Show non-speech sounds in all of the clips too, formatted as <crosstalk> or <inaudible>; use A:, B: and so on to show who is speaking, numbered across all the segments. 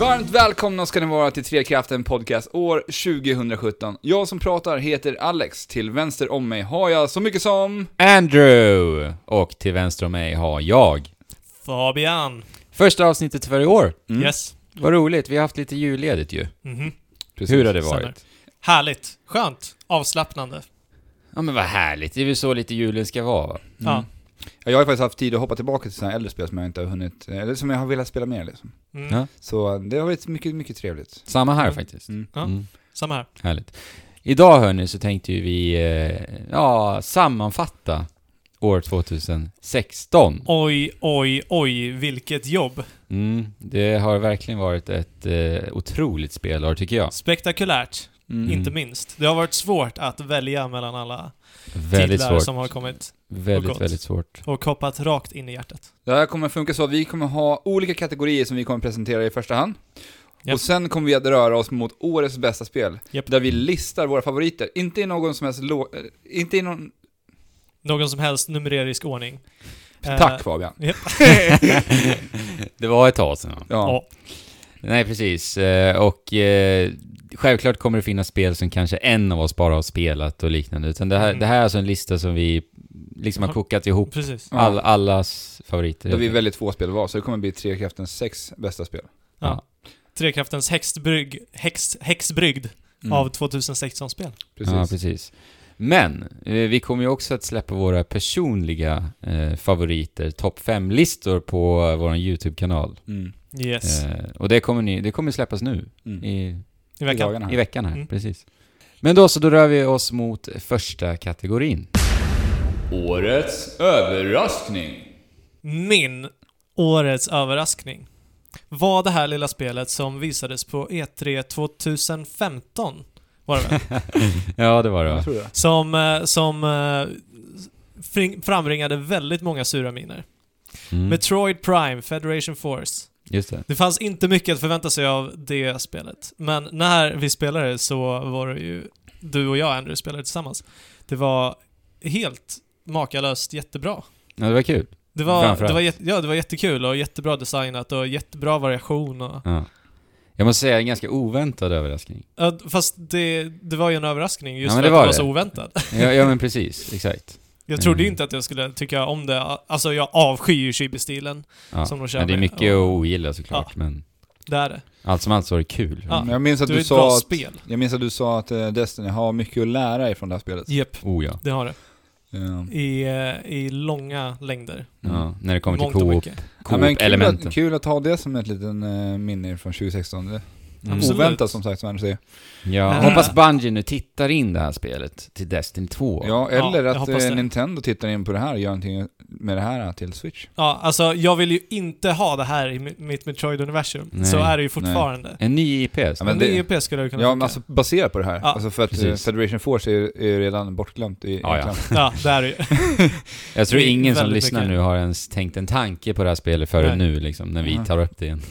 A: Varmt välkomna ska ni vara till Trekraften Podcast år 2017. Jag som pratar heter Alex, till vänster om mig har jag så mycket som...
B: Andrew! Och till vänster om mig har jag.
C: Fabian.
B: Första avsnittet för i år.
A: Mm.
C: Yes.
B: Vad roligt, vi har haft lite julledigt ju.
C: Mhm.
A: Precis.
B: Hur har det
C: Stämmer.
B: varit?
C: Härligt. Skönt. Avslappnande.
B: Ja men vad härligt, det är väl så lite julen ska vara va?
C: Ja.
A: Ja, jag har faktiskt haft tid att hoppa tillbaka till sådana äldre spel som jag inte har hunnit, eller som jag har velat spela mer liksom.
C: Mm.
B: Ja.
A: Så det har varit mycket, mycket trevligt.
B: Samma här faktiskt.
A: Mm.
C: Ja. Samma här.
B: Härligt. Idag hörni så tänkte ju vi, eh, ja, sammanfatta år 2016.
C: Oj, oj, oj, vilket jobb.
B: Mm, det har verkligen varit ett eh, otroligt spelår tycker jag.
C: Spektakulärt,
A: Mm.
C: inte minst. Det har varit svårt att välja mellan alla
B: Väldigt
C: titlar
B: svårt.
C: som har kommit och
B: Väldigt,
C: gott. <laughs>
B: väldigt svårt. <laughs>
C: och hoppat rakt in i hjärtat.
A: Det här kommer funka så att vi kommer ha olika kategorier som vi kommer presentera i första hand.
C: Japp.
A: Och sen kommer vi att röra oss mot årets bästa spel,
C: Japp.
A: där vi listar våra favoriter. Inte i någon som helst lå- eh, Inte i någon...
C: Någon som helst numerisk ordning. Eh.
A: Tack Fabian!
B: Det var ett tag sedan.
A: Ja.
C: Ja.
B: Nej, precis. Eh, Och eh, självklart kommer det finnas spel som kanske en av oss bara har spelat och liknande. Utan det här,
C: Mm.
B: det här är alltså en lista som vi liksom har kokat ihop.
C: Eh, Precis.
A: Ja.
B: All, allas favoriter.
A: Där vi är väldigt få spel var, så det kommer bli Trekraftens sex bästa spel.
B: Ja.
C: Trekraftens häxbrygg, häx, häxbrygd av 2016-spel.
A: Mm. Precis.
B: Ja, precis. Men eh, vi kommer ju också att släppa våra personliga eh, favoriter, topp 5-listor på eh, vår YouTube-kanal.
A: Mm.
C: Yes.
B: Eh, och det kommer, ni, det kommer släppas nu
A: Mm.
B: i,
C: I
A: I
C: veckan.
A: dagarna här.
B: i veckan här.
C: Mm.
B: Precis. Men då så, då rör vi oss mot
A: <laughs>
B: första kategorin.
A: Årets överraskning.
C: Min årets överraskning var det här lilla spelet som visades på E3 2015. Var det väl?
B: Ja, det var det va?
A: Jag tror det.
C: som eh, som eh, fring- frambringade väldigt många sura miner.
B: Mm.
C: Metroid Prime, Federation Force.
B: Just det.
C: Det fanns inte mycket att förvänta sig av det spelet. Men när vi spelade så var det ju du och jag, Andrew, spelade tillsammans. Det var helt makalöst jättebra.
B: Ja, det var kul.
C: Det var,
B: Framförallt.
C: det, var jätte, ja, det var jättekul och jättebra designat och jättebra variation och...
B: Ja. Jag måste säga, en ganska oväntad överraskning.
C: Ja, fast det, det var ju en överraskning just
B: Ja, men
C: för
B: det
C: att det
B: var
C: var
B: det.
C: så oväntat. <laughs>
B: Ja, ja men precis, exakt.
C: Jag trodde ju
B: Mm.
C: inte att jag skulle tycka om det. Alltså jag avskyr ju chibi-stilen.
B: Ja.
C: Som de kör
B: ja, det är
C: med.
B: mycket
C: Ja.
B: att ogilla såklart, men
C: Det är det.
B: allt som allt så var det kul. Mm.
C: Ja.
A: Men Jag minns, att
C: Det är
A: du
C: ett bra
A: sa att,
C: spel.
A: jag minns att du sa att eh, Destiny har mycket att lära ifrån det här spelet.
C: Jep,
B: Oh ja.
C: det har det.
A: Ja. Mm.
C: I, eh, i långa längder.
B: ja. När det kommer till
C: Mångt Mm. och
B: Coop,
C: mycket.
A: Ja, men kul,
B: Coop-elementen.
A: att, kul att ha det som ett litet eh, minne från 2016. Det-
C: Absolut.
A: Oväntat som sagt, som Anders säger.
B: Mm. Ja.
C: Mm.
B: Hoppas Bungie nu tittar in det här spelet till Destiny 2.
A: Ja,
C: Ja,
A: eller
C: jag
A: att
C: hoppas
A: eh,
C: det.
A: Nintendo tittar in på det här och gör någonting med det här till Switch.
C: Ja, alltså jag vill ju inte ha det här i mi- mitt Metroid-universum.
B: Nej,
C: Så är det ju fortfarande.
B: En ny IP.
A: Ja,
B: Så.
A: men
C: En
A: det-
C: ny EP skulle jag kunna
A: Ja,
C: tycka.
A: men alltså baserat på det här.
C: Ja.
A: Alltså för att eh,
B: Precis.
A: Federation Force är ju, är ju redan bortglömt i
B: Ja, ja.
A: England.
C: Ja, det är det ju.
B: Jag tror
C: det är
B: ingen som
C: väldigt
B: lyssnar
C: mycket.
B: nu har ens tänkt en tanke på det här spelet förrän nu, liksom, när vi
A: Mm.
B: tar upp det igen.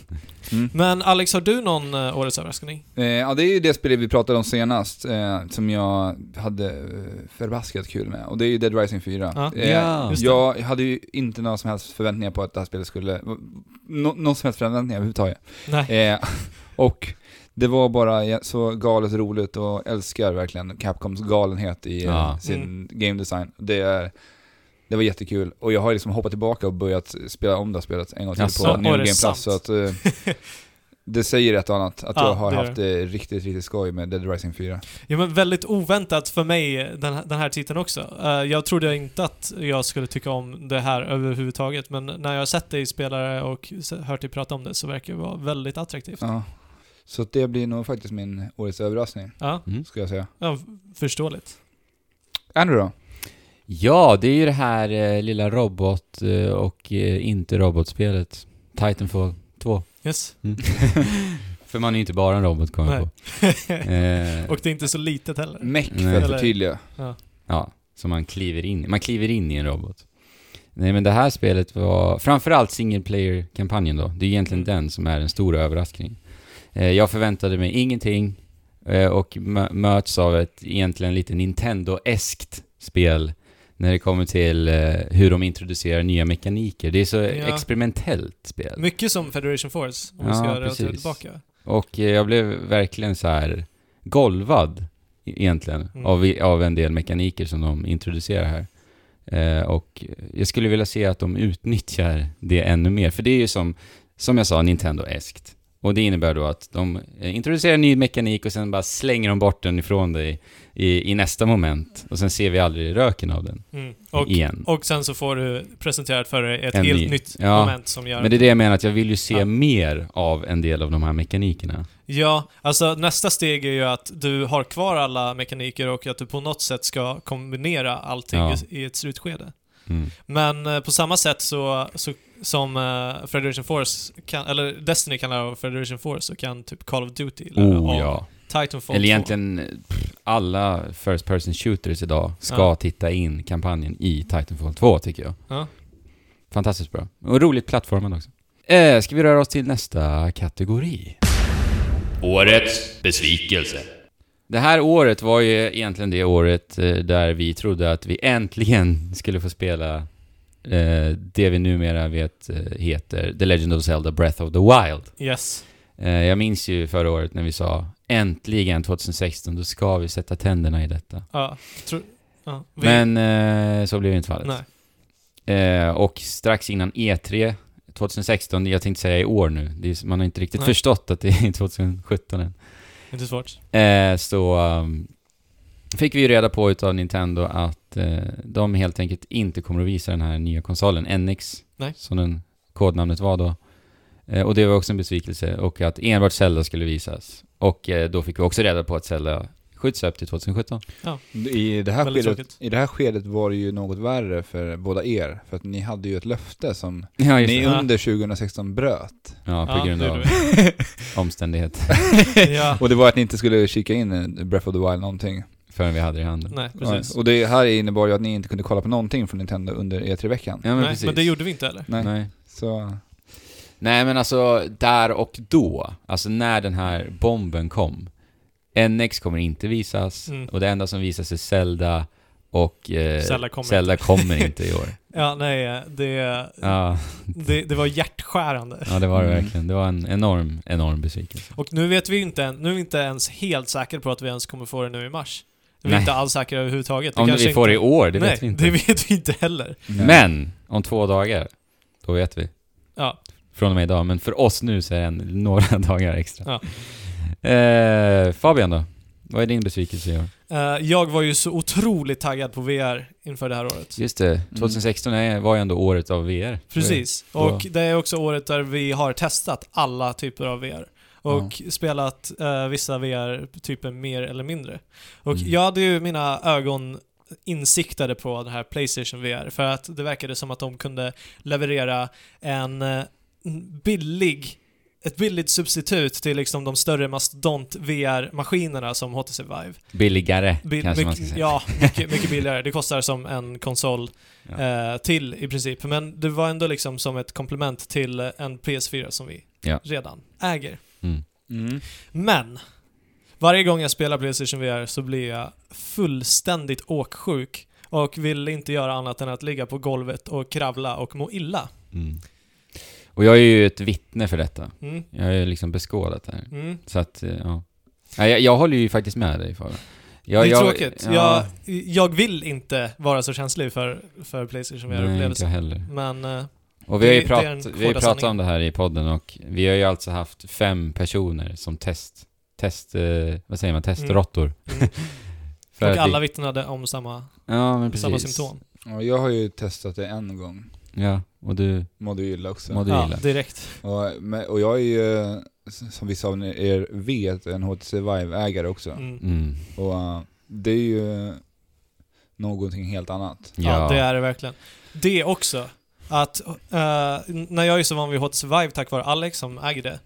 A: Mm.
C: Men Alex, har du någon eh, årets överraskning?
A: Eh, ja, det är ju det spelet vi pratade om senast, eh, som jag hade eh, förbaskat kul med. Och det är ju Dead Rising 4.
C: Ja.
A: Eh,
B: Ja.
C: Just det.
A: jag hade ju inte några som helst förväntningar på att det här spelet skulle... Nå, någon som helst förväntningar överhuvudtaget.
C: Nej.
A: Eh, och det var bara jä- så galet roligt och älskar verkligen Capcoms galenhet i eh,
B: Ja.
A: sin
C: Mm.
A: game design. Det, är, det var jättekul. Och jag har liksom hoppat tillbaka och börjat spela om det här spelet en gång till
B: Jaså?
A: på
C: Var
A: New
C: det
A: Game
C: sant?
A: Plus. Så att, eh, det säger ett och annat, att
C: Ja,
A: jag har
C: det gör
A: haft eh, riktigt, riktigt skoj med Dead Rising 4.
C: Ja men väldigt oväntat för mig den här, den här titeln också. Eh, jag trodde inte att jag skulle tycka om det här överhuvudtaget men när jag har sett dig spelare och s- hört dig prata om det så verkar det vara väldigt attraktivt.
A: Ja. Så att det blir nog faktiskt min årets överraskning,
C: Ja,
B: Mm.
A: ska jag säga.
C: ja förståeligt.
A: Andrew då?
B: Ja, det är ju det här eh, lilla robot eh, och eh, inte robotspelet. Titanfall 2.
C: Yes. <laughs>
B: För man är ju inte bara en robot kommer jag
C: Nej. <laughs>
B: på. Eh,
C: och det är inte så litet heller.
A: Meck för
B: Nej.
A: att förtydliga.
B: ja, så man kliver in Man kliver in i en robot. Nej men det här spelet var, framförallt single player-kampanjen då. Det är egentligen
C: Mm.
B: den som är den stora överraskningen. Eh, jag förväntade mig ingenting eh, och mö- möts av ett egentligen lite Nintendo-eskt spel när det kommer till eh, hur de introducerar nya mekaniker. Det är så
C: Ja.
B: experimentellt spel.
C: Mycket som Federation Force, om vi
B: Ja,
C: ska relatera
B: precis.
C: tillbaka.
B: Och eh, jag blev verkligen så här golvad e- egentligen
C: Mm.
B: av, i- av en del mekaniker som de introducerar här. Eh, och jag skulle vilja se att de utnyttjar det ännu mer, för det är ju som, som jag sa, Nintendo-eskt. Och det innebär då att de eh, introducerar ny mekanik och sen bara slänger de bort den ifrån dig i, i nästa moment. Och sen ser vi aldrig röken av den
C: Mm. Och,
B: igen.
C: och sen så får du presenterat för dig ett
B: En
C: helt
B: ny-
C: nytt
B: Ja.
C: moment som gör...
B: Men det är det jag menar, att jag vill ju se
C: Ja.
B: mer av en del av de här mekanikerna.
C: Ja, alltså nästa steg är ju att du har kvar alla mekaniker och att du på något sätt ska kombinera allting
B: Ja.
C: i, i ett slutskede.
B: Mm.
C: Men eh, på samma sätt så, så som eh, Federation Force kan, eller Destiny kan lära av Federation Force så kan typ Call of Duty lära
B: Oh
C: av
B: ja.
C: Titanfall
B: Eller
C: 2.
B: egentligen pff, alla First Person Shooters idag ska
C: Ja.
B: titta in kampanjen i Titanfall 2 tycker jag.
C: Ja.
B: Fantastiskt bra. Och roligt plattformen också. Eh, ska vi röra oss till nästa kategori?
D: Årets besvikelse.
B: Det här året var ju egentligen det året eh, där vi trodde att vi äntligen skulle få spela eh, det vi numera vet eh, heter The Legend of Zelda Breath of the Wild.
C: Yes.
B: Eh, Jag minns ju förra året när vi sa äntligen 2016, då ska vi sätta tänderna i detta.
C: Ja. Tro, ja. Vi-
B: Men eh, så blev ju inte fallet.
C: Nej.
B: Eh, och strax innan E3 2016, jag tänkte säga i år nu, det är, man har inte riktigt
C: Nej.
B: förstått att det är 2017 än.
C: Inte svårt.
B: Eh, så um, fick vi ju reda på utav Nintendo att eh, de helt enkelt inte kommer att visa den här nya konsolen, NX,
C: Nej.
B: som den kodnamnet var då. Eh, och det var också en besvikelse, och att enbart Zelda skulle visas. Och eh, då fick vi också reda på att Zelda skjuts upp till 2017.
A: I det, här
C: Väldigt
A: skedet,
C: tråkigt.
A: I det här skedet var det ju något värre för båda er, för att ni hade ju ett löfte som
B: Ja,
A: ni
C: det.
A: under 2016 bröt.
B: Ja, på
C: Ja,
B: grund
C: det
B: av
C: gjorde vi.
B: omständighet
C: <laughs> ja.
A: Och det var att ni inte skulle kika in i Breath of the Wild någonting.
B: förrän vi hade det i handen.
C: Nej, precis.
A: Och det här innebar ju att ni inte kunde kolla på någonting från Nintendo under E3-veckan.
B: Ja, men
C: Nej,
B: precis.
C: men det gjorde vi inte heller.
A: Nej.
B: Nej.
A: Så,
B: Nej men alltså, där och då, alltså när den här bomben kom, NX kommer inte visas,
C: Mm.
B: och det enda som visas är Zelda, och eh,
C: Zelda kommer
B: kommer inte
C: <laughs>
B: i år.
C: Ja, nej, eh, det,
B: Ja,
C: det, det var hjärtskärande.
B: ja, det var det
A: Mm.
B: verkligen. Det var en enorm, enorm besvikelse.
C: Och nu vet vi inte, än- nu är vi inte ens helt säkra på att vi ens kommer få det nu i mars. Vi är
B: Nej.
C: inte alls säkra överhuvudtaget.
B: Om vi får det i
C: inte,
B: år, det
C: nej,
B: vet vi inte.
C: det vet vi inte heller.
B: Men, om två dagar, då vet vi.
C: Ja,
B: Från och med idag, men för oss nu så är det en, några <laughs> dagar extra. Eh, Fabian då? Vad är din besvikelse i år?
C: eh, jag var ju så otroligt taggad på VR inför det här året.
B: Just det, 2016 är, var ju ändå året av VR.
C: Precis.
B: Då-
C: Och det är också året där vi har testat alla typer av VR. Och spelat eh, vissa VR-typer mer eller mindre. Och
B: Mm.
C: jag hade ju mina ögon insiktade på den här Playstation VR för att det verkade som att de kunde leverera en eh, billig ett billigt substitut till liksom de större mastodont VR-maskinerna som HTC Vive.
B: Billigare,
C: Bil-
B: kanske man ska
C: mycket-
B: säga. <laughs>
C: Ja, mycket, mycket billigare. Det kostar som en konsol
B: Ja.
C: eh, till i princip. Men det var ändå liksom som ett komplement till eh, en PS4 som vi
B: Ja.
C: redan äger.
B: Mm.
A: Mm.
C: Men! Varje gång jag spelar Playstation VR så blir jag fullständigt åksjuk och vill inte göra annat än att ligga på golvet och kravla och må illa.
B: Mm. Och jag är ju ett vittne för detta.
C: Mm.
B: Jag har ju liksom beskådat det här.
C: Mm.
B: Så att, eh, ja. Nej, jag, jag håller ju faktiskt med dig Fabian. Jag,
C: det är
B: jag-
C: tråkigt.
B: Ja,
C: Jag, jag vill inte vara så känslig för, för Playstation
B: nej, inte jag
C: VR-upplevelsen.
B: heller.
C: Men... eh,
B: Och vi
C: Det- det
B: har ju
C: är den
B: pratat, vi har ju
C: hårda
B: pratat om
C: sanningen.
B: det här i podden och vi har ju alltså haft fem personer som test, test, eh, vad säger man, testråttor.
C: Mm.
B: <laughs> För att
C: och
B: det-
C: alla vittnade om samma,
B: ja, men precis.
C: samma symptom.
A: Och jag har ju testat det en gång.
B: Ja, och du
A: Mådde ju illa också.
B: mådde
C: Ja,
B: illa.
C: direkt.
A: Och, men- och jag är ju, s- som vi sa när er vet, en HTC Vive-ägare också.
C: Mm.
B: Mm.
A: Och eh, det är ju någonting helt annat.
C: Ja. det är det verkligen. Det också, att eh, när jag är så van vid HTC Vive tack vare Alex som äger det,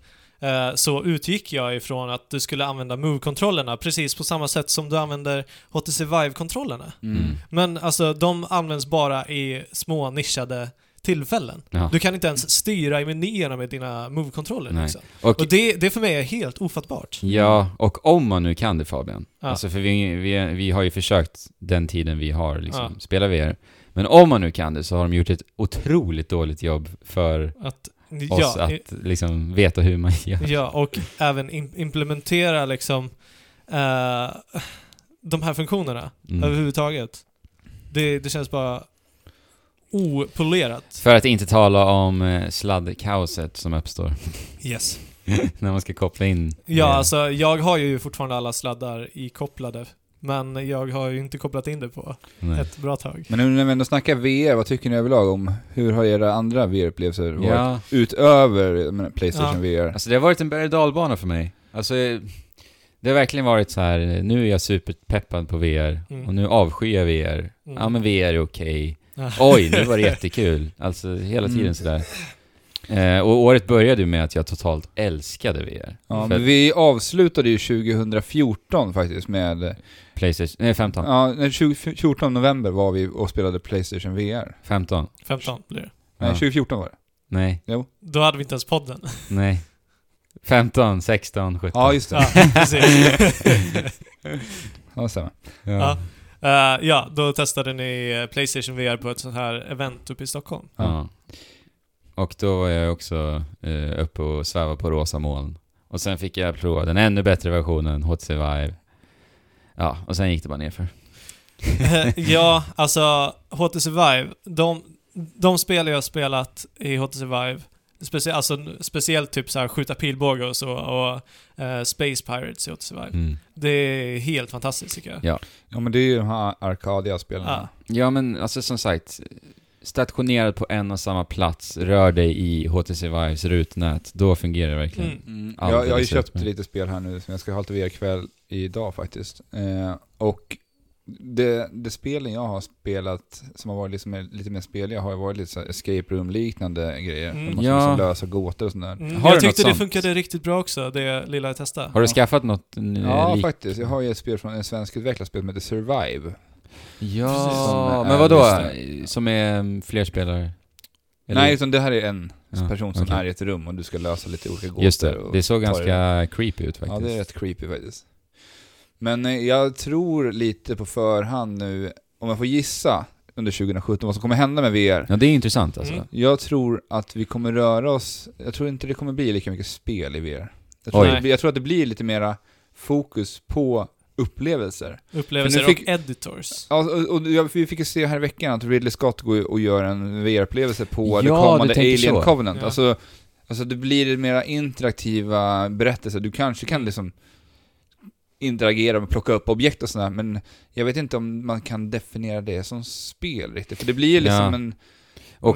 C: eh, så utgick jag ifrån att du skulle använda Move-kontrollerna precis på samma sätt som du använder HTC Vive-kontrollerna.
B: Mm.
C: Men alltså, de används bara i små nischade tillfällen.
B: Ja.
C: Du kan inte ens styra i menyerna med dina Move-kontroller.
B: Nej.
C: Liksom.
B: Och,
C: Och det, det för mig är helt ofattbart.
B: ja, och om man nu kan det Fabian.
C: Mm. Ja.
B: Alltså för vi, vi, vi har ju försökt den tiden vi har liksom,
C: Ja.
B: spela VR. Men om man nu kan det så har de gjort ett otroligt dåligt jobb för
C: Att
B: oss
C: ja,
B: att
C: i-
B: liksom veta hur man gör.
C: ja, och även im- implementera liksom eh, de här funktionerna
B: Mm.
C: överhuvudtaget. Det, det känns bara opolerat.
B: För att inte tala om eh, sladdkaoset som uppstår <laughs>
C: Yes.
B: när man ska koppla in.
C: Ja,
B: eh,
C: alltså jag har ju fortfarande alla sladdar ikopplade. Men jag har ju inte kopplat in det på
B: nej.
C: ett bra tag.
A: Men nu när vi ändå snackar VR, vad tycker ni överlag om hur har era andra VR-upplevelser varit?
B: Ja,
A: Utöver jag menar, Playstation VR?
B: Alltså det har varit en berg och dalbana för mig. Alltså eh, det har verkligen varit så här. eh, nu är jag superpeppad på VR
C: Mm.
B: och nu avskyr jag VR. Ja men VR är okej.
C: Ja.
B: Oj, nu var
C: <laughs>
B: det jättekul. Alltså hela tiden
A: Mm.
B: sådär. Eh, och året började ju med att jag totalt älskade VR.
A: Ja,
B: För
A: men vi avslutade ju 2014 faktiskt med...
B: Playstation, nej 15.
A: Ja, den 2014 november var vi och spelade Playstation VR.
B: 15.
C: 15 blir det.
A: Nej,
B: Ja.
A: 2014 var det.
B: Nej,
C: Då hade vi inte ens podden.
B: nej. 15, 16, 17.
A: Ja, just det.
C: Ja,
B: <laughs>
C: precis.
A: Ja, det stämmer.
C: ja. Eh, ja, då testade ni eh, Playstation VR på ett sånt här event uppe i Stockholm.
B: Ja. Och då var jag också eh, uppe och svävade på rosa moln. Och sen fick jag prova den ännu bättre versionen, HTC Vive. Ja, och sen gick det bara nerför.
C: Eh, ja, alltså HTC Vive, de, de spel jag har spelat i HTC Vive, specie, alltså, speciellt typ så här skjuta pilbåge och så, och eh, Space Pirates i HTC Vive.
B: Mm.
C: Det är helt fantastiskt tycker jag.
B: Ja.
A: Ja, men det är ju de här Arcadia-spelen.
C: Ja.
B: Ja, men alltså som sagt, stationerad på en och samma plats, rör dig i HTC Vives rutnät, då fungerar det verkligen.
C: Mm.
A: Mm.
B: Allt
A: Jag, jag har ju
B: är
A: köpt
B: slut med.
A: lite spel här nu som jag ska ha till VR-kväll idag faktiskt. Eh, och det, det spelen jag har spelat som har varit liksom, lite mer speliga har ju varit lite så här escape room-liknande grejer.
C: Mm.
A: Man måste
B: Ja.
A: liksom lösa gåtor och sånt där.
C: Mm,
B: Har du
C: jag
B: något
C: tyckte det
B: sånt?
C: funkade riktigt bra också, det lilla jag testade.
B: Har du
A: Ja.
B: skaffat något eh,
A: Ja,
B: lik-
A: faktiskt. Jag har ju ett spel från en svensk utvecklare spel som heter Survive. Precis.
B: Ja,
A: Som
B: men
A: är-
B: vadå?
A: just
B: Som är mm, fler spelare? Eller-
A: Nej, utan det här är en
B: Ja,
A: person som
B: okej.
A: är i ett rum och du ska lösa lite olika gåtor.
B: Just det,
A: och
B: det såg
A: ta dig runt.
B: ganska creepy ut faktiskt.
A: Ja, det är rätt creepy faktiskt. Men eh, jag tror lite på förhand nu, om jag får gissa under 2017 vad som kommer hända med VR.
B: Ja, det är intressant alltså.
C: Mm.
A: Jag tror att vi kommer röra oss, jag tror inte det kommer bli lika mycket spel i VR. Jag tror,
B: Oj.
A: att det, blir- jag tror att det blir lite mera fokus på upplevelser.
C: Upplevelser
A: För nu fick-
C: och editors.
A: Ja, och, och jag, vi fick ju se här i veckan att Ridley Scott går ju och gör en VR-upplevelse på det
B: Ja,
A: kommande
B: du tänker
A: Alien
B: så.
A: Covenant.
C: Ja.
A: Alltså, alltså det blir mera interaktiva berättelser. Du kanske kan liksom interagera och plocka upp objekt och sådär, men jag vet inte om man kan definiera det som spel riktigt. För det blir ju liksom
B: Ja.
A: en...
B: Och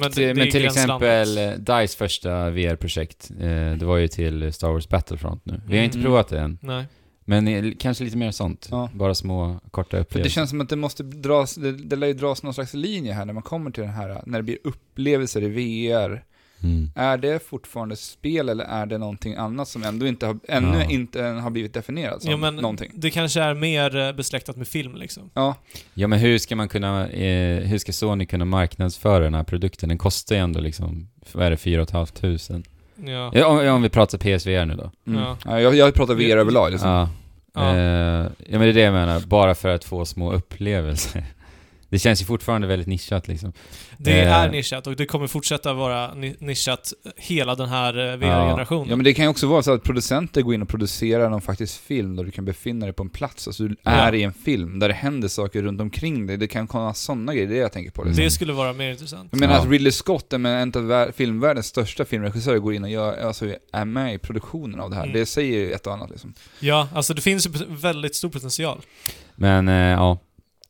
C: Men
B: men,
C: det- det är
B: men till
C: gränslandet.
B: exempel eh, DICE första VR-projekt, eh, det var ju till Star Wars Battlefront nu. Vi har inte
C: Mm.
B: provat det än,
C: Nej.
B: men eh, kanske lite mer sånt.
A: Ja.
B: Bara små, korta
A: För det
B: upplevelser.
A: känns som att det måste dras, det, det lär ju dras någon slags linje här när man kommer till den här, när det blir upplevelser i VR.
B: Mm.
A: Är det fortfarande spel eller är det någonting annat som ändå inte har, ännu
B: Ja.
A: inte har blivit definierat som
C: Jo, men
A: någonting?
C: Det kanske är mer eh, besläktat med film liksom.
B: Ja, men hur ska man kunna, eh, hur ska Sony kunna marknadsföra den här produkten? Den kostar ju ändå liksom, vad är det, 4 500?
C: Ja.
B: Ja. Om, om vi pratar PSVR nu då.
A: Mm.
C: Ja.
A: Ja. jag, jag pratar VR överlag liksom.
B: Ja.
C: Ja.
B: Eh, ja, men det är det jag menar. Bara för att få små upplevelser. <laughs> Det känns ju fortfarande väldigt nischat liksom.
C: Det
B: Eh.
C: är nischat och det kommer fortsätta vara ni- nischat hela den här eh, VR-generationen.
A: Ja men det kan ju också vara så att producenter går in och producerar någon faktiskt film där du kan befinna dig på en plats, alltså du är i en film där det händer saker runt omkring dig, det kan komma sådana grejer, det är det jag tänker på. Liksom.
C: Det skulle vara mer intressant.
A: Jag menar
B: Ja.
A: att Ridley Scott, en en av vär- filmvärldens största filmregissörer, går in och gör, alltså, är med i produktionen av det här.
C: Mm.
A: Det säger ju ett och annat liksom.
C: Ja, alltså det finns ju pot- väldigt stor potential.
B: Men eh, ja,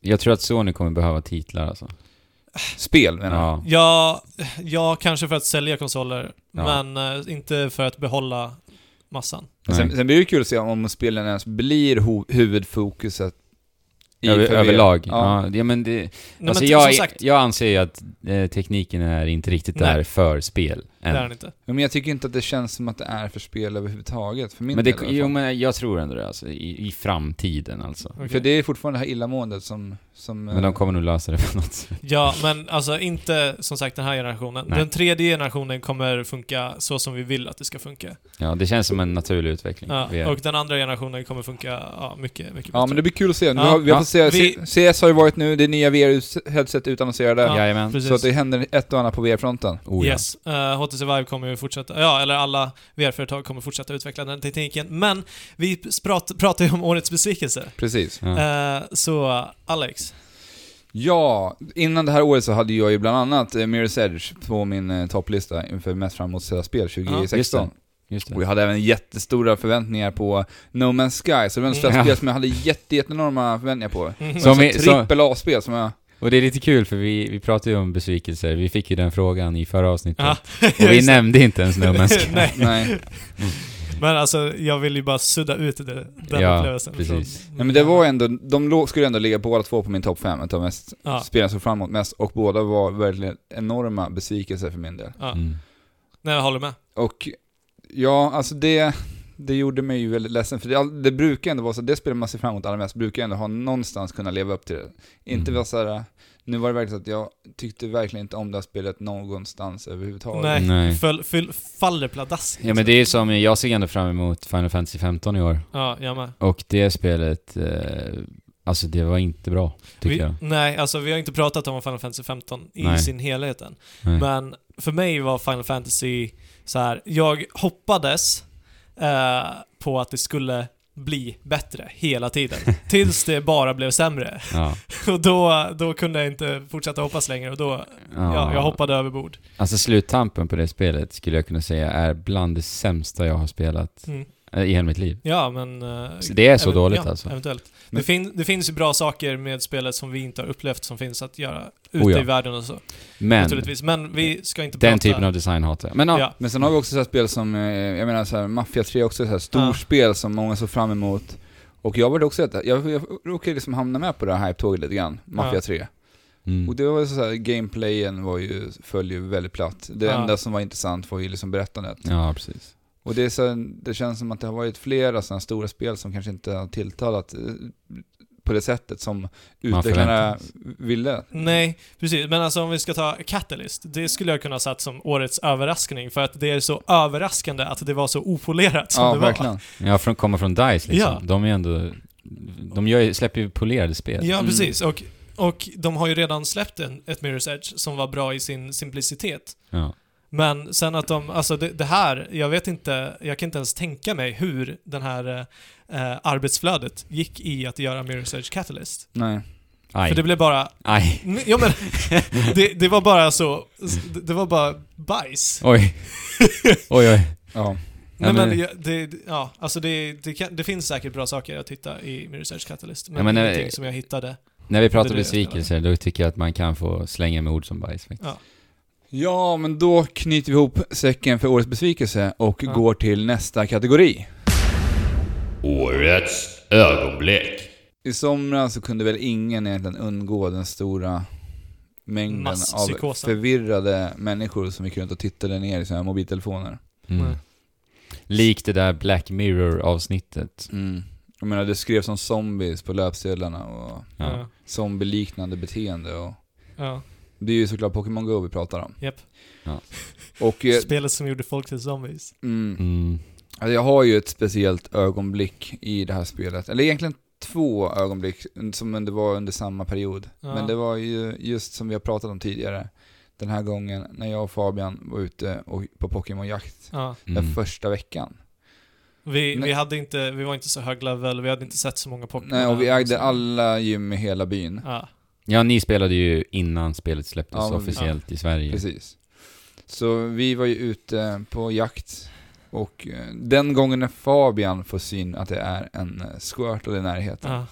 B: jag tror att Sony kommer behöva titlar alltså.
A: Spel menar jag.
B: Ja.
C: Ja, ja kanske för att sälja konsoler,
B: Ja.
C: men eh, inte för att behålla massan.
A: Sen, sen blir det ju kul att se om spelen ens blir ho- huvudfokuset i
B: Över,
A: för VR.
B: överlag.
A: Ja.
B: Ja. Ja, men det,
C: Nej,
B: alltså
C: men t-
B: jag,
C: som sagt,
B: jag anser ju att eh, tekniken är inte riktigt
C: Nej.
B: där för spel
C: det är
B: än.
C: den inte.
A: Men jag tycker inte att det känns som att det är för spel överhuvudtaget, för min
B: men, det,
A: del i alla fall.
B: jo, men jag tror ändå det alltså, i, i framtiden alltså.
A: För
C: Okej.
A: det är fortfarande det här illamåendet som... som eh,
B: Men de kommer nog lösa det på något sätt.
C: Ja, men alltså inte som sagt den här generationen.
B: Nej.
C: Den tredje generationen kommer funka så som vi vill att det ska funka.
B: Ja, det känns som en naturlig utveckling.
C: Ja,
B: VR.
C: och den andra generationen kommer funka ja, mycket, mycket
A: Ja men det blir kul att se. Nu
C: Ja.
A: har, vi har
B: Ja.
A: fått utannonserar,
C: Vi-
A: CS har ju varit nu, det är nya VR-headset utannonserade.
C: Ja,
B: Jajamän.
C: precis.
A: så att det händer ett och annat på VR-fronten.
B: Oh, ja.
C: Yes. Eh, HTC Vive kommer ju fortsätta, ja, eller alla VR-företag kommer fortsätta utveckla den tekniken. Men vi prat, pratar ju om årets besvikelse.
A: Precis.
B: Ja.
C: Eh, så Alex,
A: Ja, innan det här året så hade jag ju bland annat eh, Mirror's Edge på min eh, topplista inför mest fram emot spel
B: just
A: 2016.
B: det. Just
A: Och
B: det.
A: jag hade även jättestora förväntningar på No Man's Sky, så det var en slags
B: Ja.
A: spel som jag hade jätte, jätteenorma förväntningar på.
C: Mhm.
B: Som
A: Som
B: i, som,
A: trippel A-spel som jag...
B: och det är lite kul för vi, vi pratade ju om besvikelser, vi fick ju den frågan i förra avsnittet.
C: Ja,
B: Och vi
C: just det.
B: nämnde inte ens
C: <laughs>
B: No Man's Sky.
C: Nej.
A: Nej.
C: Men alltså, jag vill ju bara sudda ut det, den
B: Ja,
C: upplevelsen.
B: precis.
C: Från,
A: Nej men det var ändå, de lå- skulle ändå ligga båda två på min topp fem utav mest
C: Ja.
A: spel jag såg fram emot mest, och båda var verkligen enorma besvikelser för min del.
C: Ja.
B: Mm.
C: Nej, jag håller med.
A: Och ja, alltså det, det gjorde mig ju väldigt ledsen, för det, all- det brukar ändå vara så, det spel man ser fram emot allra mest brukar ändå ha någonstans kunna leva upp till det. Inte
B: Mm.
A: vara såhär, nu var det verkligen så att jag tyckte verkligen inte om det här spelet någonstans överhuvudtaget.
C: Nej,
B: Nej.
C: Föll, föll, faller pladask.
B: Ja men det är ju som, jag ser ändå fram emot Final Fantasy 15 i år.
C: liksom. Ja, jag med.
B: Och det spelet, eh, alltså det var inte bra, tycker
C: vi,
B: jag.
C: Nej, alltså vi har inte pratat om Final Fantasy 15 i
B: Nej.
C: sin helhet än.
B: Nej.
C: Men för mig var Final Fantasy så här. jag hoppades eh, på att det skulle bli bättre hela
B: <laughs>
C: tiden. Tills det bara blev sämre. <laughs>
B: Ja.
C: Och då, då kunde jag inte fortsätta hoppas längre och då, ja, jag hoppade överbord.
B: Alltså sluttampen på det spelet skulle jag kunna säga är bland det sämsta jag har spelat
C: Mm.
B: eh, i hela mitt liv.
C: Ja, men... eh,
B: Så det är så
C: Even-
B: dåligt
C: ja,
B: alltså.
C: Eventuellt.
A: Men-
C: Det, fin det finns ju bra saker med spelet som vi inte har upplevt som finns att göra ute
B: Oh ja.
C: i världen och så.
B: Men,
C: Naturligtvis. Men vi ska inte
B: den
C: prata...
B: typen av design hatar jag. Men ja,
C: Ja.
A: Men sen har vi också så här spel som, eh, jag menar så här, Mafia 3 är också ett så här storspel som många såg fram emot. Och jag var också att jag, jag råkade liksom hamna med på det här hype-tåget lite grann, Mafia
C: Ja.
A: 3.
B: mm.
A: Och det var ju så här, gameplayen var ju, föll ju väldigt platt. Det
C: Ja.
A: enda som var intressant var ju liksom berättandet.
B: ja precis.
A: Och det, är så, här- det känns som att det har varit flera sådana stora spel som kanske inte har tilltalat eh, på det sättet som utvecklarna
B: förväntas.
A: ville.
C: Nej, precis. Men alltså om vi ska ta Catalyst, det skulle jag kunna ha satt som årets överraskning för att det är så överraskande att det var så opolerat som
A: Ja,
C: det var.
A: verkligen.
B: Ja, från, komma från DICE liksom.
C: Ja.
B: De är ju ändå, de gör, ju- släpper ju polerade spel.
C: Ja,
A: Mm.
C: precis. Och, och de har ju redan släppt en, ett Mirror's Edge som var bra i sin simplicitet.
B: Ja.
C: Men sen att de, alltså det, det här, jag vet inte, jag kan inte ens tänka mig hur den här eh, eh, arbetsflödet gick i att göra Mirror's Edge Catalyst.
A: Nej.
B: Aj.
C: För det blev bara,
B: Aj.
C: ja men, det, det var bara så, det, det var bara bajs. <laughs>
B: Oj. oj, oj.
A: Ja.
C: Nej
B: men-
C: men, jag- det, ja, alltså det, det, kan, det finns säkert bra saker att hitta i Mirror's Edge Catalyst, men,
B: Ja, men, eh,
C: ingenting som jag hittade.
B: När vi pratar
C: Det är det jag
B: besvikelser, då tycker jag att man kan få slänga med ord som liksom. bajs faktiskt.
A: Ja, men då knyter vi ihop säcken för årets besvikelse och
C: Ja.
A: går till nästa kategori.
D: Årets ögonblick.
A: I somras så kunde väl ingen egentligen undgå den stora mängden av
C: Masspsykosen.
A: förvirrade människor som gick runt och tittade ner i sina mobiltelefoner.
B: Mm.
C: Nej.
B: Likt det där Black Mirror-avsnittet.
A: Mm. Jag menar, det skrevs om zombies på löpsedlarna och
B: Ja.
C: Ja.
A: zombieliknande beteende och...
C: Ja,
A: Det är ju såklart Pokémon Go vi pratar om.
C: japp.
A: Och eh,
C: Spelet som gjorde folk till zombies.
A: mm,
B: Mm.
A: alltså jag har ju ett speciellt ögonblick i det här spelet. Eller egentligen två ögonblick som det var under samma period.
C: Ja.
A: Men det var ju just som vi har pratat om tidigare. Den här gången när jag och Fabian var ute och, på Pokémonjakt.
C: Ja.
A: Den
B: Mm.
A: första veckan.
C: Vi,
A: Nej.
C: vi, hade inte, vi var inte så hög level, vi hade inte sett så många Pokémon.
A: Nej, och vi ägde
C: Så-
A: alla gym i hela byn.
C: Ja.
B: Ja, ni spelade ju innan spelet släpptes
A: Ja, men-
B: officiellt i Sverige.
A: Precis. Så vi var ju ute på jakt. Och eh, den gången när Fabian får syn att det är en eh, squirtle i närheten.
C: ja.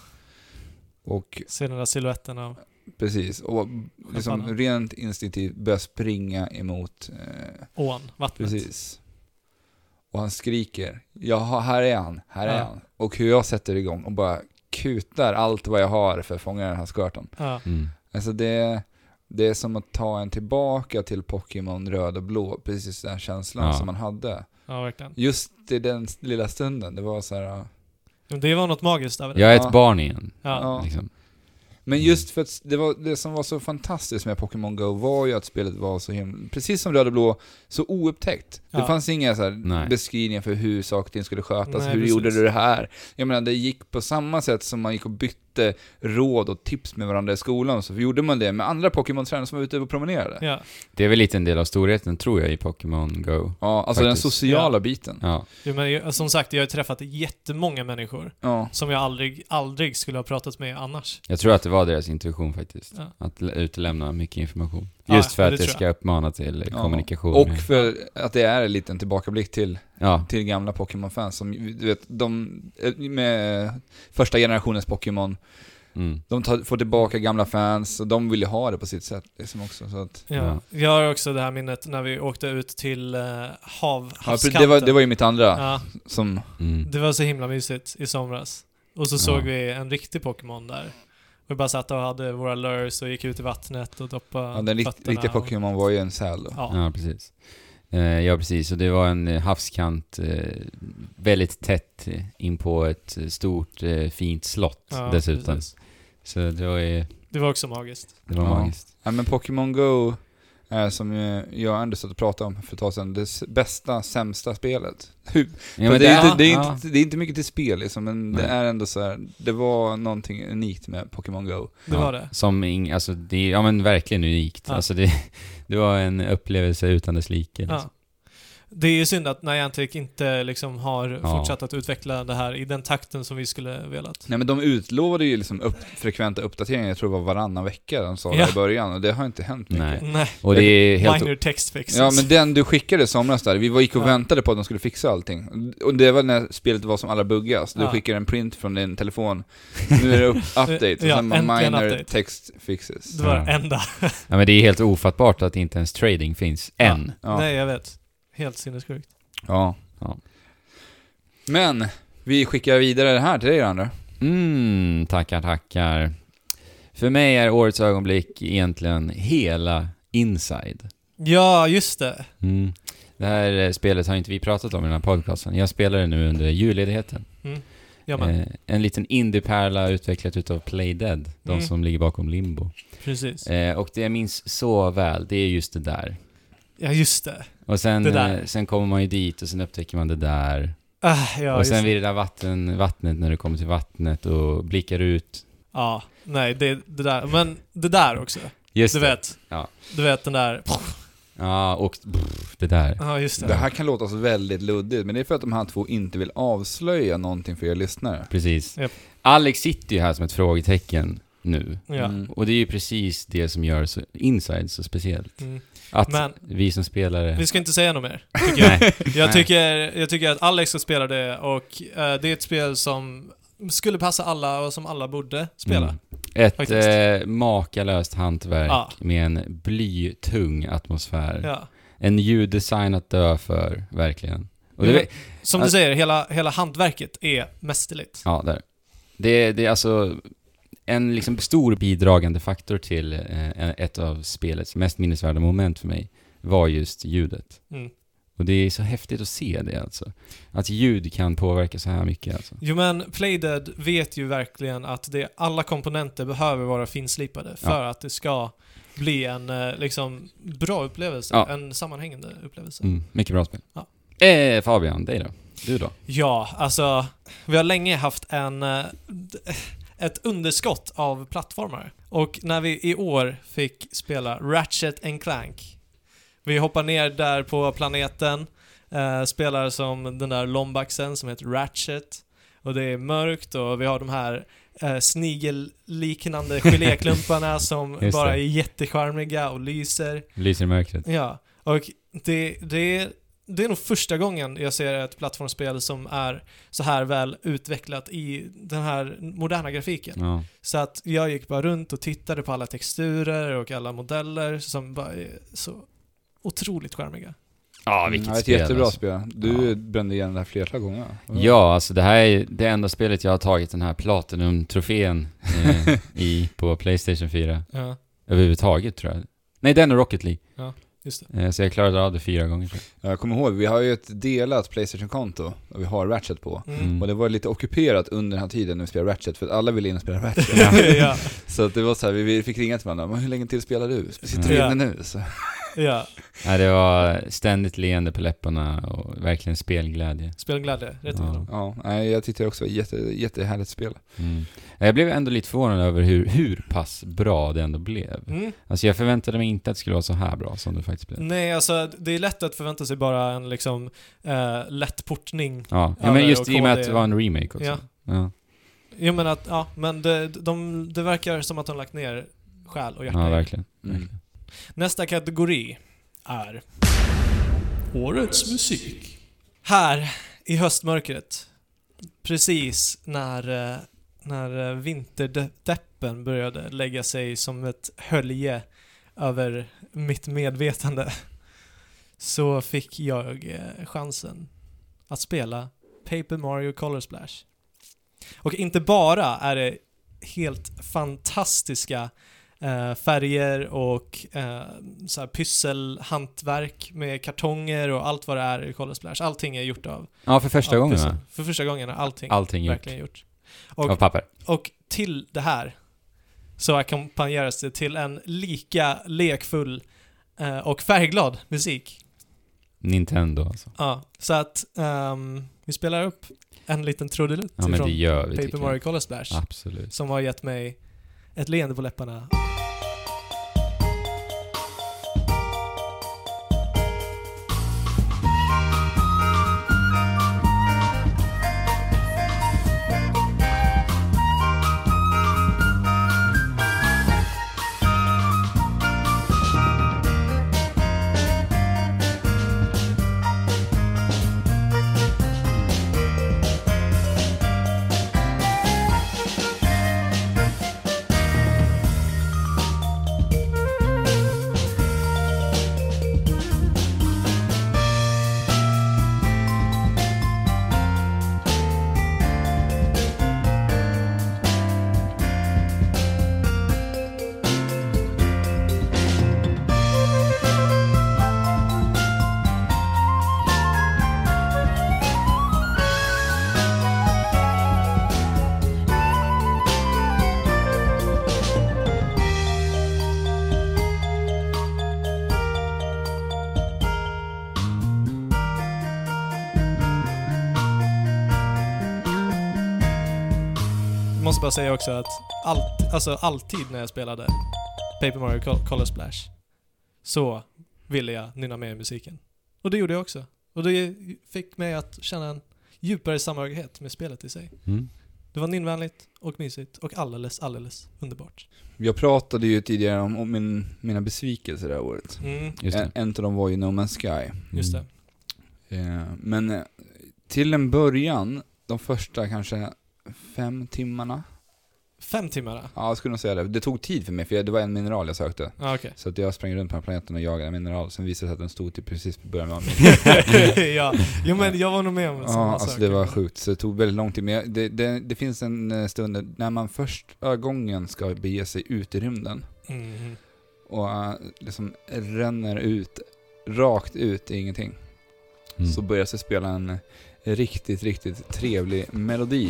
A: Och
C: Se den där siluetten av...
A: Precis, och liksom
C: Champagne.
A: rent instinktivt börjar springa emot. Eh,
C: ån, vattnet.
A: precis. Och han skriker, ja här är han, här är
C: Ja.
A: han. Och hur jag sätter igång och bara kutar allt vad jag har för att fånga den här squirten.
C: Ja.
B: Mm.
A: Alltså det, det är som att ta en tillbaka till Pokémon röd och blå, precis den här känslan
B: Ja.
A: som man hade.
C: ja, verkligen.
A: Just i den lilla stunden, det var så här... ja.
C: Men Det var något magiskt över det.
B: Jag är ett
A: Ja.
B: barn igen.
C: Ja.
A: Ja.
B: Liksom.
A: Men just för att det, var, det som var så fantastiskt med Pokémon Go var ju att spelet var så himla, precis som Röd och Blå, så oupptäckt. Det
C: Ja.
A: fanns inga så här
B: Nej.
A: beskrivningar för hur saker och ting skulle skötas,
C: Nej,
A: hur
C: precis.
A: gjorde du det här? Jag menar, det gick på samma sätt som man gick och bytte bytte råd och tips med varandra i skolan, så gjorde man det med andra Pokémon-tränare som var ute och promenerade. Ja,
C: Ja.
B: Det är väl lite en del av storheten, tror jag, i Pokémon Go.
A: alltså
B: Faktiskt.
A: den sociala
C: Ja.
A: biten.
B: Ja.
C: Jo, men jag, som sagt, jag har ju träffat jättemånga människor
A: Ja.
C: som jag aldrig, aldrig skulle ha pratat med annars.
B: Jag tror att det var deras intuition faktiskt.
C: Ja.
B: Att l- utelämna mycket information.
C: Ja,
B: Just för
C: det
B: att det
C: tror jag.
B: ska uppmana till eh,
A: Ja.
B: kommunikation.
A: Och för att det är en liten tillbakablick till,
B: ja.
A: till gamla Pokémon-fans som, du vet, de, eh, med första generationens Pokémon,
B: Mm.
A: de tar, får tillbaka gamla fans och de vill ju ha det på sitt sätt liksom också. Så att,
C: Ja.
B: Ja.
C: Jag har också det här minnet när vi åkte ut till eh, hav,
A: ja,
C: havskanten.
A: det, var, det var ju mitt andra
C: ja,
A: som,
B: Mm.
C: det var så himla mysigt i somras. Och så
B: Ja.
C: såg vi en riktig Pokémon där. Vi bara satt och hade våra lures och gick ut i vattnet och doppade
A: ja, den rikt,
C: fötterna.
A: riktiga Pokémon var ju en säl då.
C: Ja.
B: Ja, precis. Eh, Ja, precis. Och det var en eh, havskant eh, väldigt tätt eh, in på ett eh, stort eh, fint slott
C: Ja,
B: dessutom.
C: precis.
B: Så det var, ju-
C: Det var också magiskt.
B: det var
A: Ja.
B: magiskt.
A: Ja, men Pokémon Go är som eh, jag och Anders satt och pratade om för ett tag sedan, det s- bästa, sämsta spelet.
B: Ja,
A: det, är
B: ja,
A: inte, det, är
B: ja.
A: inte, det är inte mycket till spel liksom, men det
B: Nej.
A: är ändå så här. det var någonting unikt med Pokémon Go.
C: Det
B: Ja.
C: var det.
B: Som ing, alltså det, ja men verkligen unikt.
C: Ja.
B: Alltså det, <laughs> det var en upplevelse utan dess like.
C: Ja.
A: alltså.
B: Liksom.
C: Det är ju synd att Niantic inte liksom har
B: Ja.
C: fortsatt att utveckla det här i den takten som vi skulle velat.
A: Nej men de utlovade ju liksom upp, frekventa uppdateringar, jag tror det var varannan vecka de sa
C: Ja.
A: det i början, och det har inte hänt mycket.
B: Nej.
C: Nej,
B: Och det är helt...
C: minor text fixes.
A: Ja men den du skickade i somras där, vi var- gick och
C: Ja.
A: väntade på att de skulle fixa allting. Och det var när spelet var som allra buggigast. Du
C: Ja.
A: skickade en print från din telefon, nu är det
C: <laughs>
A: upp, update, och
C: Ja,
A: sen bara
C: äntligen
A: minor
C: update.
A: text fixes.
C: Det var
B: Ja.
C: det enda.
B: Ja men det är helt ofattbart att inte ens trading finns.
C: Ja.
B: Än.
A: Ja.
C: Nej, jag vet. Helt sinnessjukt.
A: Ja.
B: Ja.
A: Men, vi skickar vidare det här till dig Andra.
B: Mm, tackar, tackar. För mig är årets ögonblick egentligen hela Inside.
C: Ja, just det.
B: Mm. Det här eh, spelet har inte vi pratat om i den här podcasten. Jag spelar det nu under julledigheten.
C: Ja, men
B: Eh, en liten indie-pärla utvecklat utav Playdead, de
C: Mm.
B: som ligger bakom Limbo.
C: precis.
B: Eh, och det jag minns så väl, det är just det där.
C: Ja, just det.
B: Och sen,
C: Det där.
B: eh, sen kommer man ju dit och sen upptäcker man det där.
C: Ah, ja,
B: och
C: just
B: sen
C: det.
B: vid det där vatten, vattnet, när du kommer till vattnet och blickar ut.
C: Ja, nej, det, det där. Men det där också.
B: Just
C: Du
B: det.
C: vet.
B: Ja.
C: Du vet den där...
B: Ja, och pff, det där.
C: Ja, just det.
A: Det här kan låta så väldigt luddigt, men det är för att de här två inte vill avslöja någonting för er lyssnare.
B: Precis.
C: Japp.
B: Alex sitter ju här som ett frågetecken nu.
C: Ja.
A: Mm.
B: Och det är ju precis det som gör så, Inside så speciellt.
C: Mm.
B: Att
C: Men-
B: vi som spelare...
C: Vi ska inte säga något
B: <laughs>
C: mer, tycker jag.
B: Nej.
C: Jag tycker, jag tycker att Alex ska spela det och eh, det är ett spel som skulle passa alla och som alla borde spela.
B: Mm. Ett
C: Faktiskt.
B: eh, makalöst hantverk
C: Ja.
B: med en blytung atmosfär.
C: Ja.
B: En ljuddesign att dö för, verkligen. Och det,
C: Ja. Som du
B: Alltså-
C: säger, hela, hela hantverket är mästerligt.
B: Ja, där. Det, det är alltså en liksom stor bidragande faktor till eh, ett av spelets mest minnesvärda moment för mig var just ljudet.
C: Mm.
B: Och det är så häftigt att se det alltså. Att ljud kan påverka så här mycket alltså.
C: Jo men Playdead vet ju verkligen att det, alla komponenter behöver vara finslipade för att det ska bli en eh, liksom, bra upplevelse,
B: Ja.
C: en sammanhängande upplevelse.
B: Mm, mycket bra spel.
C: Ja.
B: Eh, Fabian, dig då? Du då?
C: Ja, alltså vi har länge haft en, eh, d- ett underskott av plattformar. Och när vi i år fick spela Ratchet and Clank, vi hoppar ner där på planeten, eh, spelar som den där lombaxen som heter Ratchet, och det är mörkt och vi har de här eh, snigelliknande geléklumparna som
B: <laughs> Just
C: bara
B: det.
C: är jättecharmiga och lyser.
B: Lyser i mörkret.
C: Ja, och det, det, är- det är nog första gången jag ser ett plattformsspel som är så här väl utvecklat i den här moderna grafiken.
B: Ja.
C: Så att jag gick bara runt och tittade på alla texturer och alla modeller som bara är så otroligt charmiga.
B: Ja,
A: Mm,
B: vilket
A: ja, ett
B: spel
A: jättebra
B: alltså.
A: spel. Du
B: Ja.
A: brände igen det här flera gånger.
B: Ja, alltså det här är det enda spelet jag har tagit den här Platinum-trofén <laughs> eh, i på Playstation 4.
C: Ja,
B: Överhuvudtaget tror jag. Nej, den och Rocket League.
C: just det.
B: Eh, Så jag klarade av det fyra gånger tror
A: Jag kommer ihåg, vi har ju ett delat Playstation-konto, och vi har Ratchet på.
B: jag.
C: Mm.
A: Och det var lite ockuperat under den här tiden när vi spelade Ratchet, för att alla ville in och spela Ratchet. <laughs>
C: <laughs> ja.
A: Så att det var så här, vi- vi fick ringa till varandra, men hur länge till spelar du? Sitter
B: Mm.
A: du
C: Ja.
A: inne nu? Så.
C: Ja,
B: Nej, det var ständigt leende på läpparna och verkligen spelglädje.
C: spelglädje. Rätt
B: Ja.
C: igenom.
A: Ja, nej, jag tyckte det också var jätte, jättehärligt spel.
B: Mm. Jag blev ändå lite förvånad över hur, hur pass bra det ändå blev.
C: Mm.
B: Alltså jag förväntade mig inte att det skulle vara så här bra som det faktiskt blev.
C: Nej, alltså det är lätt att förvänta sig bara en liksom eh, lätt portning.
B: Ja, ja
C: Ja,
B: men
C: det-
B: just
C: och
B: i och med
C: KD.
B: att det var en remake också.
C: Ja.
B: Ja,
C: Jo men att, ja, men det, de, det verkar som att de lagt ner själ och hjärta
B: ja
C: i det.
B: verkligen.
A: Mm.
C: Nästa kategori är Årets musik. Här i höstmörkret, precis när, eh, när eh, vinterdeppen började lägga sig som ett hölje över mitt medvetande, <laughs> så fick jag eh, chansen att spela Paper Mario Color Splash. Och inte bara är det helt fantastiska eh, färger och eh, så här pysselhantverk med kartonger och allt vad det är i Color Splash. Allting är gjort av...
B: Ja, för första
C: av
B: gången
C: pussel.
B: va?
C: För första gången är allting
B: Allting gjort
C: verkligen gjort.
B: av
C: Och,
B: papper.
C: och till det här så ackompanjeras det till en lika lekfull eh, och färgglad musik.
B: Nintendo alltså.
C: Ja, så att ehm, vi spelar upp en liten trudelutt
B: Ja men det
C: ifrån
B: gör vi
C: Paper
B: tycker
C: Mario
B: jag.
C: Color Splash
B: Absolut.
C: som har gett mig ett leende på läpparna. Jag måste bara säga också att allt, alltså alltid när jag spelade Paper Mario Col- Color Splash så ville jag nynna med i musiken. Och det gjorde jag också. Och det fick mig att känna en djupare samhörighet med spelet i sig.
B: Mm.
C: Det var nynnvänligt och mysigt och alldeles, alldeles underbart.
A: Jag pratade ju tidigare om, om min, mina besvikelser det här året.
C: Mm,
B: Just
A: En,
B: det.
A: en av dem var ju No Man's Sky.
C: just det.
B: Mm.
A: Eh, Men eh, till en början, de första kanske fem timmarna,
C: Fem timmar? då?
A: ja jag skulle nog säga det. Det tog tid för mig för jag- det var en mineral jag sökte. <laughs>
C: Ja, okej. <laughs>
A: Så att jag sprang runt på den här planeten och jagade en mineral, sen visade det sig att den stod till precis på
B: <laughs>
A: början av min
C: ja. Jo men jag var nog med om en sån
A: Ja,
C: här
A: alltså
C: sak.
A: det var sjukt. Så det tog väldigt lång tid. Men jag- det, det, det finns en eh, stund när man första gången ska bege sig ut i rymden
C: Mhm.
A: och eh, liksom ränner ut, rakt ut i ingenting.
B: Mm.
A: Så börjar sig spela en eh, riktigt, riktigt trevlig melodi.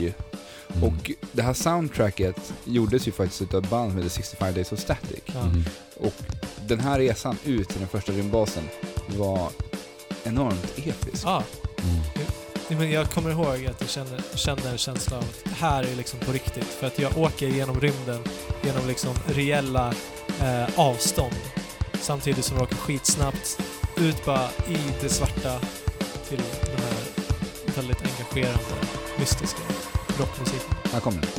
B: Mm.
A: Och det här soundtracket gjordes ju faktiskt utav ett band som heter 65 Days of Static.
C: Ja.
B: Mm.
A: Den här resan ut till den första rymdbasen var enormt episk.
C: Ah,
B: Mm.
C: Nej, Men jag kommer ihåg att jag känner, känner en känsla av att det här är liksom på riktigt. För att jag åker genom rymden, genom liksom reella eh, avstånd. Samtidigt som jag åker skitsnabbt ut bara i det svarta till den här väldigt engagerande, mystiska rockmusiken.
A: Här kommer den.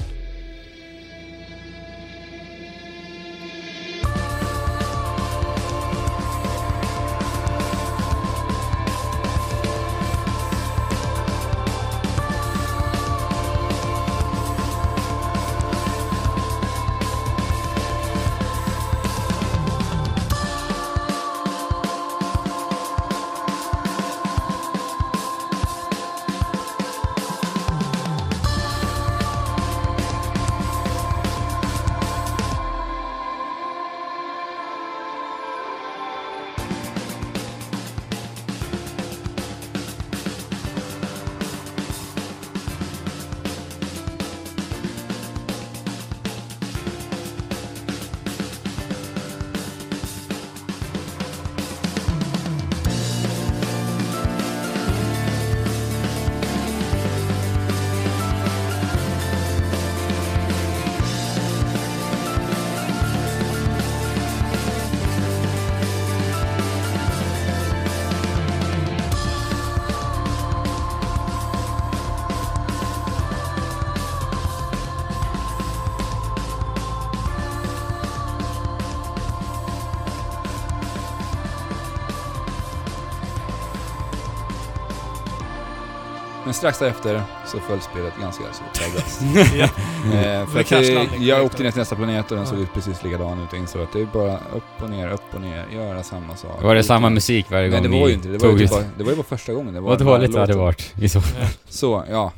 A: strax därefter så föll spelet ganska så pladask.
C: <laughs> Ja.
A: Eh, för
C: Med
A: att det,
C: kraschlandning.
A: jag åkte ner till nästa planet och den såg
C: Ja.
A: ut precis likadan ut och insåg att det är bara upp och ner, upp och ner, göra samma sak.
B: Var det samma musik varje
A: Nej
B: gång
A: det var ju inte det. Det var
B: tog
A: ju
B: ut?
A: typ bara, det var ju bara första gången. Det var
B: <laughs> Vad
A: den här
B: dåligt det hade
A: låten.
B: varit i så fall.
A: Så, ja.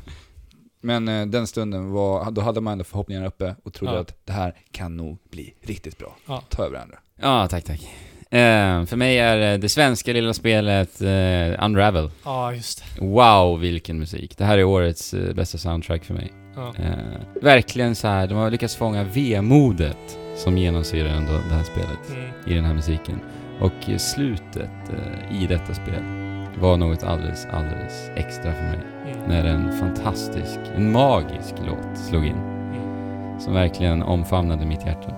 A: Men eh, den stunden var, då hade man ändå förhoppningarna uppe och trodde
C: Ja.
A: att det här kan nog bli riktigt bra.
C: Ja.
A: Ta över andra.
B: Ja, tack tack. Eh, för mig är eh, det svenska lilla spelet eh, Unravel.
C: Ja, just det.
B: Wow, vilken musik. Det här är årets eh, bästa soundtrack för mig.
C: Ja.
B: Eh, verkligen så här, de har lyckats fånga vemodet som genomsyrar ändå det här spelet
C: Mm.
B: i den här musiken. Och eh, slutet eh, i detta spel var något alldeles, alldeles extra för mig.
C: Mm.
B: När en fantastisk, en magisk låt slog in.
C: mm.
B: Som verkligen omfamnade mitt hjärta.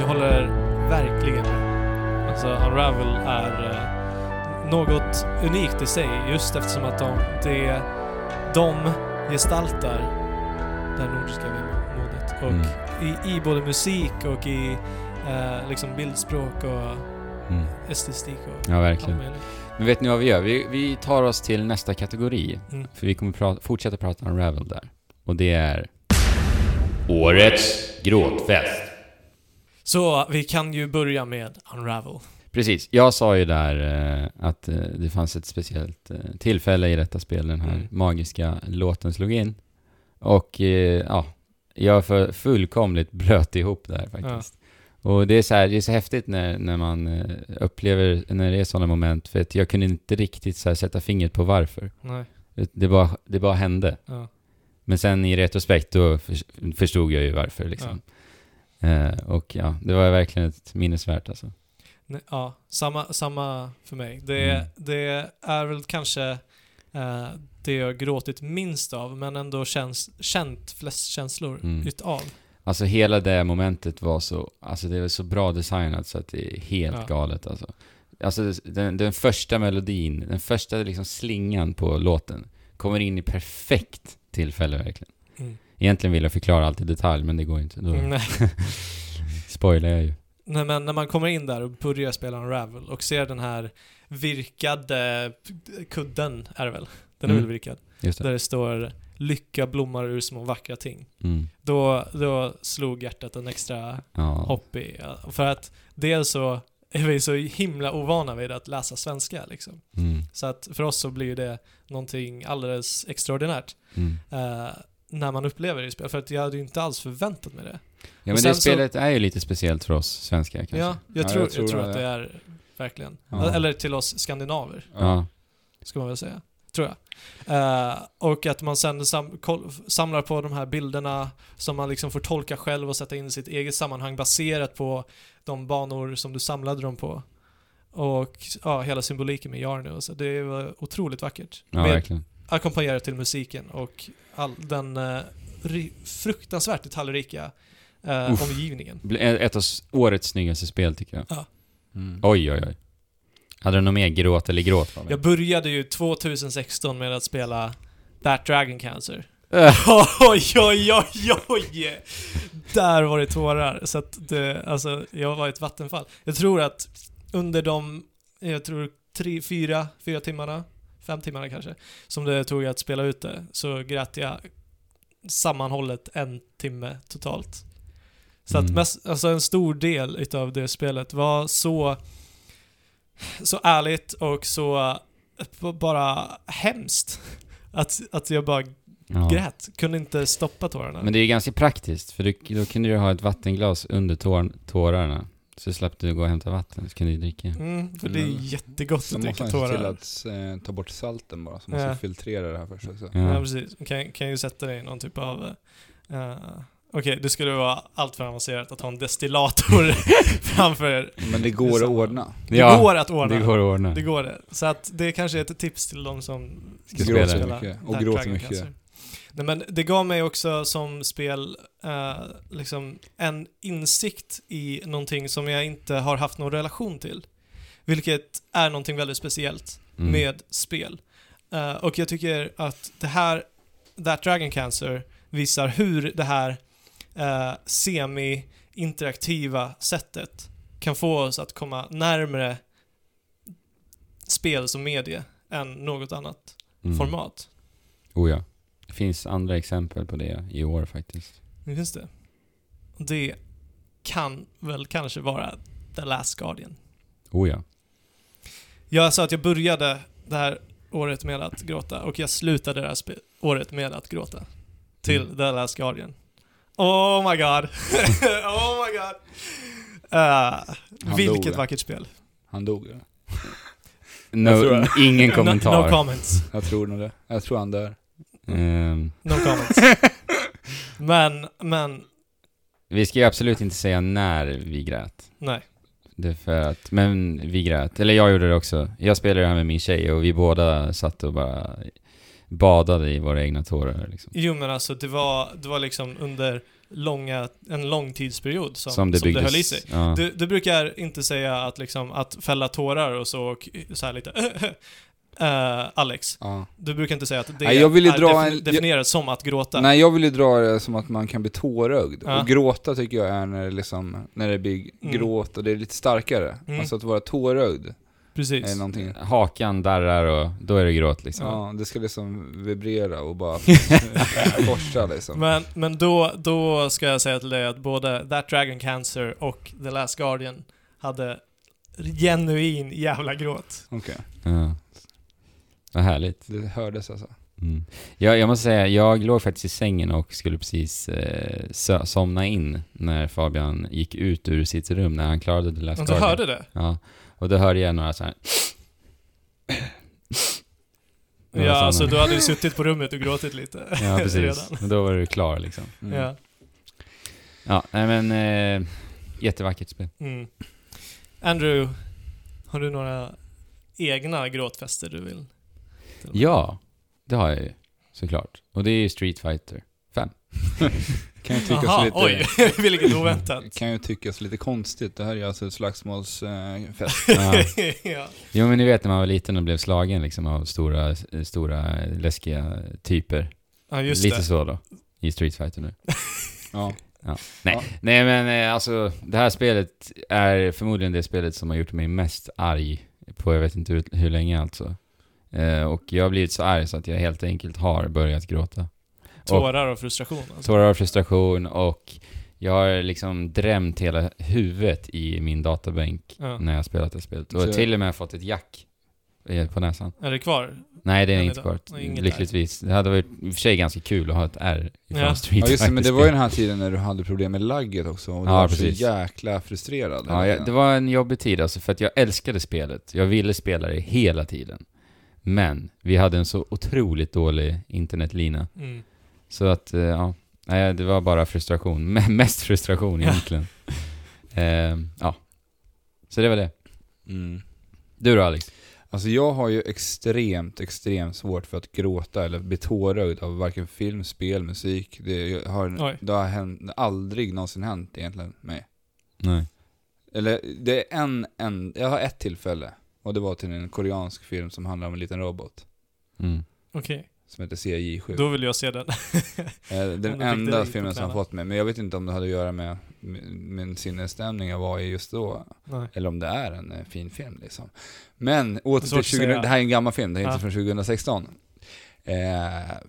C: Jag håller verkligen med. Alltså, Unravel är eh, något unikt i sig just eftersom att de, det, de gestaltar det här nordiska vemodet. Och
B: Mm.
C: i, i både musik och i eh, liksom bildspråk och
B: Mm.
C: estetik och
B: Ja,
C: allt
B: verkligen.
C: möjligt.
B: Men vet ni vad vi gör? Vi, vi tar oss till nästa kategori.
C: Mm.
B: För vi kommer prata, fortsätta prata om Ravel där. Och det är...
D: Årets gråtfest.
C: Så vi kan ju börja med Unravel.
B: Precis, jag sa ju där eh, att eh, det fanns ett speciellt eh, tillfälle i detta spel, den här
C: Mm.
B: magiska låten slog in. Och eh, ja, jag för fullkomligt <laughs> blöt ihop där faktiskt. Och det är så här, det är så häftigt när, när man eh, upplever, när det är sådana moment, för att jag kunde inte riktigt så här sätta fingret på varför.
C: Nej.
B: Det bara, det bara hände.
C: Ja.
B: Men sen i retrospekt då förs- förstod jag ju varför liksom. Eh, och ja, det var verkligen ett minnesvärt alltså.
C: Nej, ja, samma, samma för mig. Det,
B: Mm.
C: det är väl kanske eh, det jag gråtit minst av, men ändå känns, känt flest känslor
B: Mm.
C: utav.
B: Alltså hela det momentet var så, alltså det var så bra designat så att det är helt
C: Ja.
B: galet alltså. Alltså den, den första melodin, den första liksom slingan på låten kommer in i perfekt tillfälle verkligen.
C: Mm.
B: Egentligen vill jag förklara allt i detalj men det går inte, då
C: Nej,
B: spoilar jag ju.
C: Nej, men när man kommer in där och börjar spela Unravel och ser den här virkade kudden, är det väl? Den är
B: Mm.
C: väl virkad?
B: Just det.
C: Där det står “Lycka blommar ur små vackra ting”.
B: Mm.
C: Då, då slog hjärtat en extra
B: Ja.
C: hopp i. ja. För att dels så är vi så himla ovana vid att läsa svenska liksom.
B: Mm.
C: Så att för oss så blir ju det någonting alldeles extraordinärt
B: Mm.
C: eh, när man upplever det i spel. För att jag hade ju inte alls förväntat mig det.
B: Ja
C: Och
B: men
C: sen
B: det
C: så-
B: spelet är ju lite speciellt för oss svenskar kanske.
C: Ja, jag,
A: Ja,
C: tror,
A: jag
C: jag,
A: tror
C: tror
A: det,
C: att det
A: ja.
C: är verkligen.
B: Ja.
C: Eller till oss skandinaver,
B: ja.
C: ska man väl säga. Tror jag. Eh, och att man sen sam koll- samlar på de här bilderna som man liksom får tolka själv och sätta in i sitt eget sammanhang baserat på de banor som du samlade dem på. Och ja, hela symboliken med Jarnu. och Så det var otroligt vackert.
B: Ja,
C: Med
B: verkligen.
C: ackompanjerat till musiken och all den eh, ri- fruktansvärt detaljrika eh, omgivningen.
B: Bl- Ett av s- årets snyggaste spel tycker jag.
A: Mm.
B: Oj, oj, oj. Hade du något mer gråt eller gråt? Robin?
C: Jag började ju 2016 med att spela That Dragon Cancer.
B: Äh.
C: <laughs> oj, oj, oj, oj! Där var det tårar. Så att det, alltså, jag var i ett vattenfall. Jag tror att under de, jag tror tre, fyra, fyra timmarna, fem timmarna kanske, som det tog att spela ut det, så grät jag sammanhållet en timme totalt. Så att
B: Mm.
C: mest, alltså en stor del utav det spelet var så, så ärligt och så b- bara hemskt. Att, att jag bara
B: Ja.
C: grät. Kunde inte stoppa tårarna.
B: Men det är ju ganska praktiskt, för du, då kunde du ha ett vattenglas under tår, tårarna. Så slapp du gå och hämta vatten, så kunde du dricka.
C: Mm, för det är
A: Men-
C: jättegott
A: Så
C: att
A: måste
C: dricka
A: man se till
C: tårar.
A: att eh, ta bort salten bara, så måste
C: Ja.
A: vi filtrera det här först också.
C: Ja,
B: Ja.
C: precis. Kan, kan ju sätta dig i någon typ av... eh, Okej, det skulle vara allt för avancerat att ha en destillator <laughs> framför er.
A: Men det
C: Det är
A: går att
C: samma.
A: ordna.
C: Det
B: Ja,
C: går att ordna.
B: Det går att ordna.
C: Det går det. Så att det kanske är ett tips till de som
B: Ska
C: vill
B: spela.
A: mycket, och
C: Dark
A: gråter
C: Dragon
A: mycket.
C: Cancer. Nej men det gav mig också som spel eh, liksom en insikt i någonting som jag inte har haft någon relation till. Vilket är någonting väldigt speciellt
B: Mm.
C: med spel. Eh, och jag tycker att det här, That Dragon Cancer, visar hur det här eh, semi-interaktiva sättet kan få oss att komma närmare spel som medie än något annat
B: Mm.
C: format.
B: Oh ja. Det finns andra exempel på det i år faktiskt.
C: Nu finns det. Och Det kan väl kanske vara The Last Guardian.
B: Oh ja.
C: Jag sa att jag började det här året med att gråta och jag slutade det här spe- året med att gråta. Till
B: Mm.
C: The Last Guardian. Oh my god. <laughs> oh my god. Eh,
A: Han
C: vilket
A: dog, ja.
C: vackert spel.
A: Han dog ju. Jag tror
B: No, ingen kommentar.
C: No, no comments.
A: Jag tror nog det. Jag tror han dör.
B: Ehm,
C: No comments.
B: <laughs>
C: men, men,
B: vi ska ju absolut inte säga när vi grät.
C: nej.
B: Det är för att, men vi grät. Eller jag gjorde det också. Jag spelade det här med min tjej och vi båda satt och bara badade i våra egna tårar liksom.
C: Jo men alltså det var, det var liksom under långa, en lång tidsperiod som,
B: Som det
C: som det
B: byggdes.
C: höll i sig.
B: Ja.
C: Du, du brukar inte säga att, liksom, att fälla tårar och så, och så här lite <laughs> eh, Alex,
A: Ja.
C: du brukar inte säga att det
A: Nej, jag ville
C: är
A: dra
C: defin-
A: en-
C: definierat som att gråta.
A: Nej, jag vill ju dra det som att man kan bli tårögd.
C: Ja.
A: Och gråta tycker jag är när det, liksom, när det blir
C: Mm.
A: gråt och det är lite starkare.
C: Mm.
A: Alltså att vara tårögd är
C: Precis.
A: någonting.
B: Hakan darrar och då är det gråt liksom.
A: Ja, det ska liksom vibrera och bara forsa liksom.
C: Men, men då, då ska jag säga till dig att både That Dragon Cancer och The Last Guardian hade genuin jävla gråt.
A: Okej,
B: Ja. Vad härligt.
A: det hördes alltså.
B: Mm. Jag, jag måste säga, jag låg faktiskt i sängen och skulle precis eh, sö- somna in när Fabian gick ut ur sitt rum när han klarade The Last
C: Och du
B: Guardian.
C: hörde det?
B: Ja, och då hörde jag några så här.
C: Ja,
B: Några såna.
C: alltså du hade ju suttit på rummet och
A: <laughs>
C: gråtit lite. <laughs>
B: Ja, precis.
C: redan.
B: Men då var du klar liksom.
A: Mm.
C: Ja.
B: Ja, nej men eh, jättevackert spel.
C: Mm. Andrew, har du några egna gråtfester du vill?
B: Ja, det har jag ju såklart. Och det är ju Street Fighter.
A: Kan ju tyckas
C: Jaha,
A: lite...
C: oj, <laughs> vilket oväntat.
A: kan ju tyckas lite konstigt. Det här är ju alltså ett slagsmålsfest.
B: Ja.
C: ja.
B: Jo men ni vet när man var liten och blev slagen liksom av stora, stora läskiga typer.
C: ja, just
B: Lite
C: det.
B: så då. I Street Fighter nu.
A: ja.
B: Nej,
A: Ja.
B: nej men eh, alltså det här spelet är förmodligen det spelet som har gjort mig mest arg på jag vet inte hur, hur länge alltså. Eh, och jag har blivit så arg så att jag helt enkelt har börjat gråta.
C: Tårar och frustration. Alltså.
B: Tårar av frustration och jag har liksom drämt hela huvudet i min databänk
C: Ja.
B: när jag har spelat det spelet. Och
A: Så-
B: till och med fått ett jack eh, på näsan.
C: Är det kvar?
B: Nej, det är
C: Men
B: inte
C: idag-
B: kvar.
C: Nej, inget
B: Lyckligtvis. Det hade varit i och för sig ganska kul att ha ett R ifrån
C: Ja.
B: Street
A: ja, just det, men det var ju
B: Fighter-spel.
A: den här tiden när du hade problem med lagget också. Och du
B: Ja,
A: var
B: precis.
A: så jäkla frustrerad.
B: Ja, jag, det var en jobbig tid alltså, för att jag älskade spelet. Jag ville spela det hela tiden. Men vi hade en så otroligt dålig internetlina.
C: Mm.
B: Så att, eh, ja. Nej, det var bara frustration. <laughs> Men mest frustration
C: Ja.
B: egentligen. <laughs> Ehm, ja. Så det var det.
A: Mm.
B: Du då Alex?
A: Alltså jag har ju extremt, extremt svårt för att gråta eller bli tårögd av varken film, spel, musik. Det har,
C: Oj.
A: det har hänt, aldrig någonsin hänt egentligen mig.
B: Nej.
A: Eller det är en, en, jag har ett tillfälle Och det var till en koreansk film som handlar om en liten robot.
B: Mm.
C: Okej,
A: Som heter CJ7.
C: då vill jag se den. <laughs>
A: Eh, Den
C: Om du fick det
A: enda
C: riktigt
A: filmen som
C: träna.
A: har fått mig, men jag vet inte om det hade att göra med min- min sinnesstämning jag var i just då.
C: Nej.
A: Eller om det är en eh, fin film liksom. Men åter
C: svårt
A: till
C: att
A: 20,
C: säga.
A: det här är en gammal film, det är
C: eh, Ja.
A: inte från 2016. Eh,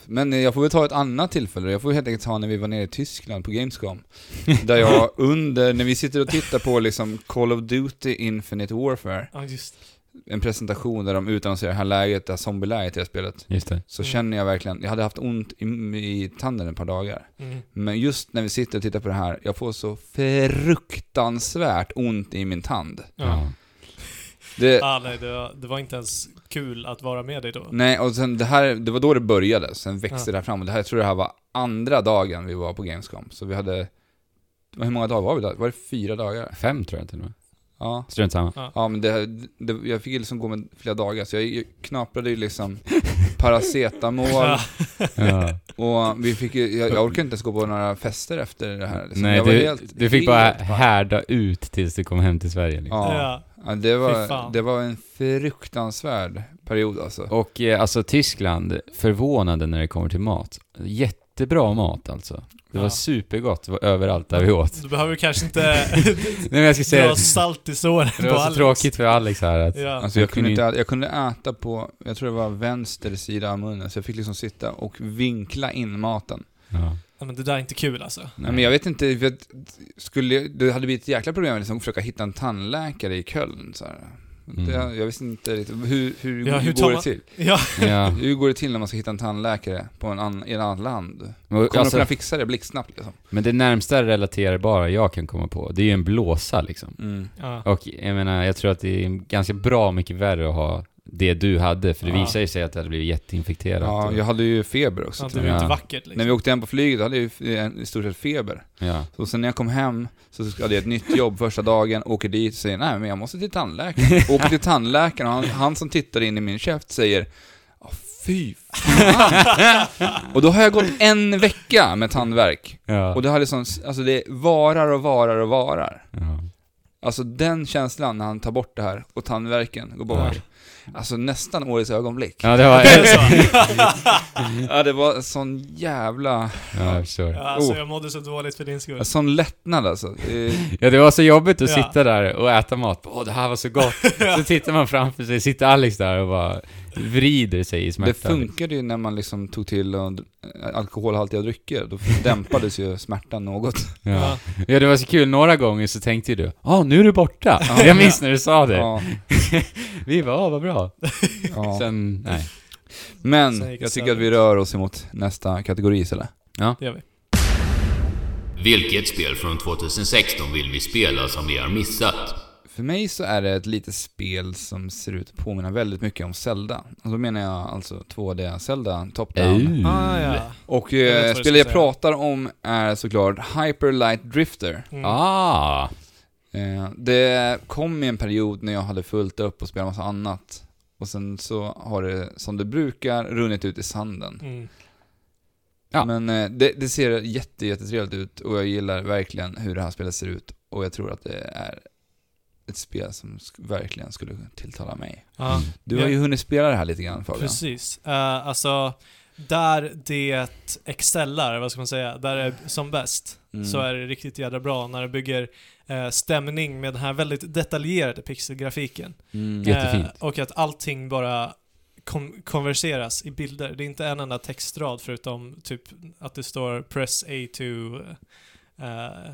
A: men jag får väl ta ett annat tillfälle, jag får helt enkelt ta när vi var nere i Tyskland på Gamescom.
C: <laughs>
A: Där jag under, när vi sitter och tittar på liksom Call of Duty Infinite Warfare,
C: Ja, just
A: en presentation där de utannonserar det här läget, det här zombieläget i det här spelet.
B: Just det.
A: Så
C: Mm.
A: känner jag verkligen, jag hade haft ont i, i tanden ett par dagar.
C: mm.
A: Men just när vi sitter och tittar på det här, jag får så fruktansvärt ont i min tand.
C: ja.
A: Det,
C: Ah, nej, det var, det var inte ens kul att vara med dig då.
B: Mm,
A: nej, och sen det här, det var då det började, sen växte
C: Ja.
A: det här fram. Och det här, jag tror det här var andra dagen vi var på Gamescom. Så vi hade, hur många dagar var vi där? Var det fyra dagar?
B: Fem tror jag till och med.
A: Ja.
B: Strunt samma.
A: Ja men det, det, jag fick ju liksom gå med flera dagar, så jag, jag knaprade ju
C: <laughs>
A: liksom paracetamol
C: Ja.
B: <laughs> Ja.
A: och vi fick ju, jag, jag orkade inte ens gå på några fester efter det här. Liksom.
B: Nej,
A: jag var
B: du,
A: helt-
B: du fick
A: helt
B: bara
A: pack.
B: härda ut tills du kom hem till Sverige. Liksom.
A: Ja.
C: Ja.
A: Ja, det,
C: Fy
A: var,
C: fan.
A: det var en fruktansvärd period alltså.
B: Och eh, alltså Tyskland, förvånade när det kommer till mat. Jättebra mat alltså. Det var
C: Ja.
B: supergott det var överallt där
A: <laughs>
B: vi åt.
C: Du behöver kanske inte
B: <laughs>
C: <laughs>
B: Nej men jag ska säga
C: dra
B: att
C: salt i såren
B: det
C: på
B: var så
C: Alex.
B: tråkigt för Alex här att...
C: Ja.
A: Alltså jag
B: Jag
A: kunde,
B: kunde
A: inte, ä- jag kunde äta på, jag tror det var vänster sida av munnen, så jag fick liksom sitta och vinkla in maten.
B: Ja.
C: ja, men det där är inte kul alltså.
A: Nej. Men jag vet inte, för att, skulle, det hade blivit ett jäkla problem att liksom, försöka hitta en tandläkare i Köln. Så här.
B: Mm.
A: Det, jag visste inte riktigt, hur, hur,
C: Ja, hur
A: hur
C: tar
A: går det
C: man-
A: till?
C: Ja,
B: Ja.
A: Hur går det till när man ska hitta en tandläkare på en ann, i ett annat land? <laughs> Kommer
B: Men,
A: de
B: alltså,
A: kunna fixa det blixtsnabbt liksom?
B: men det närmsta relaterbara jag kan komma på, det är ju en blåsa liksom.
A: Mm.
C: ja.
B: Och jag menar, jag tror att det är ganska bra mycket värre att ha det du hade, för det
C: Ja.
B: visar ju sig att det hade blivit jätteinfekterat.
A: Ja,
B: och-
A: jag hade ju feber också.
C: ja
A: till
C: det
A: och
C: var
A: med.
C: ju inte
B: Ja.
C: vackert
A: När
C: liksom. <laughs>
A: vi åkte hem på flyget hade jag ju eh, i stort sett feber.
B: ja.
A: Så sen när jag kom hem så hade jag ett nytt jobb första dagen, åker dit och säger nej men jag måste till tandläkaren. Åker till tandläkaren och han, han som tittar in i min käft säger "Ja, fy fan. Och då har jag gått en vecka med tandvärk.
B: Ja.
A: Och det har liksom, alltså det varar och varar och varar.
B: ja.
A: Alltså den känslan när han tar bort det här och tandvärken går bort. Alltså nästan årets ögonblick.
B: Ja, det
A: <laughs>
B: var...
C: Är det så?
B: <laughs>
A: Ja, det var sån jävla,
B: Ja, jag förstår.
C: Ja, alltså
A: Oh.
C: jag mådde så dåligt för din skull.
A: sån lättnad alltså. Eh,
B: Ja, det var så jobbigt att
C: Ja.
B: sitta där och äta mat. Åh, det här var
A: <laughs>
B: så gott. Så tittar man framför sig, sitter Alex där och bara vrider sig i smärta.
A: Det funkade ju när man liksom tog till eh, alkoholhaltiga drycker, då dämpades ju smärtan något.
B: Ja. ja, det var så kul. Några gånger så tänkte ju du, ja, nu är du borta.
A: Ja.
B: Jag minns när du sa <laughs> det.
A: Ja,
B: Vi bara, "Åh, vad bra.
A: ja.
B: Sen, nej.
C: Sen
A: Men
C: gick det
A: jag tycker att vi rör oss emot nästa kategori istället.
C: Det gör vi.
D: Vilket spel från 2016 vill vi spela som vi har missat?
A: För mig så är det ett litet spel som ser ut att påminna väldigt mycket om Zelda. Och då menar jag alltså 2D-Zelda, Top Down.
B: Ooh.
C: Ah, ja.
A: Och
C: Jag vet
A: eh,
C: vad du
A: spelet
C: ska
A: jag
C: säga.
A: pratar om är såklart Hyper Light Drifter.
C: Mm.
B: Ah.
A: Eh, det kom i en period när jag hade fullt upp och spelat massa annat. Och sen så har det, som det brukar, runnit ut i sanden.
C: Mm.
B: Ja.
A: Men eh, det, det ser jätte, jättetrevligt ut och jag gillar verkligen hur det här spelet ser ut och jag tror att det är ett spel som sk- verkligen skulle tilltala mig.
C: Ja.
A: Du har
C: Ja.
A: ju hunnit spela Mm, det här lite grann Fabian.
C: Precis. Uh, alltså, där det excellar, vad ska man säga, där det är som bäst,
A: Mm.
C: så är det riktigt jädra bra när det bygger eh, stämning med den här väldigt detaljerade pixelgrafiken.
A: Mm.
B: Ja. Jättefint.
C: Eh, och att allting bara kon- konverseras i bilder. Det är inte en enda textrad förutom typ att det står “press A to eh,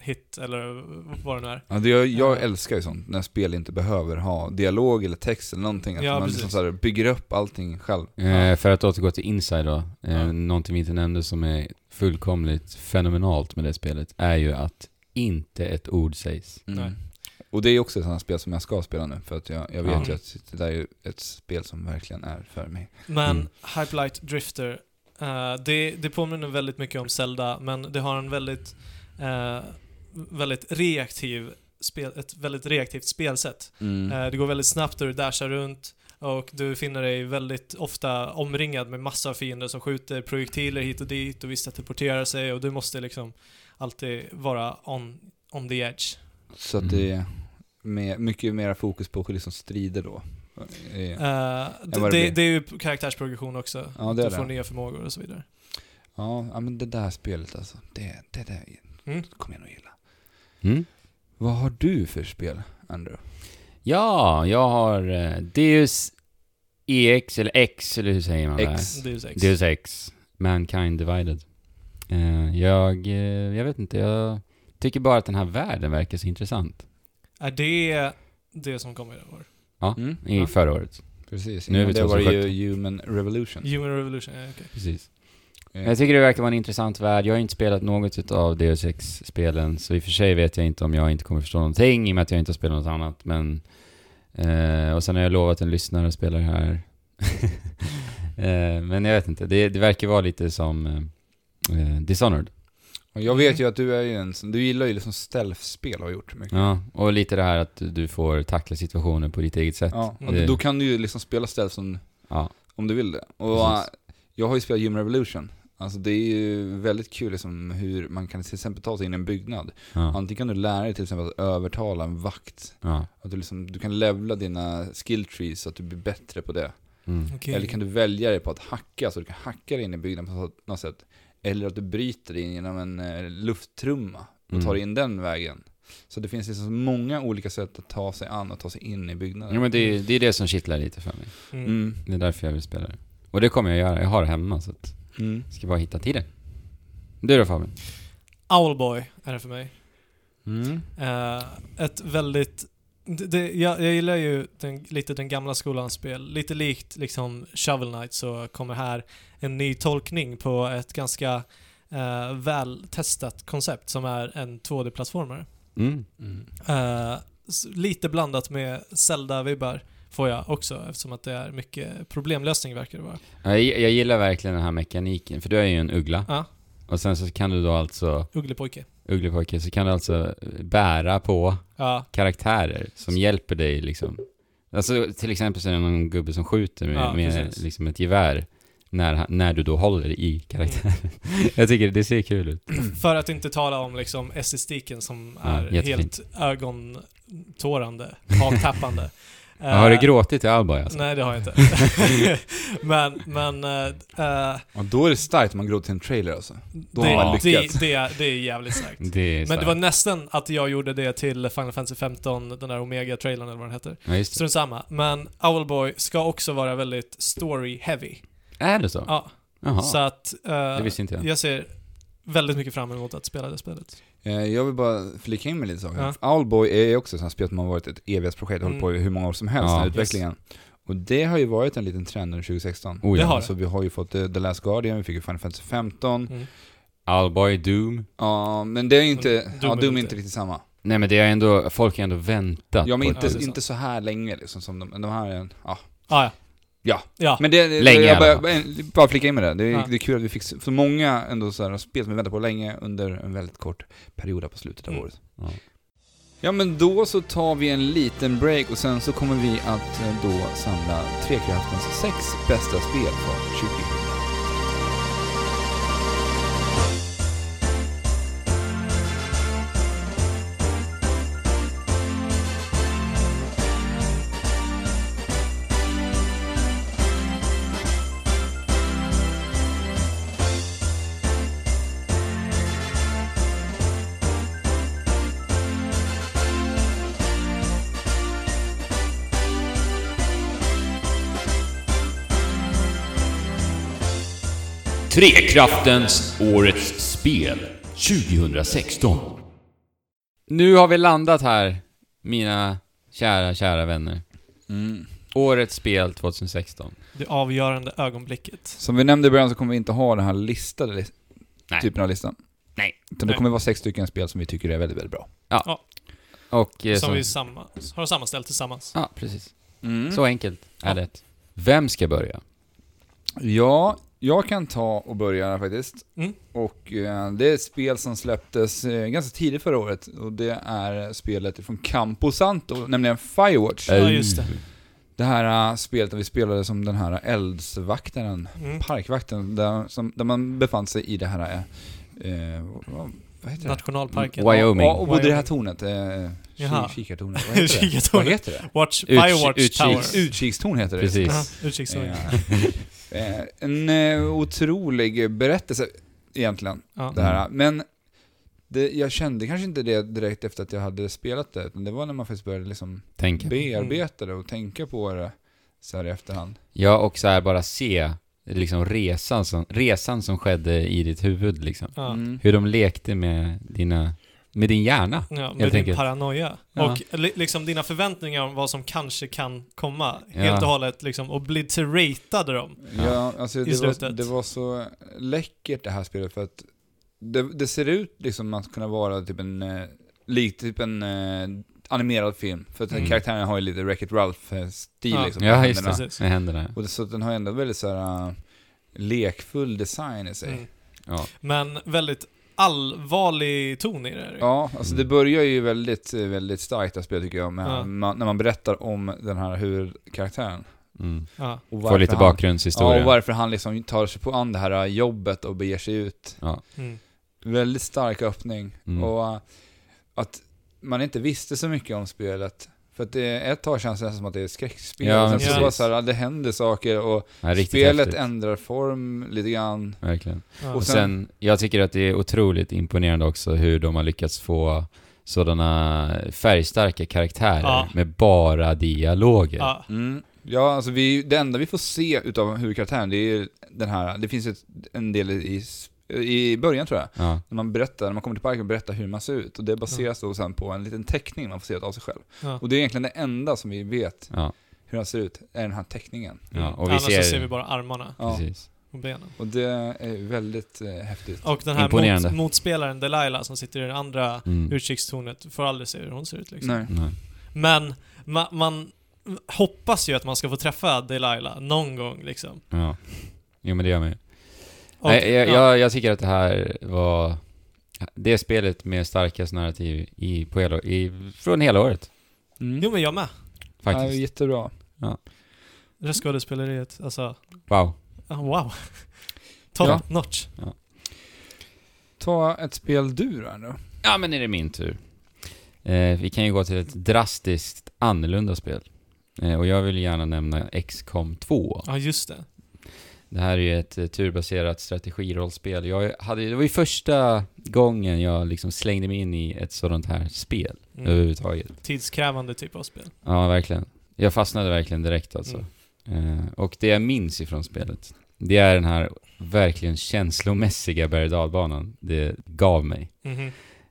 C: hit” eller vad det nu är.
A: Ja, det, jag, jag
C: Ja.
A: älskar ju sånt, när spel inte behöver ha dialog eller text eller någonting. Att
C: Ja,
A: man
C: precis.
A: liksom så här bygger upp allting själv.
B: Eh, för att återgå till Inside då, eh,
C: Ja.
B: någonting vi inte nämnde som är fullkomligt fenomenalt med det spelet är ju att inte ett ord sägs.
A: Mm.
C: Nej.
A: Och det är ju också ett sånt här spel som jag ska spela nu, för att jag, jag vet
B: Ja.
A: ju att det där är ju ett spel som verkligen är för mig.
C: Men
B: Mm.
C: Hype Light Drifter, eh, det, det påminner väldigt mycket om Zelda, men det har en väldigt, eh, väldigt reaktiv spel, ett väldigt reaktivt spelsätt.
B: Mm.
A: Mm.
C: Eh, det går väldigt snabbt och du dashar runt och du finner dig väldigt ofta omringad med massa fiender som skjuter projektiler hit och dit och vissa teleporterar sig och du måste liksom alltid vara on, on the edge.
B: Mm.
A: Så att det, med mycket mer fokus på liksom strider då. Eh,
C: Eh,
A: vad det
C: det, det,
A: blir.
C: är ju karaktärsprogression också.
A: Ja, det är
C: du får
A: det.
C: nya förmågor och så vidare.
A: Ja, ja, men det där spelet alltså. Det, det där
C: Mm.
A: kommer jag nog gilla.
B: Mm.
A: Vad har du för spel, Andrew?
B: Ja, jag har eh, Deus EX, eller X, eller hur säger man det?
A: X.
C: Det är ju sex.
B: Deus Ex, Mankind Divided. Eh, jag, eh, jag vet inte, jag tycker bara att den här världen verkar så intressant.
C: Är det det som kommer i år?
A: Mm,
B: I
C: Ja.
B: förra året,
A: precis.
B: Nu är vi
A: Innan det var det
B: 2017.
A: ju Human Revolution.
C: Human Revolution, ja, okej.
B: precis.
A: Eh,
B: Jag tycker det verkar vara en intressant värld. Jag har inte spelat något av Deus Ex-spelen, så i och för sig vet jag inte om jag inte kommer förstå någonting i och med att jag inte har spelat något annat, men... Eh, och sen har jag lovat en lyssnare att spela det här. <laughs> eh, men jag vet inte, det, det verkar vara lite som eh, eh, Dishonored.
A: och jag vet ju att du är ju en sån, du gillar ju liksom stealth-spel och har gjort mycket.
B: Ja, och lite det här att du får tackla situationer på ditt eget sätt.
A: Ja, och
B: Det-
A: då kan du ju liksom spela stealth som,
B: eh, Ja.
A: om du vill det. Och
B: Precis.
A: äh, jag har ju spelat Human Revolution. Alltså det är ju väldigt kul liksom hur man kan till exempel ta sig in i en byggnad.
B: Ja.
A: Antingen kan du lära dig till exempel att övertala en vakt.
B: ja.
A: Att du, liksom, du kan levla dina skill trees så att du blir bättre på det.
B: Mm.
C: Okej.
A: Eller kan du välja dig på att hacka, så du kan hacka dig in i byggnaden på något sätt. Eller att du bryter dig in genom en eh, lufttrumma och
B: Mm.
A: tar dig in den vägen. Så det finns liksom så många olika sätt att ta sig an och ta sig in i byggnaden.
B: Jo, men det, är- det är det som kittlar lite för mig.
C: Mm.
A: Mm.
B: Det är därför jag vill spela det. Och det kommer jag göra. Jag har det hemma, så att
A: Mm.
B: jag ska bara hitta tiden. Du då Fabian?
C: Owlboy är det för mig.
B: Mm.
C: Eh, ett väldigt... Det, det, jag, jag gillar ju den, lite den gamla skolans spel. Lite likt liksom Shovel Knight så kommer här en ny tolkning på ett ganska eh, vältestat koncept som är en 2D-plattformare.
B: Mm.
C: Eh, s- lite blandat med Zelda-vibbar får jag också eftersom att det är mycket problemlösning verkar det vara.
B: Ja, Jag, jag gillar verkligen den här mekaniken, för du är ju en uggla.
C: Ja.
B: Och sen så kan du då alltså,
C: Ugglepojke.
B: ugglepojke, så kan du alltså bära på
C: Ja,
B: karaktärer som hjälper dig liksom. Alltså till exempel så är det någon gubbe som skjuter med,
C: Ja,
B: med
C: precis.
B: liksom ett gevär när, han- när du då håller i karaktären. <laughs> jag tycker det ser kul ut.
C: för att inte tala om liksom estetiken som
B: Ja,
C: är
B: Mm, jättefint.
C: helt ögontårande, haktappande.
B: <laughs>
C: Eh,
B: har du gråtit i Alboy alltså?
C: Nej, det har jag
B: <laughs>
C: inte. <laughs> men, men... eh, eh,
A: Ja, då är det starkt om man går till en trailer alltså. Då har man
C: det,
A: lyckats.
C: det, det, är, det är jävligt starkt.
B: Mm, Det är
C: Men det
B: starkt.
C: var nästan att jag gjorde det till Final Fantasy 15, den där Omega-trailern eller vad den heter.
B: Ja, just det.
C: Strunt samma. Men Owlboy ska också vara väldigt story-heavy.
B: Är det så?
C: Ja,
B: Jaha.
C: så att... eh,
B: det visste inte jag.
C: jag ser väldigt mycket fram emot att spela det spelet.
A: Eh, Jag vill bara flika in med lite saker.
C: Ja.
A: Owlboy är ju också ett sånt här spel som har varit ett evighetsprojekt, hållit
C: Mm.
A: på i hur många år som helst,
B: Ja.
A: den här
B: Yes.
A: utvecklingen. Och det har ju varit en liten trend under 2016.
B: Oh,
C: Det
B: ja.
C: har
A: Alltså vi har ju fått eh, The Last Guardian, vi fick ju Final Fantasy 15.
C: Mm.
B: Alboy, Doom.
A: Ja, men det är ju inte,
C: Doom
A: ja
C: är
A: Doom är
C: inte.
A: inte riktigt samma.
B: Nej men det är ändå, folk har ändå väntat
A: Ja men
B: på
A: inte,
B: det.
C: det är
A: inte så här länge liksom som de, de här är en, ja.
C: Ah, ja.
A: Ja.
C: ja.
A: Men det,
B: Länge i
A: jag
B: alla
A: bara,
B: fall.
A: bara- bara flika in med det. Det är,
C: Ja.
A: det är kul att vi fick så så många ändå så här spel som vi väntat på länge under en väldigt kort period här på slutet av
C: Mm.
A: året.
B: Ja.
A: Ja men då så tar vi en liten break och sen så kommer vi att eh, då samla Trekraftens sex bästa spel för 20
D: Trekraftens Årets Spel 2016.
B: Nu har vi landat här, mina kära, kära vänner.
A: mm.
B: Årets spel 2016.
C: Det avgörande ögonblicket.
A: Som vi nämnde i början så kommer vi inte ha den här listade lis-
B: Nej.
A: typen av listan.
B: Nej.
A: Utan det
C: Nej.
A: kommer vara sex stycken spel som vi tycker är väldigt, väldigt bra.
B: Och... eh,
C: Som vi samma, har sammanställt tillsammans.
B: Ja, precis.
A: Mm.
B: Så enkelt är det. Vem ska börja?
A: Ja, jag kan ta och börja här faktiskt.
C: Mm.
A: Och eh, det är ett spel som släpptes eh, ganska tidigt förra året och det är spelet från Campo Santo, nämligen Firewatch.
B: Äh,
C: Ja, just
B: mm.
C: det.
A: Det här eh, spelet där vi spelade som den här eldsvaktaren,
C: Mm.
A: parkvakten, där, som, där man befann sig i det här, eh, eh, vad vad heter det?
C: Nationalparken.
B: Wyoming.
A: Ja, och bodde i det här tornet. Eh, Ki-
C: Jaha.
A: Kikartornet, vad
C: <laughs>
A: heter det?
C: Kikartornet.
A: Vad heter det?
C: Watch,
B: Ut-
C: Firewatch Tower.
B: utkiks-
A: Utkikstorn heter det.
B: Precis.
C: Jaha, Utkikstorn.
A: Ja. <laughs> Eh, En eh, otrolig berättelse egentligen,
C: Ja.
A: det här. Men det, jag kände kanske inte det direkt efter att jag hade spelat det, utan det var när man faktiskt började liksom
B: Tänk.
A: bearbeta det och tänka på det så här i efterhand.
B: Ja, och så här bara se liksom resan som, resan som skedde i ditt huvud liksom.
C: Ja.
A: Mm.
B: Hur de lekte med dina, med din hjärna.
C: Ja, med
B: Helt
C: din
B: enkelt.
C: paranoia.
B: Ja.
C: Och li liksom dina förväntningar om vad som kanske kan komma.
B: Ja.
C: Helt och hållet liksom obliteratade dem.
A: Ja, alltså det var,
C: slutet.
A: det var så läckert det här spelet för att det, det ser ut liksom att kunna vara typ en, eh, lik typ en eh, animerad film. För att den
B: Mm.
A: karaktären har ju lite Wreck-It Ralph-stil
C: Ja.
A: liksom.
B: Ja,
A: med
B: just
A: händerna.
B: det. Med händerna.
A: Och det, så att den har ändå väldigt så här eh, lekfull design i sig.
C: Mm.
B: Ja.
C: Men väldigt allvarlig ton i det. här.
A: Ja, alltså det
B: Mm.
A: börjar ju väldigt, eh, väldigt starkt det här spelet tycker jag, med,
C: Ja.
A: man, när man berättar om den här huvudkaraktären.
B: Mm.
C: Ja.
A: Och
B: Få lite
A: han- Ja,
B: bakgrundshistoria.
A: och varför han liksom tar sig på an det här eh, jobbet och beger sig ut.
C: Mm.
A: Väldigt stark öppning.
B: Mm.
A: Och äh, att man inte visste så mycket om spelet. För att det, ett tag känns det nästan som att det är ett skräckspel.
B: Ja, men
A: Sen så
C: precis.
A: bara så här, äh, det händer saker och
B: ja, riktigt
A: spelet
B: häftigt.
A: ändrar form lite grann.
B: Verkligen.
C: Ja.
A: Och
B: Och sen, jag tycker att det är otroligt imponerande också hur de har lyckats få sådana färgstarka karaktärer
C: Ja.
B: med bara dialoger.
C: ja.
A: Mm. Ja, alltså vi, det enda vi får se utav huvudkaraktären, det är ju den här, det finns ett, en del i, s- i början tror jag,
B: Ja.
A: när man berättar, när man kommer till parken och berättar hur man ser ut. Och det baseras då sen på en liten teckning man får se av sig själv.
C: Ja.
A: Och det är egentligen det enda som vi vet
B: Ja.
A: hur han ser ut, är den här teckningen.
B: Ja, och vi
C: Annars
B: ser-
C: så ser vi bara armarna
A: Ja.
B: Precis.
C: och benen.
A: Och det är väldigt eh, häftigt.
C: Och den här
B: Imponerande.
C: mot, motspelaren Delilah som sitter i det andra
B: Mm.
C: utkikstornet får aldrig se hur hon ser ut liksom.
A: Nej.
B: Nej.
C: Men ma man hoppas ju att man ska få träffa Delilah någon gång liksom.
B: Ja. Jo men det gör man ju.
C: Och,
B: Nej, jag,
C: ja.
B: jag, jag tycker att det här var det spelet med starkast narrativ i, på hela, i, från hela året.
A: Mm.
C: Jo men jag med.
A: Ja,
B: Faktiskt.
A: jättebra.
C: Röstskådespeleriet, alltså,
B: Wow.
C: ah, wow. <laughs> Top
A: Ja.
C: notch.
A: Ta ett spel du då. ändå.
B: Ja men är det min tur. Eh, vi kan ju gå till ett drastiskt annorlunda spel. Eh, och jag vill gärna nämna XCOM 2.
C: Ja, just det.
B: Det här är ju ett eh, turbaserat strategirollspel. Jag hade, det var ju första gången jag liksom slängde mig in i ett sådant här spel
C: Mm.
B: överhuvudtaget.
C: Tidskrävande typ av spel.
B: Ja, verkligen. Jag fastnade verkligen direkt alltså. Eh, och det jag minns ifrån spelet, det är den här verkligen känslomässiga berg och dalbanan det gav mig.
C: Mhm.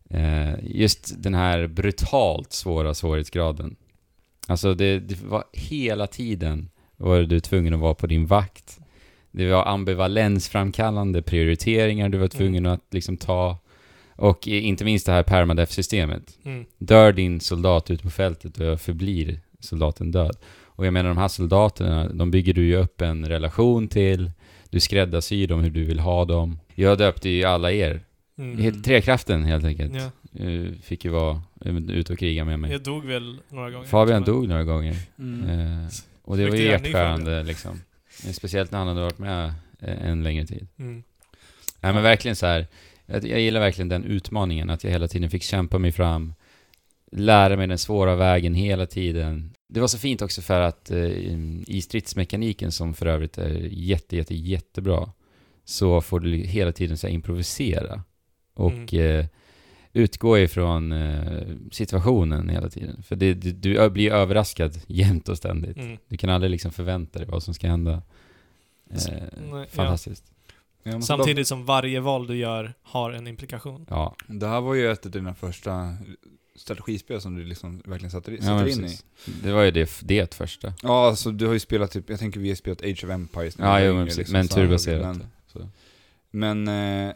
B: Eh, just den här brutalt svåra svårighetsgraden. Alltså det, det var hela tiden var du tvungen att vara på din vakt. Det var ambivalensframkallande prioriteringar du var tvungen att liksom ta. Och eh, inte minst det här permadeath-systemet.
C: Mm.
B: Dör din soldat ut på fältet och förblir soldaten död. Och jag menar de här soldaterna, de bygger du ju upp en relation till. Du skräddarsyr dem hur du vill ha dem. Jag döpte ju alla er.
C: Mm.
B: Helt- Trekraften helt enkelt.
C: Ja.
B: Eh, Fick ju vara eh, ute och kriga med mig.
C: Jag dog väl några gånger.
B: Fabian dog några gånger.
A: Mm.
B: Eh, Och det
C: Fick
B: var
C: du
B: ju
C: göra en ny
B: hjärtskärande liksom. Eh, Speciellt när han hade varit med eh, en längre tid.
C: Mm.
B: Nej men verkligen så här. Jag, jag gillar verkligen den utmaningen, att jag hela tiden fick kämpa mig fram, lära mig den svåra vägen hela tiden. Det var så fint också för att eh, i stridsmekaniken, som för övrigt är jätte, jätte, jättebra, så får du hela tiden så här improvisera och
C: Mm.
B: eh, utgå ifrån eh, situationen hela tiden. För det, du, du blir överraskad <laughs> jämt och ständigt.
C: Mm.
B: Du kan aldrig liksom förvänta dig vad som ska hända.
C: S-
B: Eh,
C: nej,
B: fantastiskt.
A: Jag måste
C: Samtidigt som varje val du gör har en implikation.
B: ja.
A: Bara, det här var ju ett av dina första strategispel som du liksom verkligen satte
B: Ja, men
A: sätter in i.
B: precis. Det var ju det, det första.
A: Ja, alltså du har ju spelat typ, jag tänker vi har spelat Age of Empires nu
B: Ja,
A: länge,
B: jo, men, precis.
A: liksom,
B: men
A: så här,
B: turbaserat.
A: Men... men eh, eh,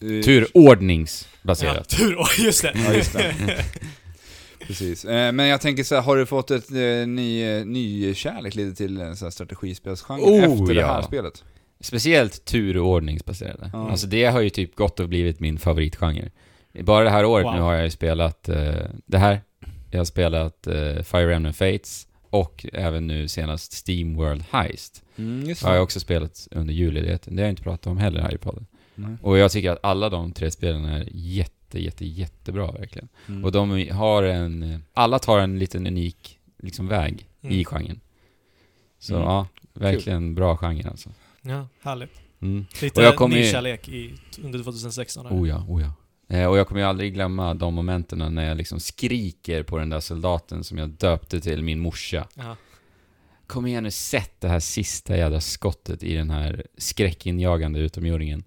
C: Ja,
B: Turordningsbaserat.
C: tur! <laughs> Oh, just det!
A: Ja, just det. <laughs> Precis. Eh, men jag tänker så här, har du fått ett eh, ny, ny kärlek lite till eh, så här strategispelsgenren
B: Oh,
A: efter det
B: ja.
A: här spelet?
B: Speciellt turordningsbaserade.
A: Ja.
B: Alltså det har ju typ gått och blivit min favoritgenre. Bara det här året
C: Wow.
B: nu har jag ju spelat eh, det här. Jag har spelat eh, Fire Emblem Fates och även nu senast Steam World Heist.
A: Mm, just
B: Det har jag också spelat under julledigheten. Det har jag inte pratat om heller här i podden.
A: Nej.
B: Och jag tycker att alla de tre spelen är jätte jätte, jätte, jättebra verkligen.
A: Mm.
B: Och de har en... Alla tar en liten unik liksom, väg i
C: Mm.
B: genren. Så
A: Mm.
B: ja, verkligen bra genre alltså.
C: Ja, härligt.
B: Mm.
C: Lite
B: Och jag kommer ju-
C: nykärlek i, under 2016 här.
B: Oh ja, oh ja. Eh, och jag kommer ju aldrig glömma de momenten när jag liksom skriker på den där soldaten som jag döpte till min morsa.
C: Ja.
B: Kom igen nu, sätt det här sista jädra skottet i den här skräckinjagande utomjordingen.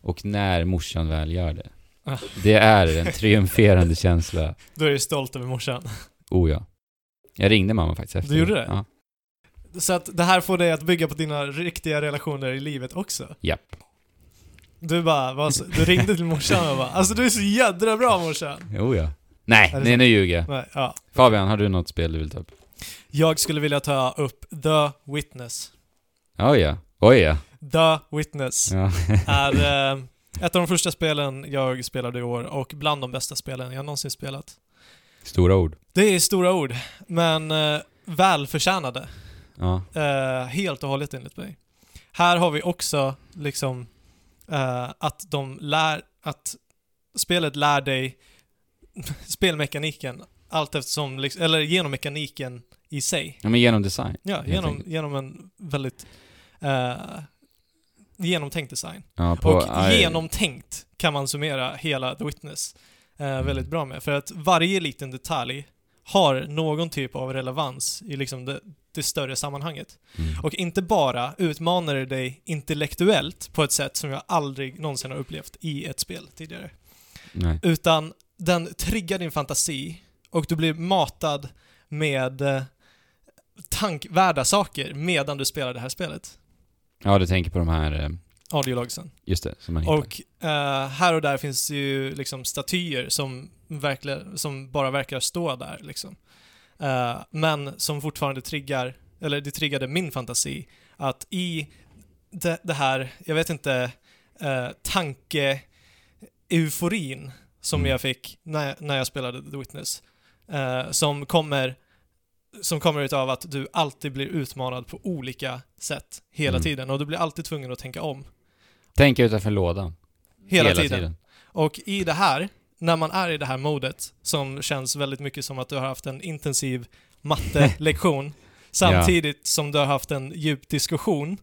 B: Och när morsan väl gör det.
C: Ah.
B: Det är en triumferande känsla.
C: Då är du stolt över morsan.
B: Oh ja. Jag ringde mamma faktiskt efter.
C: gjorde det?
B: Ja.
C: Så att det här får dig att bygga på dina riktiga relationer i livet också.
B: Japp.
C: Du bara, vad, så- du ringde till morsan och bara alltså du är så jädra bra morsan.
B: Oh ja. Nej,
C: Är det
B: nej
C: så?
B: nu ljuger jag.
C: Nej, ja.
B: Fabian, har du något spel du vill ta upp?
C: Jag skulle vilja ta upp The Witness.
B: Oh ja. Oj ja.
C: The Witness
B: ja.
C: är eh, ett av de första spelen jag spelade i år och bland de bästa spelen jag någonsin spelat.
B: Stora ord.
C: Det är stora ord, men eh, välförtjänade.
B: Ja.
C: Eh, helt och hållet enligt mig. Här har vi också liksom eh, att de lär, att spelet lär dig <laughs> spelmekaniken allt eftersom, liksom, eller genom mekaniken i sig.
B: ja men genom design.
C: Ja,
B: Helt
C: genom,
B: enkelt.
C: genom en väldigt eh, genomtänkt design.
B: Ja, på
C: och
B: I-
C: genomtänkt kan man summera hela The Witness eh,
B: Mm.
C: väldigt bra med. För att varje liten detalj har någon typ av relevans i liksom det, det större sammanhanget.
B: Mm.
C: Och inte bara utmanar det dig intellektuellt på ett sätt som jag aldrig någonsin har upplevt i ett spel tidigare.
B: Nej.
C: Utan den triggar din fantasi och du blir matad med eh, tankvärda saker medan du spelar det här spelet.
B: Ja, du tänker på de här, eh,
C: Audiologsen.
B: just det, som man hittar.
C: Och eh, här och där finns det ju liksom statyer som, verkligen, som bara verkar stå där liksom. Eh, men som fortfarande triggar, eller det triggade min fantasi, att i det, det här, jag vet inte, eh, tanke-euforin som
B: Mm.
C: jag fick när, när jag spelade The Witness, eh, som kommer som kommer utav att du alltid blir utmanad på olika sätt hela
B: Mm.
C: tiden och du blir alltid tvungen att tänka om.
B: Tänker utanför lådan.
C: Hela, tiden. Och i det här, när man är i det här modet, som känns väldigt mycket som att du har haft en intensiv
B: <laughs>
C: mattelektion, samtidigt som du har haft en djup diskussion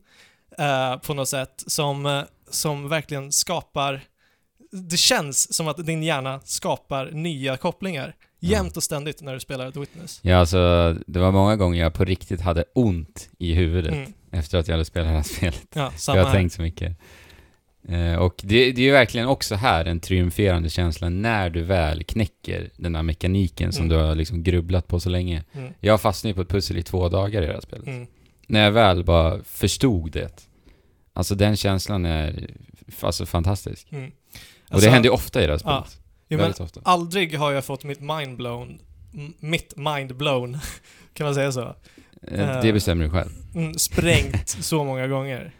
C: eh, på något sätt, som, eh, som verkligen skapar... Det känns som att din hjärna skapar nya kopplingar jämt och ständigt när du spelar The Witness.
B: Ja, alltså, det var många gånger jag på riktigt hade ont i huvudet
C: Mm.
B: efter att jag hade spelat det här <laughs> spelet.
C: Ja, samma
B: Jag har
C: här.
B: tänkt så mycket. Eh, och det, det är ju verkligen också här en triumferande känsla när du väl knäcker den här mekaniken som
C: Mm.
B: du har liksom grubblat på så länge.
C: Mm.
B: Jag fastnade ju på ett pussel i två dagar i det här spelet.
C: Mm.
B: När jag väl bara förstod det. Alltså den känslan är f- alltså, fantastisk.
C: Mm.
B: Och
C: Alltså,
B: det händer ju ofta i det här
C: Ja.
B: spelet.
C: jo, men
B: Väldigt ofta.
C: aldrig har jag fått mitt mind blown, m- mitt mind blown, <laughs> kan man säga så?
B: Eh,
C: Eh,
B: Det bestämmer du själv.
C: mm,
B: <laughs>
C: sprängt så många gånger.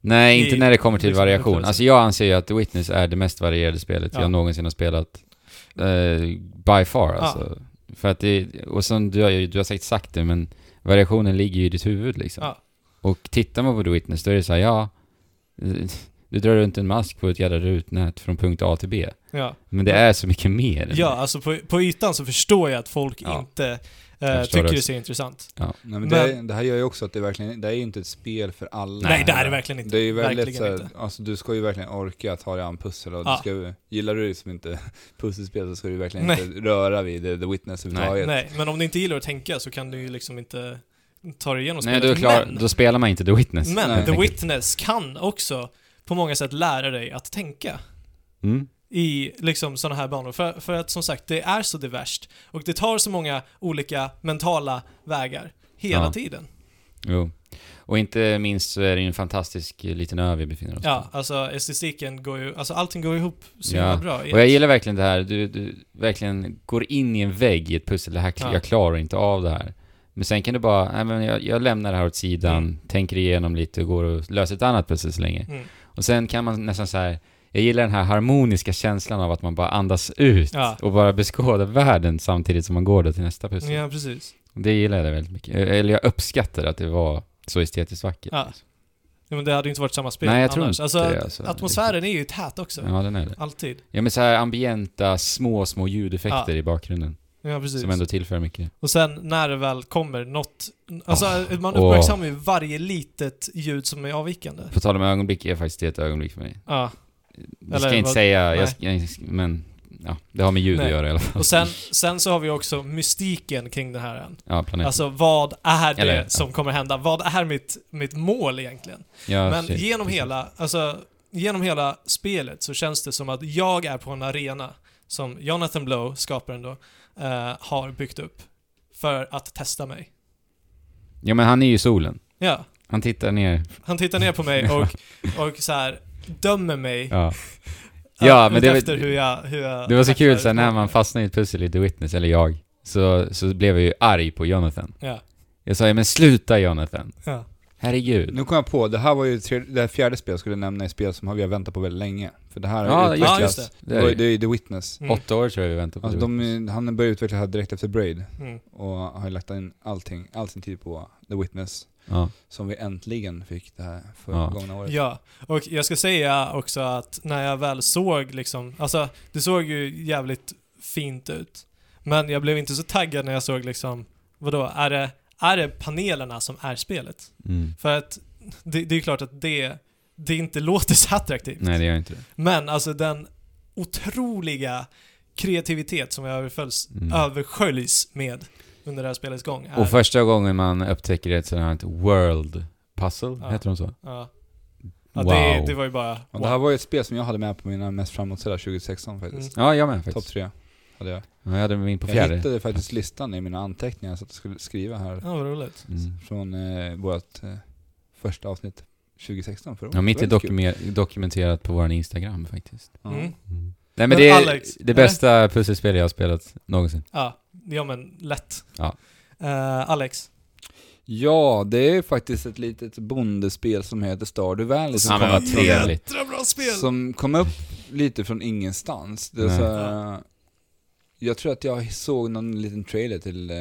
B: Nej, inte
C: i-
B: när det kommer till
C: liksom,
B: variation.
C: upplevelse.
B: Alltså jag anser ju att The Witness är det mest varierade spelet
C: Ja.
B: jag någonsin har spelat. eh, by far alltså. För att det, och som du har, ju- du har säkert sagt det, men variationen ligger ju i ditt huvud liksom.
C: Ja.
B: Och tittar man på The Witness då är det så här, ja, eh, du drar runt en mask på ett jävla rutnät från punkt A till B.
C: Ja,
B: Men det är så mycket mer. än
C: ja alltså på, på ytan så förstår jag att folk
B: Ja.
C: inte eh,
B: Jag förstår
C: tycker
B: det
C: det
B: också.
C: ser intressant.
A: Nej, men
C: Men-
A: det, det här gör ju också att det verkligen, det här är ju inte ett spel för alla.
C: Nej, det är det verkligen inte.
A: Det är ju väldigt
C: verkligen
A: såhär,
C: inte.
A: alltså du ska ju verkligen orka ta dig an pussel och
C: Ja.
A: du ska, ju- gillar du liksom inte <laughs> pusselspel så ska du verkligen
C: Nej.
A: inte röra vid The, the Witness överhuvudtaget.
C: Nej, men om du inte gillar att tänka så kan du ju liksom inte ta dig igenom
B: Nej,
C: spelet.
B: då, är klar,
C: men
B: då spelar man inte The Witness.
C: men
A: Nej.
C: The Witness kan också på många sätt lära dig att tänka
B: Mm.
C: i liksom sådana här banor. För, för att som sagt, det är så diverst och det tar så många olika mentala vägar hela
B: Ja.
C: tiden.
B: Jo. Och inte minst så är det ju en fantastisk eh, liten ö vi befinner oss på.
C: Ja, alltså estetiken går ju, alltså allting går ihop så
B: Ja,
C: himla bra. i
B: Och jag
C: ett-
B: gillar verkligen det här, du, du verkligen går in i en vägg i ett pussel, det här,
C: Ja.
B: jag klarar inte av det här. Men sen kan du bara, nej men jag, jag lämnar det här åt sidan,
C: Mm.
B: tänker igenom lite och går och löser ett annat pussel så länge.
C: Mm.
B: Och sen kan man nästan så här, jag gillar den här harmoniska känslan av att man bara andas ut
C: Ja.
B: och bara beskåda världen samtidigt som man går då till nästa pussel.
C: Ja, precis.
B: Eh, Det gillar jag väldigt mycket. Eller jag uppskattar att det var så estetiskt vackert. liksom.
C: Ja. Ja, men det hade ju inte varit samma spel
B: Nej, jag tror
C: annars.
B: inte
C: alltså,
B: det, alltså.
C: Atmosfären är ju tät också.
B: Ja, den är det.
C: Alltid.
B: Ja men så här ambienta, små, små ljudeffekter
C: Ja.
B: i bakgrunden.
C: Ja, precis.
B: Som ändå tillför mycket.
C: Och sen när det väl kommer något... Alltså, man
B: åh.
C: uppmärksammar ju varje litet ljud som är avvikande.
B: På tal om ögonblick, är faktiskt det ett ögonblick för mig.
C: Ja.
B: Jag ska
C: Eller
B: inte
C: vad-
B: säga, jag
C: nej.
B: ska, jag, men ja, det har med ljud
C: Nej.
B: att göra i alla fall.
C: Och sen, sen så har vi också mystiken kring den här än.
B: Ja, planeten.
C: Alltså, vad är det
B: Eller, ja.
C: som kommer hända? Vad är mitt, mitt mål egentligen?
B: ja,
C: Men
B: Ah, shit,
C: genom
B: precis.
C: hela, alltså, genom hela spelet så känns det som att jag är på en arena som Jonathan Blow, skaparen då, eh, har byggt upp för att testa mig.
B: Ja men han är ju solen.
C: Ja,
B: Han tittar ner.
C: han tittar ner på
B: <laughs>
C: mig och, och så här dömer mig
B: Ja. Ja,
C: eh,
B: men det var-
C: efter hur jag, hur jag...
B: Det var så kul så här, när
C: tacklar-
B: man fastnade i ett pussel i The Witness, eller jag, så, så blev jag ju arg på Jonathan.
C: Ja,
B: Jag sa ja men sluta Jonathan.
C: ja.
B: Herregud.
A: Nu kom jag på, det här var ju tre, det här fjärde spelet jag skulle nämna i spel som vi har väntat på väldigt länge. För det här
B: Ja,
A: har ju
C: ja,
A: utvecklats.
C: just det.
A: det.
B: Det är
A: var ju-
B: ju
A: det är ju The Witness.
C: Mm,
B: åtta år tror jag vi väntar på.
A: Alltså,
B: The Witness.
A: de, han började utveckla det här direkt efter Braid
C: mm.
A: och har ju lagt in allting, all sin tid på The Witness.
B: ja.
A: Som vi äntligen fick det här
B: Ja.
A: förgångna året.
C: Ja, och jag ska säga också att när jag väl såg liksom, alltså det såg ju jävligt fint ut. Men jag blev inte så taggad när jag såg liksom, vadå, är det, är det panelerna som är spelet?
B: mm.
C: För att det, det är ju klart att det, det inte <laughs> låter så attraktivt.
B: Nej det gör inte det.
C: Men alltså den otroliga kreativitet som jag överföljs,
B: Mm.
C: översköljs med under det här spelets gång är...
B: Och första gången man upptäcker ett sånt här world pussel,
C: Ja.
B: heter de så?
C: ja, ja,
B: wow.
C: det, det var ju bara...
A: Och det här var ju ett spel som jag hade med på mina mest framåtsedda 2016 faktiskt.
B: Ja, jag
C: Mm.
B: med
A: Topp
B: faktiskt.
A: tre hade jag.
B: Ja, jag hade min på
A: Jag
B: fjärde.
A: hittade faktiskt listan i mina anteckningar så att jag skulle skriva här.
C: Ja, vad roligt.
B: Mm.
A: Från eh, vårt eh, första avsnitt 2016 förra året.
B: Ja, mitt
A: Det
B: är
A: var väldigt kul.
B: dokumer- dokumenterat på vår Instagram faktiskt.
A: Ja.
C: Mm.
B: Nej men,
C: Men
B: det är
C: Alex,
B: det
C: eller?
B: bästa pusselspel jag har spelat någonsin.
C: Ja, ja men lätt.
B: Ja.
C: Eh, Alex.
A: Ja, det är faktiskt ett litet bondespel som heter Stardew Valley som,
B: Ja, men
A: kom,
B: vad trevligt.
C: Jädra bra spel!
A: som kom upp lite från ingenstans. Det är
B: Nej.
A: så, här, eh, jag tror att jag såg någon liten trailer till eh,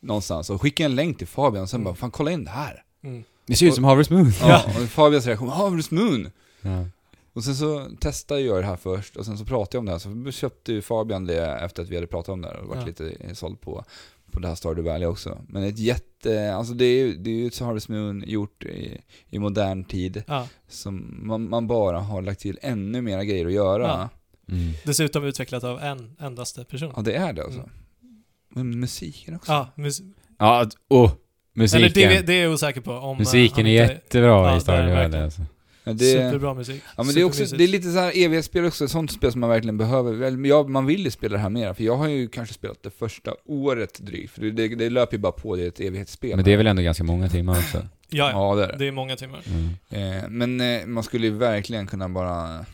A: någonstans och skickade en länk till Fabian och sen
C: Mm.
A: bara 'Fan kolla in det här'
C: Mm.
B: Det ser ut som Harvest Moon.
A: ja. Och Fabians reaktion 'Harvest Moon'
B: Ja.
A: Och sen så testade jag det här först och sen så pratade jag om det här. Så köpte ju Fabian det efter att vi hade pratat om det här och varit
C: Ja.
A: lite såld på, på det här Stardew Valley också. Men ett jätte, alltså det är ju det är ju ett Harvest Moon gjort i, i modern tid
C: Ja.
A: som man, man bara har lagt till ännu mera grejer att göra.
C: Ja.
A: Ja,
B: Mm.
C: Dessutom utvecklat av en endaste person.
A: det är det alltså.
C: Mm.
A: Men musiken också.
C: Ja, mus-
B: Ja, att- åh!
C: eller
B: Musiken.
C: det, det är jag osäker på. Om, eh,
B: musiken är
C: han inte-
B: jättebra
C: Ja,
B: i
C: det är
B: Stardew
C: det
B: Valley
C: verkligen.
B: alltså.
A: Ja, det,
C: Superbra musik.
A: ja, men det, är också,
C: Supermysigt.
A: det är lite så här evighetsspel också, sånt spel som man verkligen behöver. Väl, Jag, man vill ju spela det här mera, för jag har ju kanske spelat det första året drygt, för det, det, det löper ju bara på, det är ett evighetsspel.
B: Men det är väl ändå ganska många timmar också?
C: ja, ja,
A: Ja, det är det.
C: det är många timmar.
B: Mm.
A: Eh, Men eh, man skulle ju verkligen kunna bara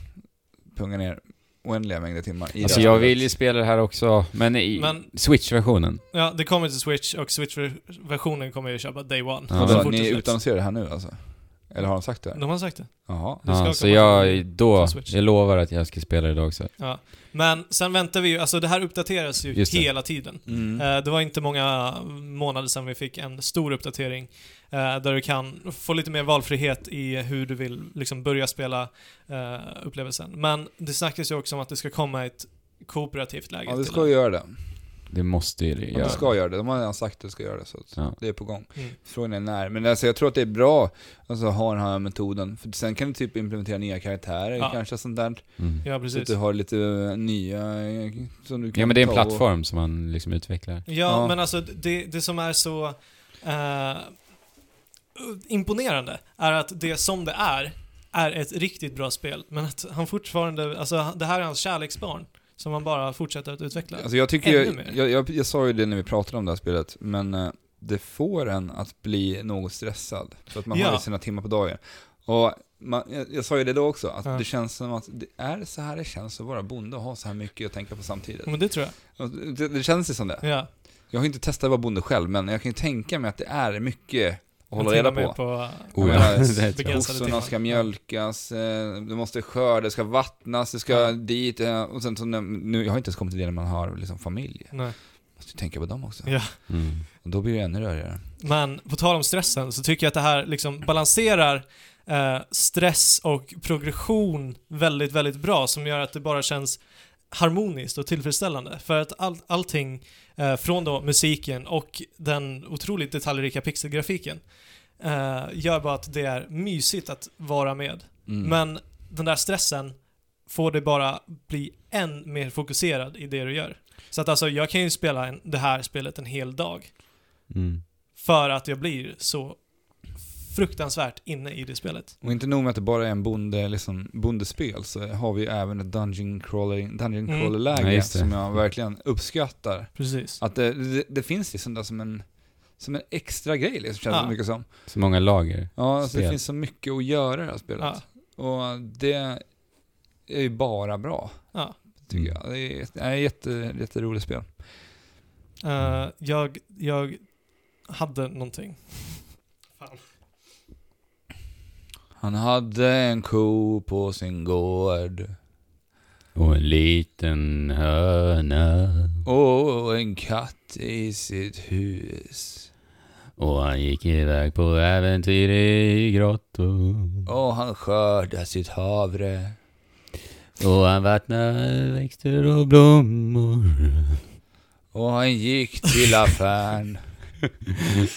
A: punga ner oändliga mängder timmar i
B: Alltså
A: det
B: jag
A: här
B: vill ju
A: spelet.
B: spela det här också, men i
C: Men-
B: Switch-versionen.
C: Ja, det kommer till Switch och Switch-versionen kommer jag köpa day one.
B: Ja,
A: Vadå,
B: så
C: fort det
A: ni
C: släpps.
A: utannonserar det här nu alltså? Eller har de sagt det?
C: De har sagt det.
A: Jaha.
C: Det ska
B: Ja, så
C: komma
B: jag,
C: till-
B: då,
C: till Switch.
B: jag lovar att jag ska spela det idag också.
C: Men sen väntar vi ju, alltså det här uppdateras ju
B: Just det.
C: hela tiden.
A: Mm.
C: Eh, Det var inte många månader sedan vi fick en stor uppdatering eh, där du kan få lite mer valfrihet i hur du vill liksom börja spela eh, upplevelsen. Men det snackas ju också om att det ska komma ett kooperativt läge.
A: Ja, det
C: till
A: ska ju göra det.
B: Det måste ju det
A: Ja.
B: göra.
A: Det ska göra det. De har redan sagt att det ska göra det, så att
B: Ja.
A: det är på gång.
C: Mm.
A: Frågan är när. Men alltså jag tror att det är bra alltså, att ha den här metoden. För sen kan du typ implementera nya karaktärer
C: Ja.
A: kanske, sånt där.
B: Mm.
C: Ja,
A: Så att
C: precis.
A: du har lite eh, nya eh, som du kan
B: Ja men det är en
A: ta och-
B: plattform som man liksom utvecklar.
C: Ja,
A: Ja.
C: men alltså det, det som är så eh, imponerande är att det som det är, är ett riktigt bra spel. Men att han fortfarande, alltså det här är hans kärleksbarn som han bara fortsätter att utveckla.
A: Alltså jag tycker,
C: Ännu
A: jag,
C: mer.
A: jag, jag, jag sa ju det när vi pratade om det här spelet, men eh, det får en att bli något stressad. För att man
C: Ja.
A: har ju sina timmar på dagen. Och man, jag, jag sa ju det då också, att
C: Ja.
A: det känns som att det är så här det känns att vara bonde och ha så här mycket att tänka på samtidigt.
C: men det tror jag.
A: Och Det, det känns ju som det.
C: Ja.
A: Jag har ju inte testat att vara bonde själv, men jag kan ju tänka mig att det är mycket att hålla
C: Jag
A: reda
C: tänker mer
A: på.
B: Oh,
A: Jag menar,
B: ja. <laughs> det tror jag.
C: begränsade
A: Kossorna
C: timmar.
A: ska mjölkas, eh, det måste skörda, det ska vattnas, det ska
C: Ja.
A: dit. eh, Och sen så, när- nu, jag har inte ens kommit till det när man har liksom familj.
C: Nej.
A: Måste ju tänka på dem också.
C: Ja.
B: Mm.
A: Och då blir det ännu rörigare.
C: Men på tal om stressen så tycker jag att det här liksom balanserar eh, stress och progression väldigt, väldigt bra som gör att det bara känns harmoniskt och tillfredsställande. För att all, allting eh, från då musiken och den otroligt detaljrika pixelgrafiken eh, gör bara att det är mysigt att vara med.
A: Mm.
C: Men den där stressen får dig bara bli än mer fokuserad i det du gör. Så att alltså, jag kan ju spela en, det här spelet en hel dag.
B: Mm.
C: För att jag blir så fruktansvärt inne i det spelet.
A: Och inte nog med att det bara är en bonde, liksom, bondespel så har vi ju även ett dungeon crawler, dungeon
C: Mm.
A: crawler läge
B: Ja, just det.
A: som jag verkligen uppskattar.
C: Precis.
A: Att det, det, det finns liksom där som en, som en extra grej liksom, känns det
C: Ja.
A: mycket som.
B: Så många lager.
A: Ja, alltså, det
B: Spel.
A: finns så mycket att göra i det här spelet.
C: Ja,
A: Och det är ju bara bra,
C: ja.
A: tycker jag. Det är ett, det är ett jätte, jätteroligt spel.
C: Eh, jag, jag hade någonting.
A: Han hade en ko på sin gård
B: Och en liten höna.
A: och en katt i sitt hus.
B: Och han gick iväg på äventyr i grottor.
A: Och han skördar sitt havre.
B: Och han vattnade växter och blommor.
A: Och han gick <laughs> till affären.
B: Kommer.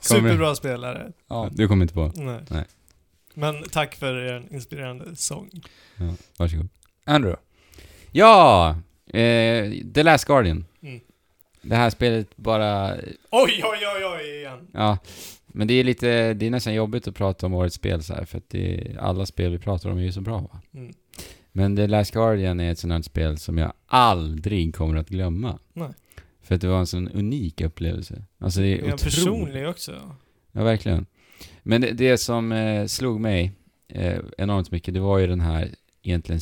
C: Superbra spelare.
A: Ja,
B: Du kommer inte på?
C: Nej.
B: Nej.
C: Men tack för er inspirerande sång.
B: Ja, varsågod.
A: Andrew.
B: Ja! Eh, The Last Guardian.
C: Mm.
B: Det här spelet bara...
C: Oj, oj, oj, oj igen.
B: Ja. Men det är lite... Det är nästan jobbigt att prata om årets spel så här, för att det, alla spel vi pratar om är ju så bra va?
C: Mm.
B: Men The Last Guardian är ett sånt här spel som jag aldrig kommer att glömma.
C: Nej.
B: För att det var en sån unik upplevelse. Alltså det är
C: Är jag
B: otroligt.
C: personlig också?
B: Ja, verkligen. Men det, det som eh, slog mig eh, enormt mycket, det var ju den här egentligen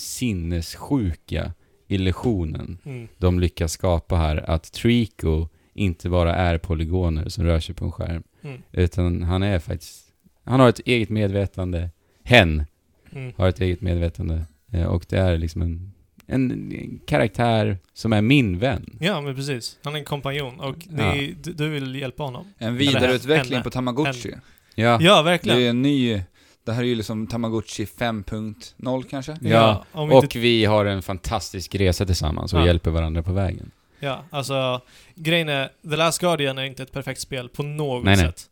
B: sinnessjuka illusionen
C: Mm.
B: de lyckas skapa här, att Trico inte bara är polygoner som rör sig på en skärm,
C: Mm.
B: utan han är faktiskt, han har ett eget medvetande, hen
C: Mm.
B: har ett eget medvetande, eh, och det är liksom en, en karaktär som är min vän.
C: Ja, men precis. Han är en kompanjon och det
B: Ja.
C: är, du, du vill hjälpa honom.
A: En
C: Eller,
A: vidareutveckling
C: eller,
A: på Tamagotchi.
B: Ja,
C: Ja,
A: Det är
C: verkligen.
A: en ny... Det här är ju liksom Tamagotchi 5.0 kanske?
B: Ja,
C: om
B: och
C: inte,
B: vi har en fantastisk resa tillsammans och
C: Ja.
B: hjälper varandra på vägen.
C: ja, alltså grejen är, The Last Guardian är inte ett perfekt spel på något
B: Nej, nej.
C: sätt.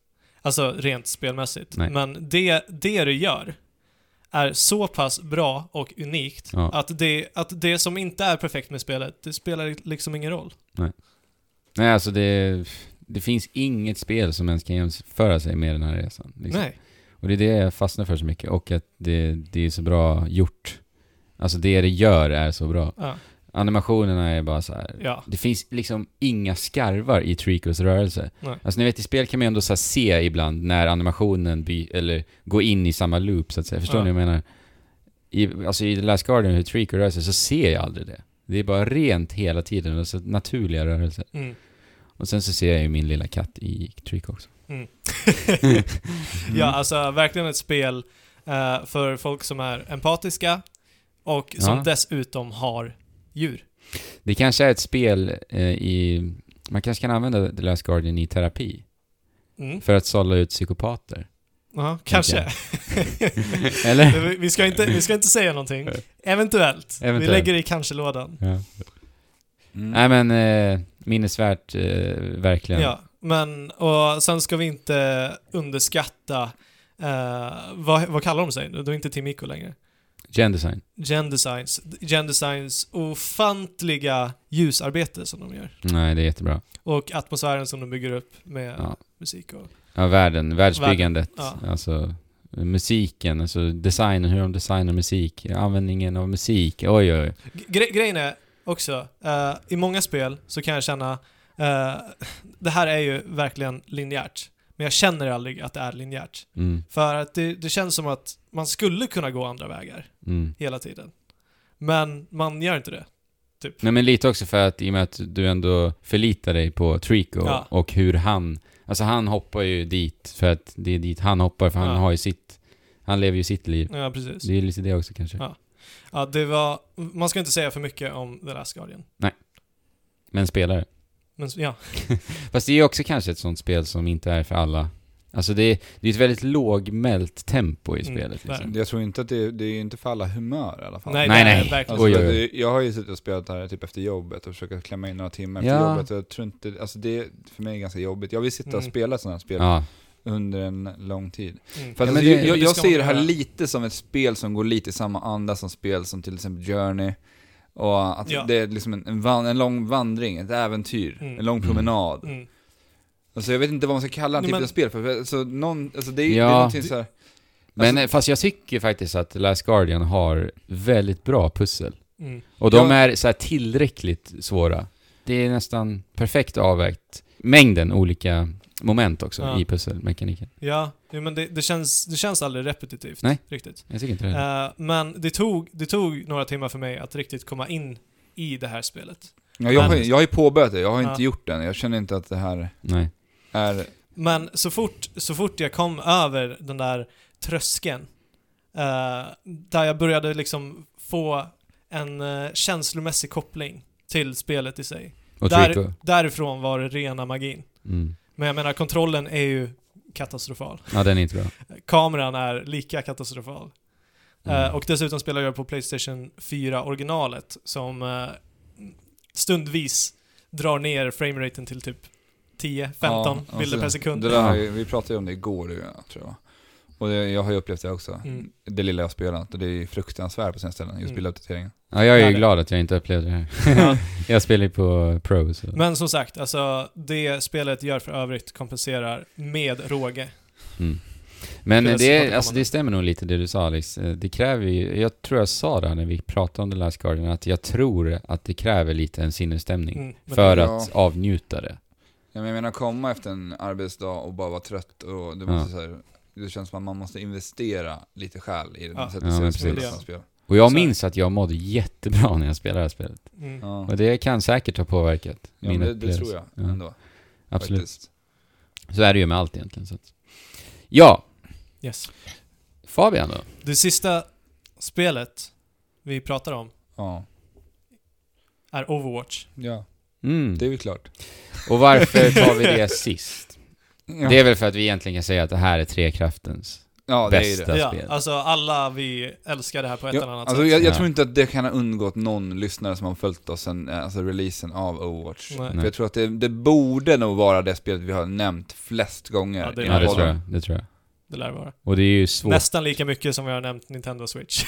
C: Alltså rent spelmässigt.
B: Nej.
C: Men det, det du gör är så pass bra och unikt
B: Ja.
C: att, det, att det som inte är perfekt med spelet, det spelar liksom ingen roll.
B: Nej, alltså det, det finns inget spel som ens kan jämföra sig med den här resan. liksom.
C: Nej.
B: Och det är det jag fastnar för så mycket och att det, det är så bra gjort. Alltså det det gör är så bra.
C: Ja.
B: Animationerna är bara så här.
C: ja.
B: Det finns liksom inga skarvar i Tricos rörelse.
C: Nej.
B: Alltså ni vet i spel kan man ju ändå så här se ibland när animationen by, eller går in i samma loop så att säga. Förstår
C: Ja.
B: ni vad jag menar? I, alltså i The Last Guardian hur Trico rör sig så ser jag aldrig det. Det är bara rent hela tiden, alltså naturliga rörelser.
C: Mm.
B: Och sen så ser jag ju min lilla katt i tryck också. Mm.
C: Ja, alltså verkligen ett spel eh, för folk som är empatiska och som
B: Ja.
C: dessutom har djur.
B: Det kanske är ett spel eh, i... Man kanske kan använda The Last Guardian i terapi.
C: Mm.
B: För att sålla
C: <laughs>
B: ut psykopater.
C: Ja, kanske.
B: jag. Eller?
C: <laughs> Vi- vi, ska inte, vi ska inte säga någonting. Eventuellt. Vi
B: Eventuellt.
C: lägger det i kanske-lådan.
B: Ja.
A: Mm.
B: Nej men, eh, minnesvärt eh, verkligen.
C: Ja, men och sen ska vi inte underskatta eh, vad, vad kallar de sig? De är inte Timiko längre.
B: Gen design.
C: Gendesigns, Gendesigns ofantliga ljusarbete som de gör.
B: Nej, det är jättebra.
C: Och atmosfären som de bygger upp med
B: Ja.
C: musik och...
B: Ja, världen, världsbyggandet.
C: Världen,
B: Alltså, musiken, alltså designen, hur de designar musik. Användningen av musik. Oj, oj, oj.
C: Gre- grejen är också, eh, i många spel så kan jag känna, eh, <laughs> det här är ju verkligen linjärt, men jag känner aldrig att det är linjärt.
B: Mm,
C: För att det, det känns som att man skulle kunna gå andra vägar
B: mm.
C: hela tiden. Men man gör inte det.
B: Nej men lite också för att i och med att du ändå förlitar dig på Trico
C: Ja.
B: och hur han, alltså han hoppar ju dit för att det är dit han hoppar för han
C: Ja.
B: har ju sitt, han lever ju sitt liv.
C: Ja, precis.
B: Det är lite det också kanske.
C: Ja. Ja, det var, man ska inte säga för mycket om The Last Guardian.
B: Men spelare.
C: Men s- ja,
B: Fast det är ju också kanske ett sånt spel som inte är för alla. Alltså det är, det är ett väldigt lågmält tempo i
C: Mm,
B: spelet liksom.
C: verkligen.
A: Jag tror inte att det, det är ju inte för alla humör i alla fall.
C: Nej,
B: Nej,
C: det är
B: nej.
C: verkligen.
A: Alltså,
B: Oj, oj, oj.
A: det- Jag har ju suttit och spelat det här typ efter jobbet och försökt klämma in några timmar efter
B: Ja.
A: jobbet. Jag tror inte, alltså det är för mig ganska jobbigt. Jag vill sitta och
C: Mm.
A: spela sådana här spel
B: Ja.
A: under en lång tid.
C: Mm.
A: För
B: Ja,
A: alltså,
B: men det-
A: jag, jag,
C: det
A: jag
C: ska
A: ser
C: man
A: det här
C: göra.
A: lite som ett spel som går lite i samma anda som spel som till exempel Journey. Och att
C: Ja.
A: det är liksom en, en, van, en lång vandring, ett äventyr,
C: Mm.
A: en lång promenad.
C: Mm.
A: Alltså jag vet inte vad man ska kalla en
C: Nej,
A: typ
C: men-
A: av spel för, för alltså, någon, alltså det är
B: Ja.
A: det är någonting så här,
B: Men
A: Alltså-
B: eh, fast jag tycker faktiskt att Last Guardian har väldigt bra pussel.
C: Mm.
B: Och de
A: Ja.
B: är så här tillräckligt svåra. Det är nästan perfekt avvägt. Mängden olika moment också
C: Ja.
B: i pusselmekaniken.
C: Ja, jo, men det, det, känns, det känns aldrig repetitivt.
B: Nej.
C: Riktigt.
B: Jag tycker inte det. heller.
C: Eh, men det tog, det tog några timmar för mig att riktigt komma in i det här spelet.
A: ja, jag, har, ju-
B: Men-
A: jag har ju påbörjat det, jag har
C: Ja.
A: inte gjort den. Jag känner inte att det här
B: Nej.
A: är...
C: Men så fort, så fort jag kom över den där tröskeln, eh, där jag började liksom få en eh, känslomässig koppling till spelet i sig.
B: Och Trico.
C: Där, därifrån var det rena magin.
B: Mm.
C: Men jag menar, kontrollen är ju katastrofal.
B: Ja, den är inte bra.
C: Kameran är lika katastrofal.
B: Mm.
C: Eh, och dessutom spelar jag på Playstation 4 originalet som eh, stundvis drar ner frameraten till typ 10-15
A: ja,
C: bilder
A: alltså,
C: per sekund.
A: Det där, har ju- vi pratade ju om det igår, tror jag. Och det, jag har ju upplevt det också.
C: Mm.
A: Det lilla jag har spelat, och det är ju fruktansvärt på sina ställen, just
C: Mm.
A: bilduppdateringen.
B: Ja, jag är
C: Ja,
B: ju
C: det-
B: glad att jag inte upplevde det här.
C: Ja.
B: <laughs> jag spelar ju på Pro, så...
C: Men som sagt, alltså det spelet gör för övrigt kompenserar med råge.
B: Mm. Men
C: Skulle jag se
B: det,
C: återkommande.
B: alltså det stämmer nog lite det du sa Alex. Eh, Det kräver ju, jag tror jag sa det här när vi pratade om The Last Guardian, att jag tror att det kräver lite en sinnesstämning
C: Mm, men-
B: för
A: Ja.
B: att avnjuta det.
A: Ja, men jag menar komma efter en arbetsdag och bara vara trött och det, måste så här, det känns som att man måste investera lite själ i det.
C: Ja. Mm.
A: Ja.
B: Ja, men
A: spela
C: precis.
A: sådana spel.
B: Och jag
C: Så-
B: minns att jag mådde jättebra när jag spelade det här spelet.
C: Mm.
A: Ja,
B: Och det kan säkert ha påverkat
A: ja
B: min
A: men det, det
B: upplevelse.
A: tror jag
B: Ja,
A: ändå.
B: Absolut.
A: Faktiskt.
B: Så är det ju med allt egentligen. Så att. Ja,
C: Yes.
B: Fabian då?
C: Det sista spelet vi pratar om
A: Ja.
C: är Overwatch.
A: ja,
B: Mm.
A: det är väl klart.
B: Och varför tar vi det sist?
A: <laughs> Ja,
B: Det är väl för att vi egentligen kan säga att det här är Trekraftens
A: ja, det är ju det.
B: bästa
C: ja,
B: spel.
C: alltså alla vi älskar det här på ett eller
A: Ja,
C: annat
A: alltså
C: sätt.
A: jag, jag
B: Ja.
A: tror inte att det kan ha undgått någon lyssnare som har följt oss sen eh, alltså releasen av Overwatch.
C: Nej.
A: För jag tror att det, det borde nog vara det spelet vi har nämnt flest gånger.
C: Ja, det
A: i
B: Ja, det
A: podden.
B: tror jag. Det tror jag.
C: Det lär vara.
B: Och det är ju svårt.
C: Nästan lika mycket som vi har nämnt Nintendo Switch.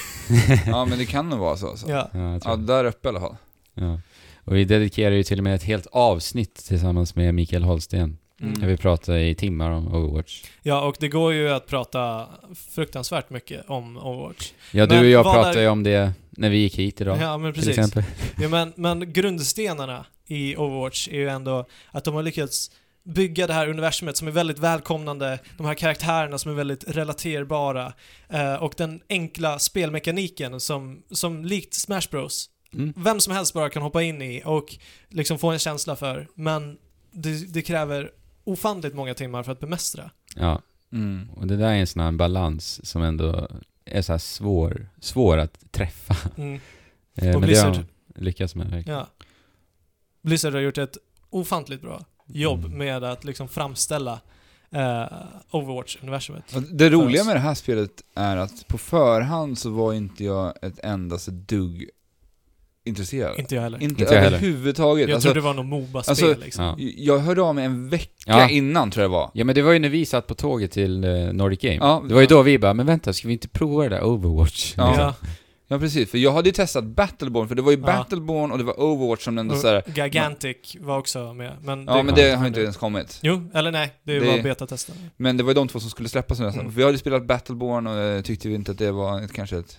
A: Ja, men det kan nog vara så. så. Ja.
C: <laughs> ja.
B: Ja, jag tror det.
A: där uppe i alla fall.
B: Ja. Och vi dedikerar ju till och med ett helt avsnitt tillsammans med Mikael Holsten.
A: Mm.
B: Där vi pratar i timmar om Overwatch.
C: ja, och det går ju att prata fruktansvärt mycket om Overwatch.
B: Ja, du
C: Men
B: och jag
C: vad
B: pratade
C: är-
B: ju om det när vi gick hit idag.
C: Ja, men
B: till
C: precis.
B: exempel.
C: Ja, men, men grundstenarna i Overwatch är ju ändå att de har lyckats bygga det här universumet som är väldigt välkomnande, de här karaktärerna som är väldigt relaterbara eh, och den enkla spelmekaniken som, som likt Smash Bros.
B: Mm.
C: Vem som helst bara kan hoppa in i och liksom få en känsla för, men det, det kräver ofantligt många timmar för att bemästra.
B: Ja,
A: Mm.
B: och det där är en sån här balans som ändå är så här svår, svår att träffa.
C: Mm,
B: Eh,
C: Och
B: men det har
C: Blizzard.
B: de lyckats med verkligen.
C: ja. Blizzard har gjort ett ofantligt bra jobb
A: Mm.
C: med att liksom framställa eh, Overwatch-universumet.
A: Och Det roliga
C: oss.
A: med det här spelet är att på förhand så var inte jag ett endaste dugg intresserad.
C: Inte jag heller.
A: Inte,
B: Inte jag heller.
A: överhuvudtaget.
C: jag
A: Alltså,
C: trodde det var något Moba-spel
A: alltså-
C: liksom.
B: Ja.
A: Jag hörde av mig en vecka
B: Ja.
A: innan tror jag det var.
B: ja, men det var ju när vi satt på tåget till eh, Nordic Game.
A: Ja.
B: det var ju då vi bara, men vänta, ska vi inte prova det där Overwatch?
A: Ja.
B: Liksom.
C: Ja,
A: Ja precis, för jag hade ju testat Battleborn, för det var ju
C: Ja. Mm.
A: Battleborn och det var Overwatch som ändå såhär,
C: och Gigantic var också med. Men
A: ja men det har inte ens kommit.
C: Jo, eller nej, det,
A: Det-
C: var betatesten.
A: Men det var ju de två som skulle släppas nu nästan.
C: Mm.
A: För vi hade ju spelat Battleborn och eh, tyckte vi inte att det var ett, kanske ett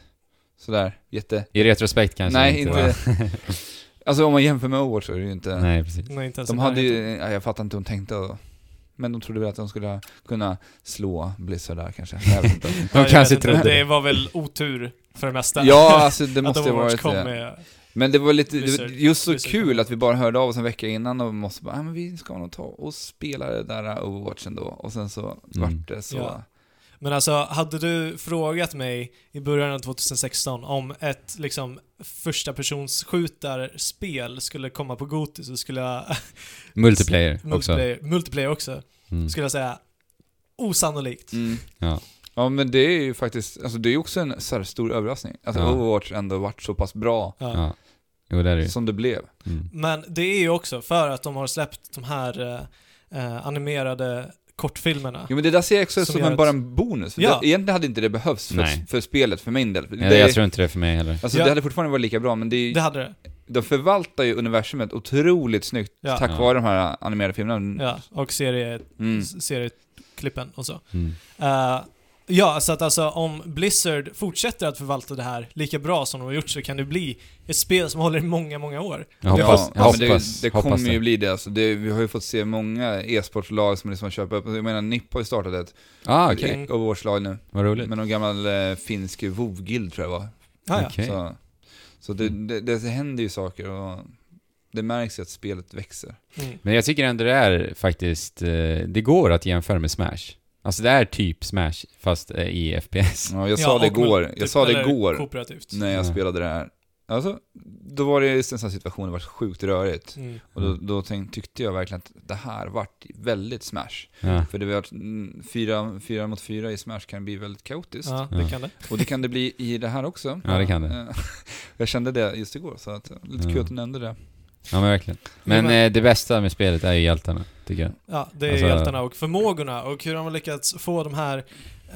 A: sådär jätte...
B: I retrospekt kanske
A: Nej,
B: va?
A: inte... <laughs> alltså om man jämför med Overwatch så är det ju inte...
B: <laughs> Nej, precis.
C: Nej, inte ens
A: De
C: i
A: hade ju,
C: närheten.
A: ja, jag fattar inte hur de tänkte då. Men de trodde väl att de skulle kunna slå Blizzard där kanske. Jag vet inte.
C: <laughs>
B: De
C: jag
B: kanske
C: vet inte.
B: trodde
C: Det var väl otur för det mesta. <laughs>
A: ja, alltså det måste
C: att
A: ju ha
C: Overwatch
A: varit
C: kom
A: det.
C: med...
A: Men det var lite, det var
C: Blizzard-
A: just så
C: Blizzard
A: kul
C: kom.
A: att vi bara hörde av oss en vecka innan och måste bara, ah, men vi ska nog ta och spela det där Overwatchen då. Och sen så
B: Mm.
A: vart det så.
C: Ja. Men alltså, hade du frågat mig i början av 2016 om ett liksom första persons skjutarspel skulle komma på Goti så skulle jag... <laughs>
B: Multiplayer också.
C: multiplayer, multiplayer också.
B: Mm.
C: Skulle jag säga osannolikt.
A: Mm.
B: Ja.
A: Ja men det är ju faktiskt, alltså det är ju också en så här stor överraskning. Att
B: Ja.
A: Overwatch ändå varit så pass bra
C: Ja.
B: Ja. Jo, det är det ju.
A: som det blev.
B: Mm.
C: Men det är ju också för att de har släppt de här eh, eh, animerade kortfilmerna.
A: Jo men det där ser jag också
C: Som
A: som
C: gör
A: en,
C: att-
A: bara en bonus. För
C: Ja.
A: det, egentligen hade inte det behövts
B: Nej.
A: för, för spelet för min del. Det,
B: Nej, jag tror inte det är för mig heller.
A: Alltså
C: Ja.
A: det hade fortfarande varit lika bra men det är, ju-
C: Det hade det.
A: de förvaltar ju universumet otroligt snyggt
C: Ja.
A: tack
B: Ja.
A: vare de här animerade filmerna.
C: Ja, och serie,
A: Mm.
C: serieklippen och så.
B: Mm.
C: Eh, ja, så att alltså om Blizzard fortsätter att förvalta det här lika bra som de har gjort så kan det bli ett spel som håller i många, många år.
B: Jag hoppas, jag
A: ja, men
B: hoppas,
A: det, det kommer
B: hoppas
A: ju bli det. Alltså det. Vi har ju fått se många e-sportlag som liksom köper upp. Jag menar NIP har ju startat ett
B: Ah, okej.
C: Mm.
A: Overwatch-lag nu.
B: Vad roligt.
A: Med någon gammal eh, finsk WoW-guild tror jag var.
C: Ah, ja.
B: Okej.
A: Så, så det,
B: Mm.
A: det, det händer ju saker och det märks ju att spelet växer.
C: Mm.
B: Men jag tycker ändå det är faktiskt, eh, det går att jämföra med Smash. Alltså det är typ Smash fast eh, i FPS.
A: Ja, jag
C: Ja,
A: sa det
C: och med-
A: igår, jag sa det
C: eller
A: igår
C: Kooperativt.
A: när jag
B: Ja.
A: spelade det här. Alltså, då var det just en sån här situation, det var sjukt rörigt.
C: Mm.
A: Och då, då tänk, tyckte jag verkligen att det här vart väldigt smash.
B: Ja.
A: För det var mm, fyra, fyra mot fyra i smash kan bli väldigt kaotiskt.
C: Ja,
B: Ja.
C: det kan det.
A: Och det kan det bli i det här också.
B: Ja, det kan det.
A: Eh, <laughs> Jag kände det just igår, så att, eh, lite
B: Ja.
A: kul att du nämnde det.
B: ja, men verkligen. Men
C: men-
B: eh, det bästa med spelet är ju hjältarna, tycker jag.
C: Ja, det är
B: Alltså-
C: hjältarna och förmågorna och hur de har lyckats få de här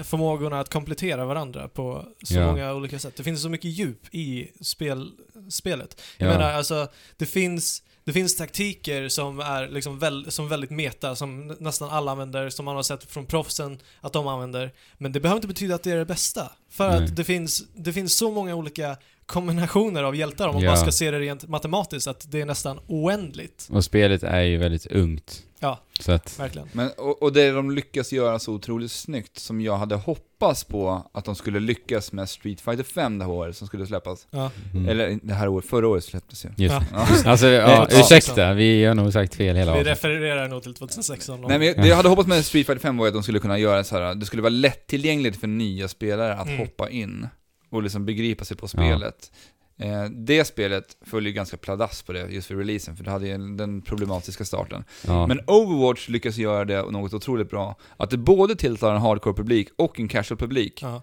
C: förmågorna att komplettera varandra på så
B: Ja.
C: många olika sätt. Det finns så mycket djup i spel, spelet. Jag
B: Ja.
C: menar alltså, det finns, det finns taktiker som är liksom väl, som väldigt meta, som n- nästan alla använder, som man har sett från proffsen att de använder. Men det behöver inte betyda att det är det bästa. För
B: Nej.
C: att det finns, det finns så många olika kombinationer av hjältar om man
B: Ja.
C: bara ska se det rent matematiskt, att det är nästan oändligt.
B: Och spelet är ju väldigt ungt.
C: Ja.
B: Så att,
C: Verkligen.
A: Men, och, och det de lyckas göra så otroligt snyggt som jag hade hoppats på att de skulle lyckas med Street Fighter 5 det här året som skulle släppas.
C: Ja.
B: mm.
A: Eller det här året, förra året
B: <laughs>
A: släpptes ju.
B: Just det.
A: Ja.
B: Alltså, ja,
C: <laughs> Ja. liksom.
B: ursäkta, vi har nog sagt fel hela
C: Vi
B: avsnittet.
C: refererar nog till 2016. om-
A: Nej, men jag, det jag hade hoppats med Street Fighter 5 var att de skulle kunna göra så här. det skulle vara lättillgängligt för nya spelare att
C: Mm.
A: hoppa in och liksom begripa sig på
B: Ja.
A: spelet. Eh, det spelet följer ju ganska pladask på det just för releasen, för det hade ju den problematiska starten.
B: Ja.
A: Men Overwatch lyckas göra det något otroligt bra. Att det både tilltalar en hardcore-publik och en casual-publik.
C: Ja.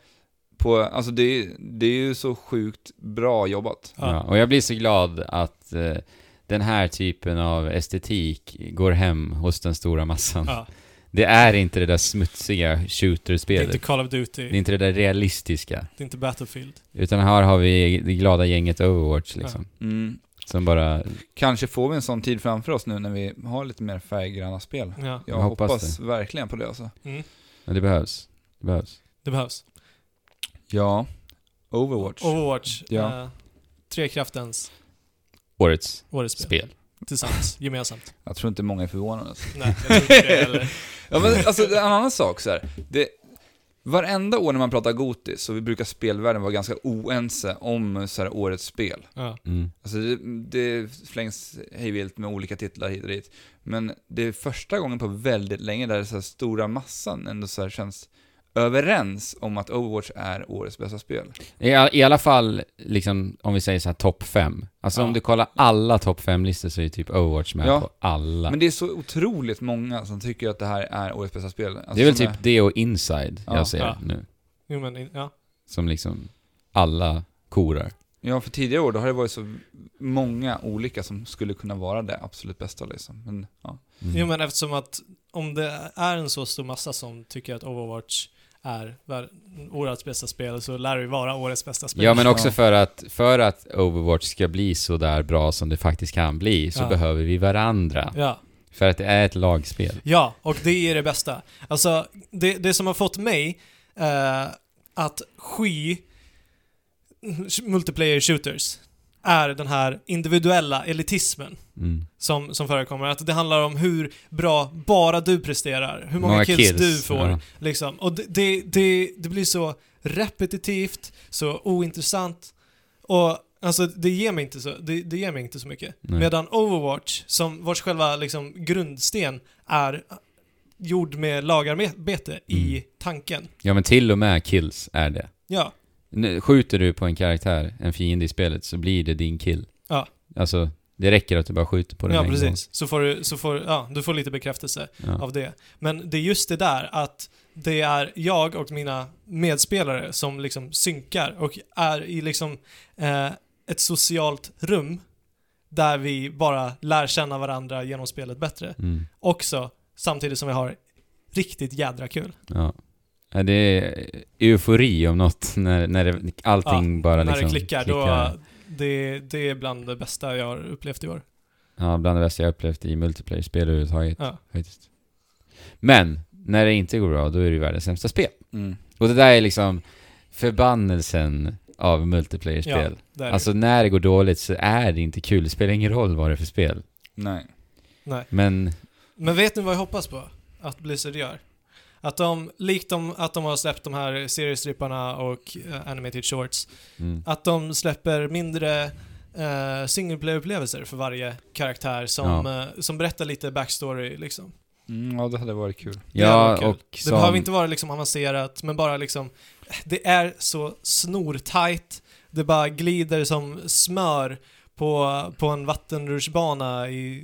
A: På, alltså det, är- det är ju så sjukt bra jobbat.
C: Ja.
B: Ja, och jag blir så glad att eh, den här typen av estetik går hem hos den stora massan.
C: Ja.
B: Det är inte det där smutsiga
C: Det är
B: shooter-spelet.
C: inte Call of Duty,
B: Det är inte det där realistiska.
C: det är inte Battlefield.
B: Utan här har vi det glada gänget Overwatch liksom.
A: Mm.
B: Som bara...
A: Kanske får vi en sån tid framför oss nu när vi har lite mer färggranna spel.
C: Ja,
A: Jag
B: Jag hoppas
A: hoppas, verkligen på det alltså.
C: mm.
B: Ja, det behövs. Det behövs.
C: det behövs.
A: Ja, Overwatch.
C: Overwatch,
A: Ja.
C: eh, Trekraftens
B: Årets
C: årets spel.
B: spel.
C: Tillsammans, <laughs> gemensamt.
A: Jag tror inte många är förvånade. Alltså.
C: Nej, jag tror inte det heller.
A: Ja, men alltså det är en annan sak så här. Det, varenda år när man pratar Goti så vi brukar spelvärlden vara ganska oense om så här, årets spel.
C: Ja.
B: Mm.
A: Alltså det, det slängs hejvilt med olika titlar hit och dit. Men det är första gången på väldigt länge där så här stora massan ändå så här känns överens om att Overwatch är årets bästa spel.
B: I, all- I alla fall, liksom, om vi säger så här topp fem. Alltså
C: Ja.
B: om du kollar alla topp fem listor så är ju typ Overwatch med
A: Ja.
B: på alla.
A: Men det är så otroligt många som tycker att det här är årets bästa spel. Alltså
B: det är väl
A: som
B: typ det och Inside
A: Ja.
B: jag ser
C: Ja.
B: nu.
C: Jo, men, in- ja.
B: Som liksom alla korar.
A: Ja, för tidigare år då har det varit så många olika som skulle kunna vara det absolut bästa liksom. Men, ja.
B: Mm.
C: Jo, men eftersom att om det är en så stor massa som tycker att Overwatch är vär- årets bästa spel så lär det ju vara årets bästa spel.
B: Ja, men också
A: Ja.
B: för att, för att Overwatch ska bli så där bra som det faktiskt kan bli så
C: Ja.
B: behöver vi varandra.
C: Ja.
B: För att det är ett lagspel.
C: Ja, och det är det bästa. Alltså, det, det som har fått mig eh, att sky multiplayer shooters är den här individuella elitismen
B: Mm.
C: som, som förekommer. Att det handlar om hur bra bara du presterar, hur många, kills, du får.
B: ja.
C: Liksom. Och det, det, det, det blir så repetitivt, så ointressant och alltså det ger mig inte så, det, det ger mig inte så mycket.
B: Nej.
C: Medan Overwatch, som, vars själva liksom grundsten är gjord med lagarbete i
B: Mm.
C: tanken.
B: ja, men till och med kills är det.
C: Ja,
B: Nu, skjuter du på en karaktär, en fiende i spelet, så blir det din kill.
C: Ja.
B: Alltså, Det räcker att du bara skjuter på den
C: Ja,
B: en gång.
C: precis. Så får du, så får, ja, du får lite bekräftelse
B: Ja.
C: av det. Men det är just det där att det är jag och mina medspelare som liksom synkar och är i liksom eh, ett socialt rum där vi bara lär känna varandra genom spelet bättre.
B: Mm.
C: Också samtidigt som vi har riktigt jädra kul.
B: Ja. Ja, Det är eufori om något, <laughs> när, när det, allting bara
C: När
B: liksom
C: det klickar, då... Det, det är bland det bästa jag har upplevt i år.
B: Ja, bland det bästa jag upplevt i multiplayer-spel överhuvudtaget.
C: Ja.
B: Faktiskt. Men, när det inte går bra, då är det ju världens sämsta spel.
A: Mm.
B: Och det där är liksom förbannelsen av multiplayer-spel.
C: där är
B: alltså när det går dåligt så är det inte kul, det spelar ingen roll vad det är för spel.
A: Nej.
B: Men,
C: Men vet ni vad jag hoppas på? Att Blizzard gör? Att de, likt de, att de har släppt de här seriestripparna och eh, animated shorts,
B: mm,
C: att de släpper mindre eh, single player-upplevelser för varje karaktär som, eh, som berättar lite backstory liksom.
A: Mm, ja, det hade varit kul.
C: Det hade varit kul.
B: ja, och
C: Det
B: som,
C: behöver inte vara liksom avancerat, men bara liksom, det är så snortajt, det bara glider som smör på, på en vattenrutschbana i,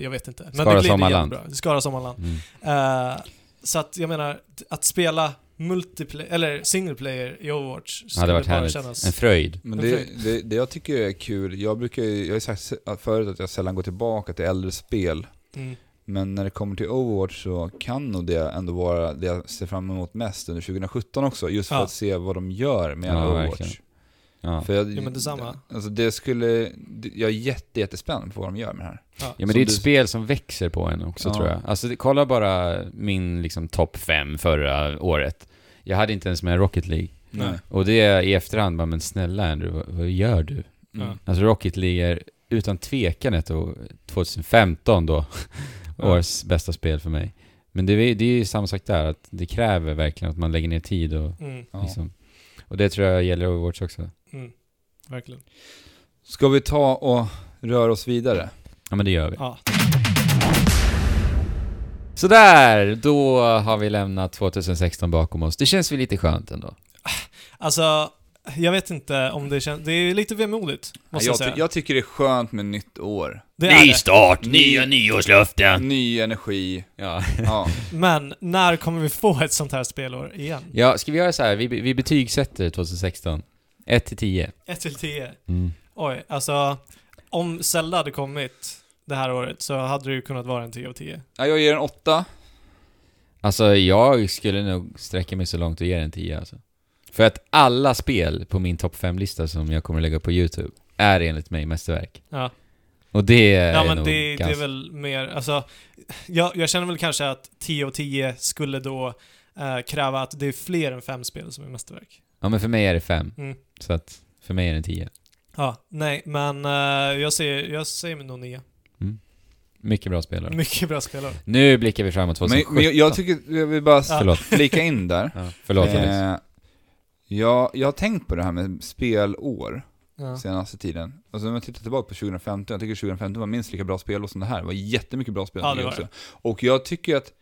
C: jag vet inte. Men
B: Skara
C: det glider
B: Sommarland.
C: jättebra. Skara Sommarland.
B: Mm,
C: Eh, så att jag menar, att spela multiplayer, eller single player i Overwatch skulle
B: hade varit
C: bara
B: härligt. En
C: kännas...
B: fröjd.
A: Men
C: Men
A: det, det, det jag tycker är kul, jag brukar ju, jag har ju sagt förut att jag sällan går tillbaka till äldre spel.
C: Mm.
A: Men när det kommer till Overwatch så kan nog det ändå vara det jag ser fram emot mest under 2017 också. Just för
C: Ja.
A: att se vad de gör med
B: Ja,
A: Overwatch.
B: verkligen. Ja.
A: För jag,
C: Jo, men detsamma.
A: Alltså det skulle, det- jag är jätte, jättespänd på vad de gör med det här.
B: Ja men
A: Som
B: det är ett
A: du-
B: spel som växer på en också
A: Ja.
B: tror jag. Alltså det- kolla bara min liksom topp fem förra året. Jag hade inte ens med Rocket League.
C: Nej.
B: Och det är i efterhand bara, men snälla Andrew, vad, vad gör du?
A: Mm.
C: Ja.
B: Alltså Rocket League är utan tvekan ett år, 2015 då,
C: Ja.
B: årets bästa spel för mig. Men det, är- det är ju samma sak där, att det kräver verkligen att man lägger ner tid och
C: Mm,
A: Ja.
B: liksom. Och det tror jag gäller Overwatch också.
C: mm, verkligen.
A: Ska vi ta och röra oss vidare?
B: Ja men det gör vi.
C: Ja.
B: Sådär, då har vi lämnat 2016 bakom oss. Det känns väl lite skönt ändå.
C: Alltså, jag vet inte om det känns... Det är lite vemodigt, måste jag,
A: jag,
C: säga.
A: ty- jag tycker det är skönt med nytt år.
C: det är det.
B: start,
A: nya
B: nyårslöften!
A: Ny energi.
B: Ja.
A: Ja.
C: Men när kommer vi få ett sånt här spelår igen?
B: ja, ska vi göra så här? Vi, vi betygsätter 2016. 1 till 10.
C: 1 till 10?
B: Mm.
C: Oj, alltså... Om Zelda hade kommit det här året så hade det ju kunnat vara en 10 av 10.
A: Ja, jag ger en åtta.
B: Alltså, jag skulle nog sträcka mig så långt och ge den 10 alltså. För att alla spel på min topp 5-lista som jag kommer lägga upp på YouTube är enligt mig mästerverk.
C: Ja.
B: Och det är
C: Ja men
B: nog
C: det, det
B: ganska...
C: är väl mer, alltså, jag, jag känner väl kanske att 10 och 10 skulle då eh, kräva att det är fler än fem spel som är mästerverk.
B: Ja men för mig är det 5.
C: Mm.
B: Så att, för mig är det 10.
C: Ja, nej, men eh, jag säger, jag säger nog 9.
B: Mycket bra spelare.
C: Mycket bra spelare.
B: Nu blickar vi framåt
A: Men,
B: 2017.
A: men jag, jag tycker, jag vill bara
C: Ja.
B: Förlåt.
A: flika in
C: <laughs>
A: där.
B: Ja, förlåt Alex.
A: Eh, jag, jag har tänkt på det här med spelår
C: Ja.
A: senaste tiden. Och sen när jag tittar tillbaka på 2015, jag tycker 2015 var minst lika bra spelår som det här. Det var jättemycket bra spel
C: Ja,
A: tycker
C: det
A: jag
C: var
A: också. Och jag tycker att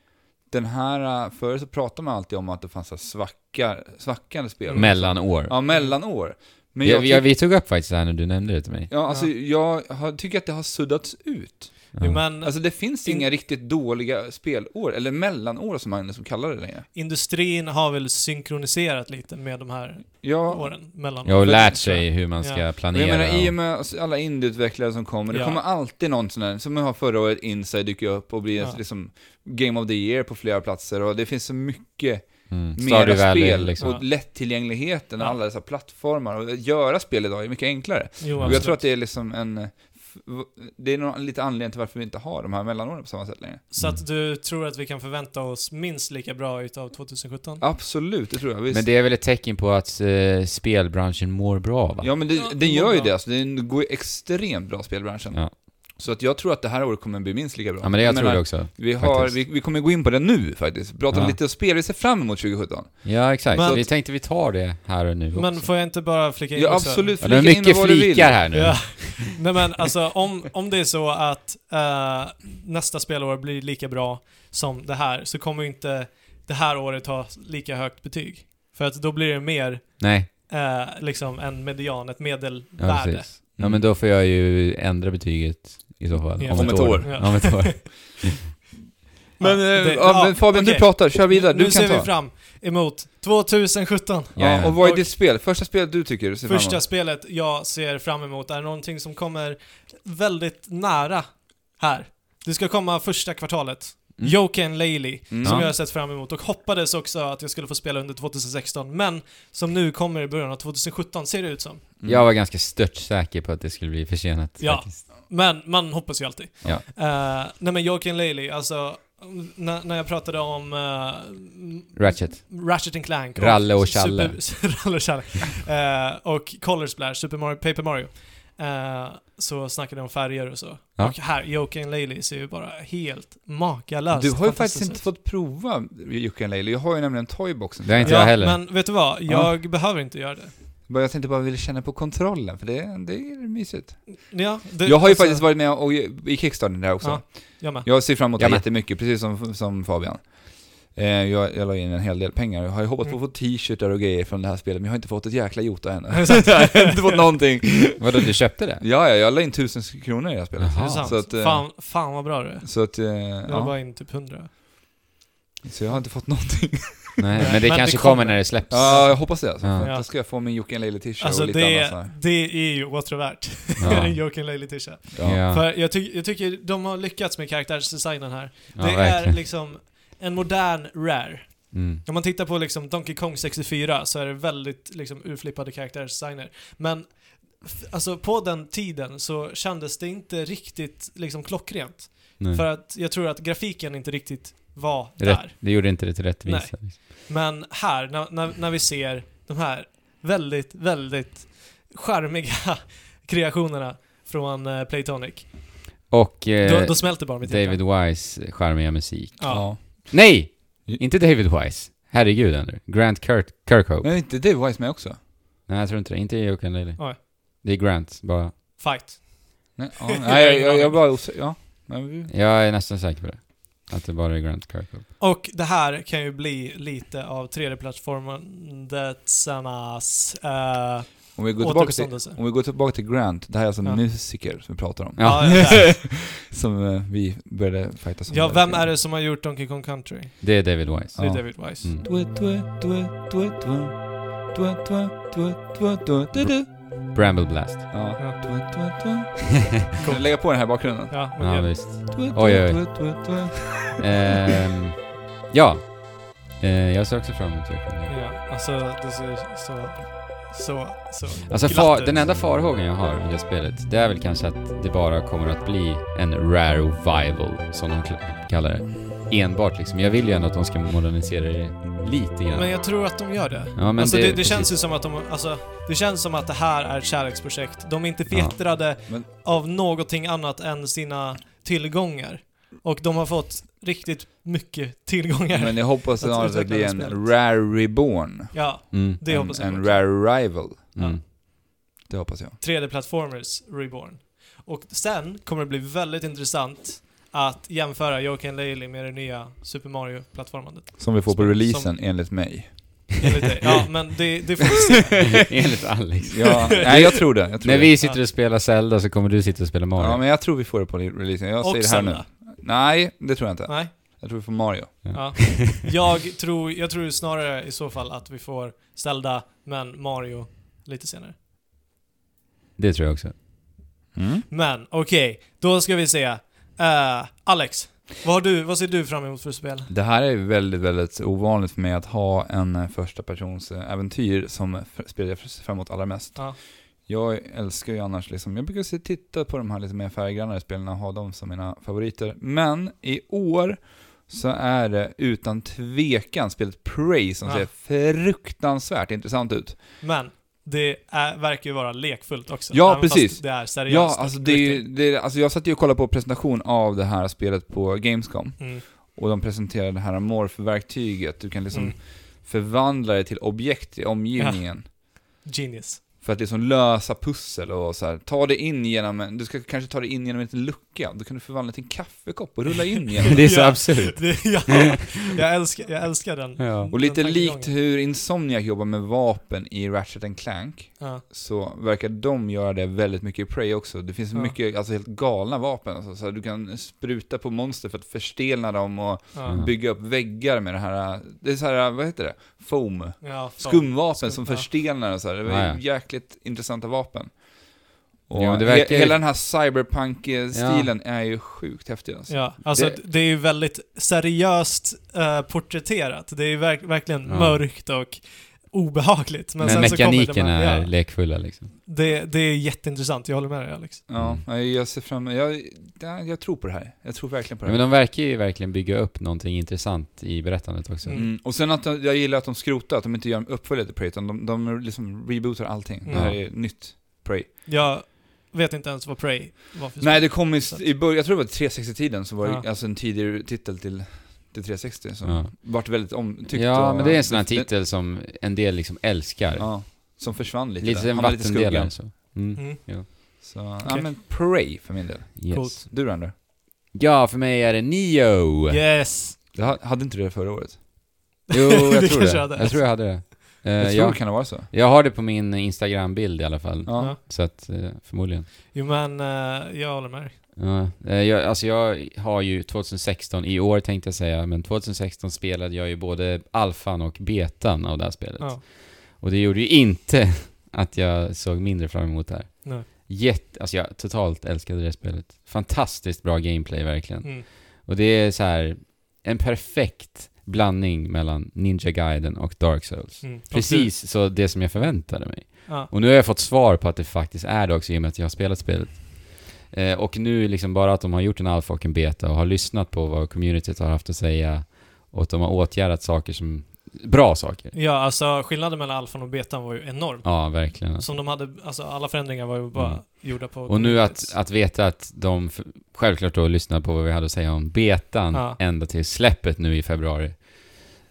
A: den här, eh, förr så pratade man alltid om att det fanns så här svackar, svackande spel.
B: Mellan år.
A: Ja, mellanår. Men
B: jag,
A: tyck-
B: jag, vi tog upp faktiskt det här när du nämnde det till mig.
A: Ja, alltså jag har, tycker att det har suddats ut.
C: Jo, men
A: Alltså det finns inga riktigt dåliga spelår, eller mellanår som Magnus som kallar det längre.
C: industrin har väl synkroniserat lite med de här
A: Ja,
C: åren mellan
B: Jag har
A: För-
B: lärt sig hur man ska
C: Ja.
A: och jag
B: planera.
A: menar i och
B: och-
A: med oss- alla indieutvecklare som kommer, det
C: Ja.
A: kommer alltid någon sån här, som jag har förra året, Inside dyker upp och blir
C: Ja.
A: liksom Game of the Year på flera platser och det finns så mycket
B: mm.
A: mera
B: Stardew Valley,
A: spel
B: liksom.
A: och lättillgängligheten och
C: Ja.
A: alla dessa plattformar och att göra spel idag är mycket enklare.
C: Jo,
A: Och jag
C: absolut.
A: tror att det är liksom en, eh, f- v- det är nog lite anledning till varför vi inte har de här mellanåren på samma sätt längre.
C: Så att du tror att vi kan förvänta oss minst lika bra utav 2017?
A: Absolut, det tror jag. Visst.
B: Men det är väl ett tecken på att eh, spelbranschen mår bra va?
A: Ja men det,
C: Ja, det
A: den gör
C: går
A: ju
C: bra.
A: det, alltså, den går ju extremt bra spelbranschen.
B: Ja.
A: Så att jag tror att det här året kommer bli minst lika bra.
B: Ja, men det jag, tror
A: menar,
B: det också.
A: vi, har,
B: faktiskt.
A: vi, vi kommer gå in på det nu faktiskt, prata
B: Ja.
A: lite om spel, vi ser fram emot 2017.
B: Ja exakt,
C: Men-
B: vi tänkte vi tar det här och nu också.
C: Men får jag inte bara flika in
A: Ja
C: också?
A: absolut,
B: ja, det
A: flika
B: är
A: in
B: mycket
A: vad du vill.
B: flikar här nu.
C: Ja. <laughs> Nej men alltså om, om det är så att eh, nästa spelår blir lika bra som det här så kommer ju inte det här året ha lika högt betyg. För att då blir det mer
B: Nej,
C: eh, liksom en median, ett
B: ja,
C: medelvärde.
B: precis. Ja men då får jag ju ändra betyget i så fall.
C: Ja.
A: Om ett år.
C: <laughs> Ja.
B: Om ett år.
A: Men,
C: Ja,
A: eh,
C: det-
A: ja,
C: ja,
A: men Fabian, du
C: okej.
A: pratar. Kör vidare. Du
C: nu
A: kan
C: ser vi
A: ta.
C: fram emot 2017.
A: Ja, och
B: Jajamän.
A: vad är
C: Och-
A: ditt spel? Första spelet du tycker du ser fram
C: Första
A: emot?
C: spelet jag ser fram emot är någonting som kommer väldigt nära här. Det ska komma första kvartalet.
B: Mm.
C: Joken Laley,
A: Mm.
C: som
B: Ja.
C: jag har sett fram emot och hoppades också att jag skulle få spela under 2016, men som nu kommer i början av 2017 ser det ut som.
A: Mm.
B: Jag var ganska störtsäker på att det skulle bli försenat
C: Ja.
B: faktiskt.
C: Men man hoppas ju alltid.
B: Ja.
C: Eh, nej men Joakim Laley, alltså mm, när, när jag pratade om eh,
B: Ratchet.
C: Ratchet and Clank
B: Ralle och Challe.
C: Super, <laughs> Ralle och Challe. Eh, och Color Splash, Super Mario, Paper Mario. Eh, så snackade de om färger och så.
B: Ja.
C: Och här, Joakim and Laley ser ju bara helt makalöst
A: Du har ju faktiskt
C: fantastiskt
A: inte
C: ut.
A: fått prova Ukulele. Jag har ju nämligen toyboxen.
B: Det har inte
C: ja,
B: jag heller.
C: men vet du vad? Jag behöver inte göra det.
A: Bara Jag tänkte bara ville känna på kontrollen, för det, det är mysigt.
C: Ja, det
A: jag har ju
C: alltså,
A: faktiskt varit med och, i Kickstarter där också.
C: Ja. Jag med.
A: Jag ser fram emot det
B: Jag med.
A: jättemycket, precis som, som Fabian. Eh, jag, jag la in en hel del pengar. Jag har ju hoppats på att få t-shirtar och grejer från det här spelet, men jag har inte fått ett jäkla jota ännu. <laughs> jag har inte fått någonting.
B: Vadå, du
C: <laughs>
B: köpte det?
A: Ja, ja, jag la in tusen kronor i det här spelet.
B: Jaha.
C: Är det sant?
A: Så att, eh,
C: fan, fan vad bra du är.
A: Så att, eh,
C: Jag var
A: ja.
C: bara in typ 100.
A: Så jag har inte fått någonting.
B: Nej, men
C: Men
B: det
C: det
B: kanske
C: kommer.
B: kommer när det släpps.
A: Ja, jag hoppas det. Alltså.
B: Ja.
A: För att Då ska jag få min Jocke Leila t-shirt
C: Alltså
A: och lite det...
C: det,
A: annat sånt
C: det är ju återvärt. <laughs>
B: Ja.
C: Det är en Joakim Laley t-shirt.
A: här. Ja.
B: Ja.
C: För jag, ty- jag tycker de har lyckats med karaktärsdesignen här.
B: Ja,
C: det är
B: verkligen.
C: liksom en modern rare.
B: Mm.
C: Om man tittar på liksom Donkey Kong 64 så är det väldigt liksom urflippade karaktärsdesigner. Men f- alltså på den tiden så kändes det inte riktigt liksom klockrent.
B: Nej.
C: För att jag tror att grafiken inte riktigt var
B: Rätt,
C: där.
B: det gjorde inte det till rättvisa. liksom.
C: Men här, när, när, när vi ser de här väldigt, väldigt charmiga <laughs> kreationerna från eh, Playtonic,
B: Och eh,
C: då, då smälter bara mitt hjärta.
B: David Wise charmiga musik.
C: Ja.
B: Nej! Inte David Wise. Herregud Andrew. Grant Kurt Kirkhope.
A: Men är inte Dave Wise med också?
B: Nej, jag tror inte det. Inte Joakim Lely.
C: Nej.
B: Det är Grant bara.
C: Fight.
A: Nej, ja.
C: <laughs>
A: Nej jag, jag, jag bara osä- ja. Men vi...
B: Jag är nästan säker på det. Att det bara är Grant Kirkhope.
C: Och det här kan ju bli lite av 3D-plattformandetsarnas eh,
A: Om vi går tillbaka till
C: återuppståndelse.
A: Om vi går tillbaka till Grant, det här är alltså
C: Ja.
A: musiker som vi pratar om.
B: Ja.
C: Ja, ja,
B: <laughs>
C: ja.
A: Som eh, vi började fightas om.
C: ja, vem är det som har gjort Donkey Kong Country?
B: Det är David
C: Det
B: Wise.
C: är
A: Ja.
C: David Wise.
B: Mm.
A: Dua, dua, dua, dua, dua. Dua, dua, dua, dua, dua, du, du.
B: Bramble Blast.
A: Ja.
C: Ja.
A: Dua, dua, dua. <laughs> Kan du lägga på den här i bakgrunden?
C: Ja, men
B: Ja,
C: det-
B: visst.
A: Dua, dua,
B: Oj, oj, oj.
A: dua, dua, dua.
B: Ehm, ja. Eh, jag ser också fram emot Joakim Lely.
C: ja, alltså det ser så, så, så
B: Alltså
C: glatt
B: far,
C: ut.
B: den enda farhågan jag har med det spelet, det är väl kanske att det bara kommer att bli en rare revival, som de kla- kallar det. Enbart liksom. Jag vill ju ändå att de ska modernisera det lite grann.
C: Men jag tror att de gör det.
B: ja, men
C: alltså det, det,
B: precis.
C: känns ju som att de, alltså, det känns som att det här är ett kärleksprojekt. De är inte
B: Ja.
C: fjättrade
A: Men-
C: av någonting annat än sina tillgångar. Och de har fått riktigt mycket tillgångar.
A: <laughs> Men jag hoppas
C: Jag tror
A: snarare att det
C: att det
A: blir
C: är
A: en
C: spelet.
A: rare reborn.
C: Ja,
B: Mm.
C: det
A: en,
C: hoppas jag
A: En
C: på.
A: rare rival.
B: Mm.
A: Det hoppas jag.
C: 3D-plattformers Reborn. Och sen kommer det bli väldigt intressant att jämföra Joakim Laley med det nya
A: <laughs>
C: Super Mario-plattformandet.
A: Som vi får på
C: Som-
A: releasen, enligt mig.
C: Enligt dig. Ja, men det, det får vi se.
B: <laughs> Enligt Alex.
A: Ja,
C: <laughs>
A: nej, jag tror det. Jag tror
B: När
A: det.
B: vi sitter och spelar Zelda så kommer du sitta och spela Mario.
A: Ja, men jag tror vi får det på releasen. Jag säger
C: Och
A: det här
C: Zelda.
A: nu. Nej, det tror jag inte.
C: Nej.
A: Jag tror vi får Mario.
C: Ja. Jag, tror, jag tror snarare i så fall att vi får Zelda, men Mario lite senare.
B: Det tror jag också.
A: Mm.
C: Men okej, då ska vi se. Eh, Alex, vad, har du, vad ser du fram emot för spel?
A: Det här är väldigt, väldigt ovanligt för mig att ha en eh, första persons eh, äventyr som f- spelar jag fram emot allra mest.
C: Ja.
A: Jag älskar ju annars liksom, jag brukar se, titta på de här lite mer färggrannare spelen och ha dem som mina favoriter. Men i år så är det utan tvekan spelet Prey som
C: Ja.
A: ser fruktansvärt intressant ut.
C: Men det är, verkar ju vara lekfullt också.
A: Ja,
C: även fast
A: precis.
C: Det är seriöst.
A: Ja,
C: och
A: alltså det är ju,
C: riktigt.
A: det är, alltså jag satt ju och kollade på presentation av det här spelet på Gamescom.
C: Mm.
A: Och de presenterade det här morfverktyget, du kan liksom
C: Mm.
A: förvandla det till objekt i omgivningen.
C: Genius.
A: För att liksom lösa pussel och så här, ta det in genom en, du ska kanske ta det in genom en liten lucka, då kan du förvandla det till en kaffekopp och rulla in
C: <laughs>
A: genom
B: Det är så
C: Ja.
B: absurt.
C: Det, ja, jag, älskar, jag älskar den.
B: Ja.
A: Och lite
C: Den tankegången.
A: likt hur Insomniac jobbar med vapen i Ratchet and Clank,
C: Ja.
A: så verkar de göra det väldigt mycket i Prey också. Det finns
C: Ja.
A: mycket, alltså helt galna vapen. Alltså, så här, du kan spruta på monster för att förstelna dem och
C: Ja.
A: bygga upp väggar med det här, det är så här, vad heter det? Foam.
C: Ja, fan.
A: Skumvapen
C: Skum-
A: som
C: ja.
A: förstenar och så här. Det var
B: Ja, ja.
A: jäkligt intressanta vapen. Och
B: Ja, men det
A: he-
B: verkar ju-
A: Hela den här cyberpunk-stilen är ju sjukt häftig alltså.
C: Ja, alltså
A: Det-
C: det, är ju väldigt seriöst eh, porträtterat. Det är ju verk, verkligen
B: Ja.
C: mörkt och obehagligt. Men,
B: Men,
C: sen så
B: mekaniken
C: kommer det,
B: är
C: med, ja,
B: lekfulla liksom.
C: det, det är jätteintressant, jag håller med dig Alex.
A: Ja, jag ser fram jag, ja, jag tror på det här. Jag tror verkligen på det
B: Men
A: här.
B: de verkar ju verkligen bygga upp någonting intressant i berättandet också.
C: Mm.
A: Mm. Och sen att de- jag gillar att de skrotar, att de inte gör en uppföljare till Prey, utan de, de liksom rebootar allting. Det här
B: Ja.
A: är nytt Prey.
C: Jag vet inte ens vad Prey var för
A: Nej,
C: spel.
A: det kom i, i början, jag tror det var 360-tiden, så var det
C: Ja.
A: alltså en tidigare titel till, till 360, som
B: Ja.
A: vart väldigt omtyckt.
B: Ja,
A: och-
B: men det är en sån här
A: det-
B: titel som en del liksom älskar.
A: Ja, som försvann lite.
B: lite
A: där.
B: en
A: Han var lite i
B: vattendelare
A: skuggan.
B: så. Mm.
C: Mm.
A: Så, ja
C: Okej.
A: men Prey för min del.
B: Yes.
C: Coolt.
A: Du då Andrew?
B: Ja, för mig är det Neo!
C: Yes!
A: Du ha- hade inte du det förra året? <laughs>
C: <laughs>
B: Jo,
C: Det
B: jag tror
C: kanske
B: det.
C: jag hade.
B: Jag tror jag hade det. Eh,
A: jag tror
B: jag,
A: det kan det vara så.
B: jag har det på min Instagram-bild i alla fall.
A: Ja.
C: Ja.
B: Så att, eh, förmodligen.
C: Jo men, eh, jag håller med dig.
B: Ja, eh, jag, alltså jag har ju 2016, i år tänkte jag säga, men 2016 spelade jag ju både alfan och betan av det här spelet.
C: Ja.
B: Och det gjorde ju inte <laughs> att jag såg mindre fram emot det här.
C: Nej.
B: Jätte, alltså jag totalt älskade det spelet. Fantastiskt bra gameplay verkligen.
C: Mm.
B: Och det är så här en perfekt blandning mellan Ninja Gaiden och Dark Souls.
C: Mm. Och
B: Precis så det som jag förväntade mig.
C: Du, ja.
B: Och nu har jag fått svar på att det faktiskt är det också i och med att jag har spelat spelet. Eh, och nu liksom bara att de har gjort en alfa och en beta och har lyssnat på vad communityt har haft att säga och att de har åtgärdat saker som... Bra saker.
C: ja, alltså skillnaden mellan alfan och betan var ju enorm.
B: Ja, verkligen. alltså.
C: Som de hade, alltså alla förändringar var ju bara
B: Mm.
C: gjorda på...
B: Och nu att, att veta att de f- självklart då lyssnar på vad vi hade att säga om betan
C: Ja.
B: ända till släppet nu i februari.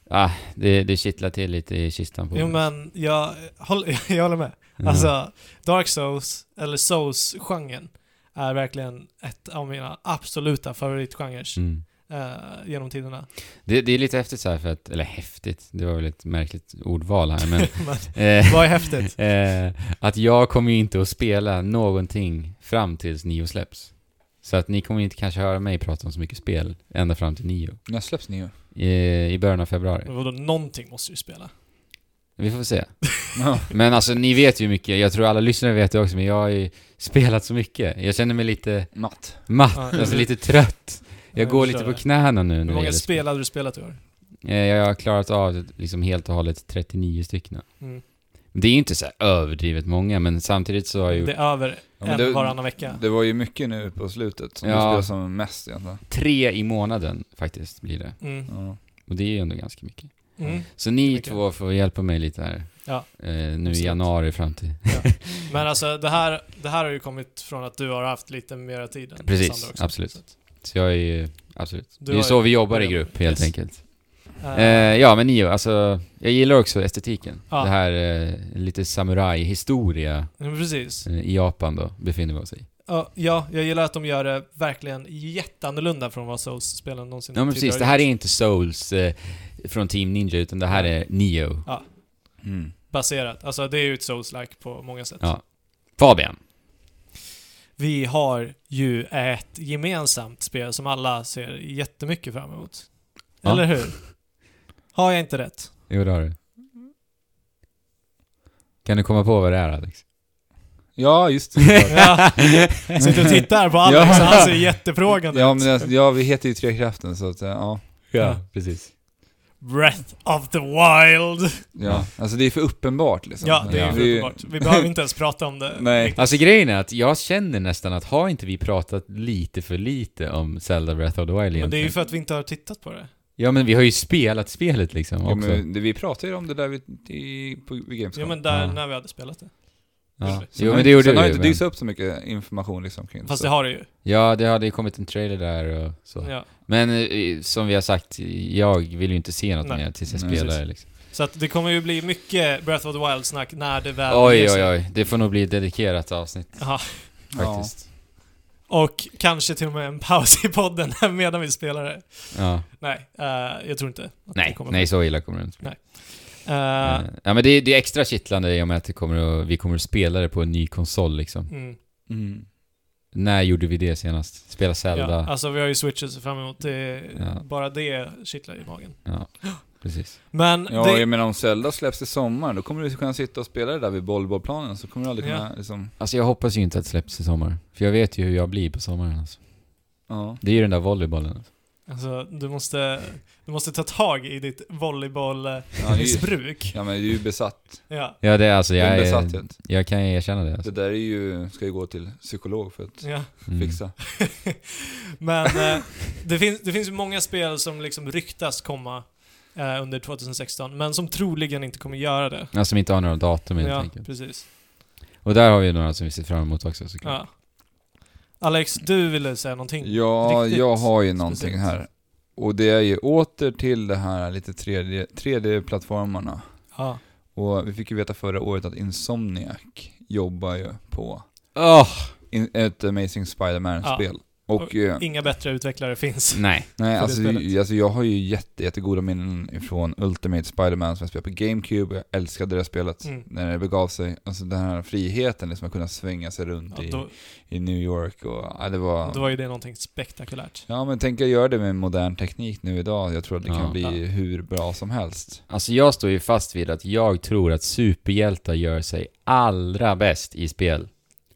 B: Ah, det, det kittlar till lite i kistan på Mm.
C: Jo
B: mig.
C: men, jag, håll, jag håller <laughs> med.
B: Ja.
C: Alltså, Dark Souls, eller Souls-genren, är verkligen ett av mina absoluta favoritgenrer
B: Mm.
C: eh, genom tiderna. <laughs>
B: Det, det är lite häftigt så här för att, eller häftigt, det var väl ett märkligt ordval
C: <laughs>
B: här men... <laughs>
C: Men
B: eh,
C: vad är häftigt?
B: <laughs> eh, att jag kommer ju inte att spela någonting fram tills Nio släpps. Så att ni kommer inte kanske höra mig prata om så mycket spel ända fram till Nio.
A: När släpps ni ju?
B: Eh, I början av februari.
C: Men vadå, någonting måste du spela.
B: Vi får se.
A: Ja.
B: Men alltså ni vet ju hur mycket, jag tror alla lyssnare vet det också, men jag har ju spelat så mycket. Jag känner mig lite
A: Matt.
B: matt,
C: Ja,
B: alltså
C: jag-
B: lite trött. Jag
C: jag
B: går
C: förstår
B: lite på
C: det.
B: knäna nu. när
C: Hur
B: det
C: många
B: gäller spel.
C: spel hade du spelat i år?
B: Eh, Jag har klarat av det liksom helt och hållet 39 stycken.
C: Mm.
B: Det är ju inte så här överdrivet många, men samtidigt så har jag
C: Det
B: gjort
C: är över
A: Ja, men
C: en
A: det-
C: varannan vecka.
A: Det var ju mycket nu på slutet som du
B: Ja.
A: spelade som mest egentligen.
B: tre i månaden faktiskt blir det.
C: Mm.
A: Ja.
B: Och det är ju ändå ganska mycket.
C: Mm.
B: Så ni
C: Mycket.
B: två får hjälpa mig lite här.
C: Ja.
B: Eh, nu i
C: Absolut.
B: januari fram till.
C: Men alltså det här, det här har ju kommit från att du har haft lite mera tid än
B: Precis,
C: Sandra också.
B: absolut.
C: Så att,
B: Så jag är ju, absolut.
C: Du
B: det är ju
C: har
B: så
C: ju-
B: vi jobbar i
C: börjat-
B: grupp helt
C: yes.
B: enkelt.
C: eh,
B: Eh, ja, men Nio, alltså, jag gillar också estetiken.
C: Ja.
B: Det här eh, lite samurajhistoria
C: men precis.
B: eh, i Japan då, befinner vi oss i.
C: Ja, ja, jag gillar att de gör det verkligen jätteannorlunda från vad Souls-spelen någonsin
B: Ja, men
C: tidigare
B: precis. Det här är
C: gjort.
B: inte Souls eh, från Team Ninja, utan det här är Nio.
A: Mm.
C: Baserat. Alltså det är ju ett Souls-like på många sätt.
B: Ja. Fabian.
C: Vi har ju ett gemensamt spel som alla ser jättemycket fram emot.
B: Ja.
C: Eller hur? Har jag inte
B: <laughs>
C: rätt?
B: Jo, det har du. Kan du komma på vad det är, Alex?
A: Ja, just
B: <laughs>
A: det.
C: Ja. Sitter och tittar på Alex
A: Ja.
C: och han ser jättefrågande
A: ja,
C: ut.
A: men, jag- ja, vi heter ju Trekraften så att, eh, ja.
C: Ja.
B: precis.
C: Breath of the Wild.
A: ja. Alltså det är för uppenbart liksom.
C: Ja, det är
A: Vi-
C: ju uppenbart. Vi behöver inte ens prata om det.
A: <laughs> Nej.
B: Alltså grejen är att jag känner nästan att har inte vi pratat lite för lite om Zelda Breath of the Wild egentligen?
C: Men det är ju för att vi inte har tittat på det.
B: Ja, men vi har ju spelat spelet liksom
A: Ja,
B: också.
A: men, det, vi pratade ju om det där vid, i, på, vid Gamescom.
C: Ja, men där,
B: Ja.
C: när vi hade spelat det.
B: Ja.
A: Sen
B: Jo,
A: har-
B: men det gjorde
A: Sen har ju
B: vi ju.
A: inte
B: men-
A: dykt upp så mycket information liksom kring
C: Fast
A: så.
C: det har det ju.
B: Ja, det hade ju kommit en trailer där och så.
C: Ja.
B: Men eh, som vi har sagt, jag vill ju inte se något
C: Nej.
B: mer tills jag
A: Nej.
B: spelar
C: Precis.
B: liksom.
C: Så att det kommer ju bli mycket Breath of the Wild-snack när det väl
B: Oj,
C: ger sig.
B: oj, oj. Det får nog bli ett dedikerat avsnitt
C: Ja.
B: faktiskt.
C: Och kanske till och med en paus i podden medan vi spelar det.
B: Ja.
C: Nej, eh, jag tror inte att det
B: Nej,
C: kommer
B: nej, så illa kommer det inte bli.
C: bli. Eh,
B: Eh, Ja, men det, är- det är extra kittlande i och med att det kommer att, vi kommer att spela det på en ny konsol liksom.
C: mm.
A: Mm.
B: När gjorde vi det senast? Spela Zelda?
C: Ja,
B: Ja,
C: alltså vi har ju switches fram emot. Det,
B: Ja.
C: Bara det kittlar i magen.
B: precis.
C: Men
A: Ja,
C: det,
A: jag menar om Zelda släpps i sommar, då kommer du kunna sitta och spela det där vid volleybollplanen, så kommer du aldrig kunna liksom,
B: Alltså jag hoppas ju inte att det släpps i sommar. För jag vet ju hur jag blir på sommaren alltså.
A: ja.
B: Det är ju den där volleybollen. Alltså.
C: alltså, du, måste, du måste ta tag i ditt volleybollmissbruk.
A: Ja, det är ju, ja men du är ju besatt.
C: Ja.
B: Ja, det är alltså,
A: Det är
B: jag,
A: en
B: är,
A: besatthet.
B: jag kan ju erkänna det
A: Det
B: alltså.
A: där är ju, ska ju gå till psykolog för att
C: Ja.
B: Mm.
A: fixa.
C: Men eh, det, finns, det finns ju många spel som liksom ryktas komma eh, under 2016, men som troligen inte kommer göra det.
B: Ja, som inte har några datum helt
C: ja,
B: enkelt.
C: preemot
B: Och där har vi ju några som vi ser fram emot också såklart.
C: Ja. Alex, du ville säga någonting?
A: Ja,
C: Riktigt
A: jag har ju någonting
C: speciellt.
A: här. Och det är ju åter till det här lite 3D 3D-plattformarna.
C: Ja.
A: och vi fick ju veta förra året att Insomniac jobbar ju på
C: Ah!
B: Åh!
A: in, ett Amazing Spider-Man-spel. Och, eh,
C: Inga bättre utvecklare finns.
B: Nej.
A: nej,
C: det
A: alltså,
C: spelet.
A: ju- alltså jag har ju jätte, jättegoda minnen ifrån Ultimate Spider-Man som jag spelade på GameCube, jag älskade det spelet
C: Mm.
A: när det begav sig. Alltså den här friheten liksom att kunna svänga sig runt
C: Ja,
A: i,
C: då,
A: i New York och, ja, det var...
C: då var ju det någonting spektakulärt.
A: Ja men tänk jag gör det med modern teknik nu idag, jag tror att det
B: Ja.
A: kan bli
C: Ja.
A: hur bra som helst.
B: Alltså jag står ju fast vid att jag tror att superhjältar gör sig allra bäst i spel.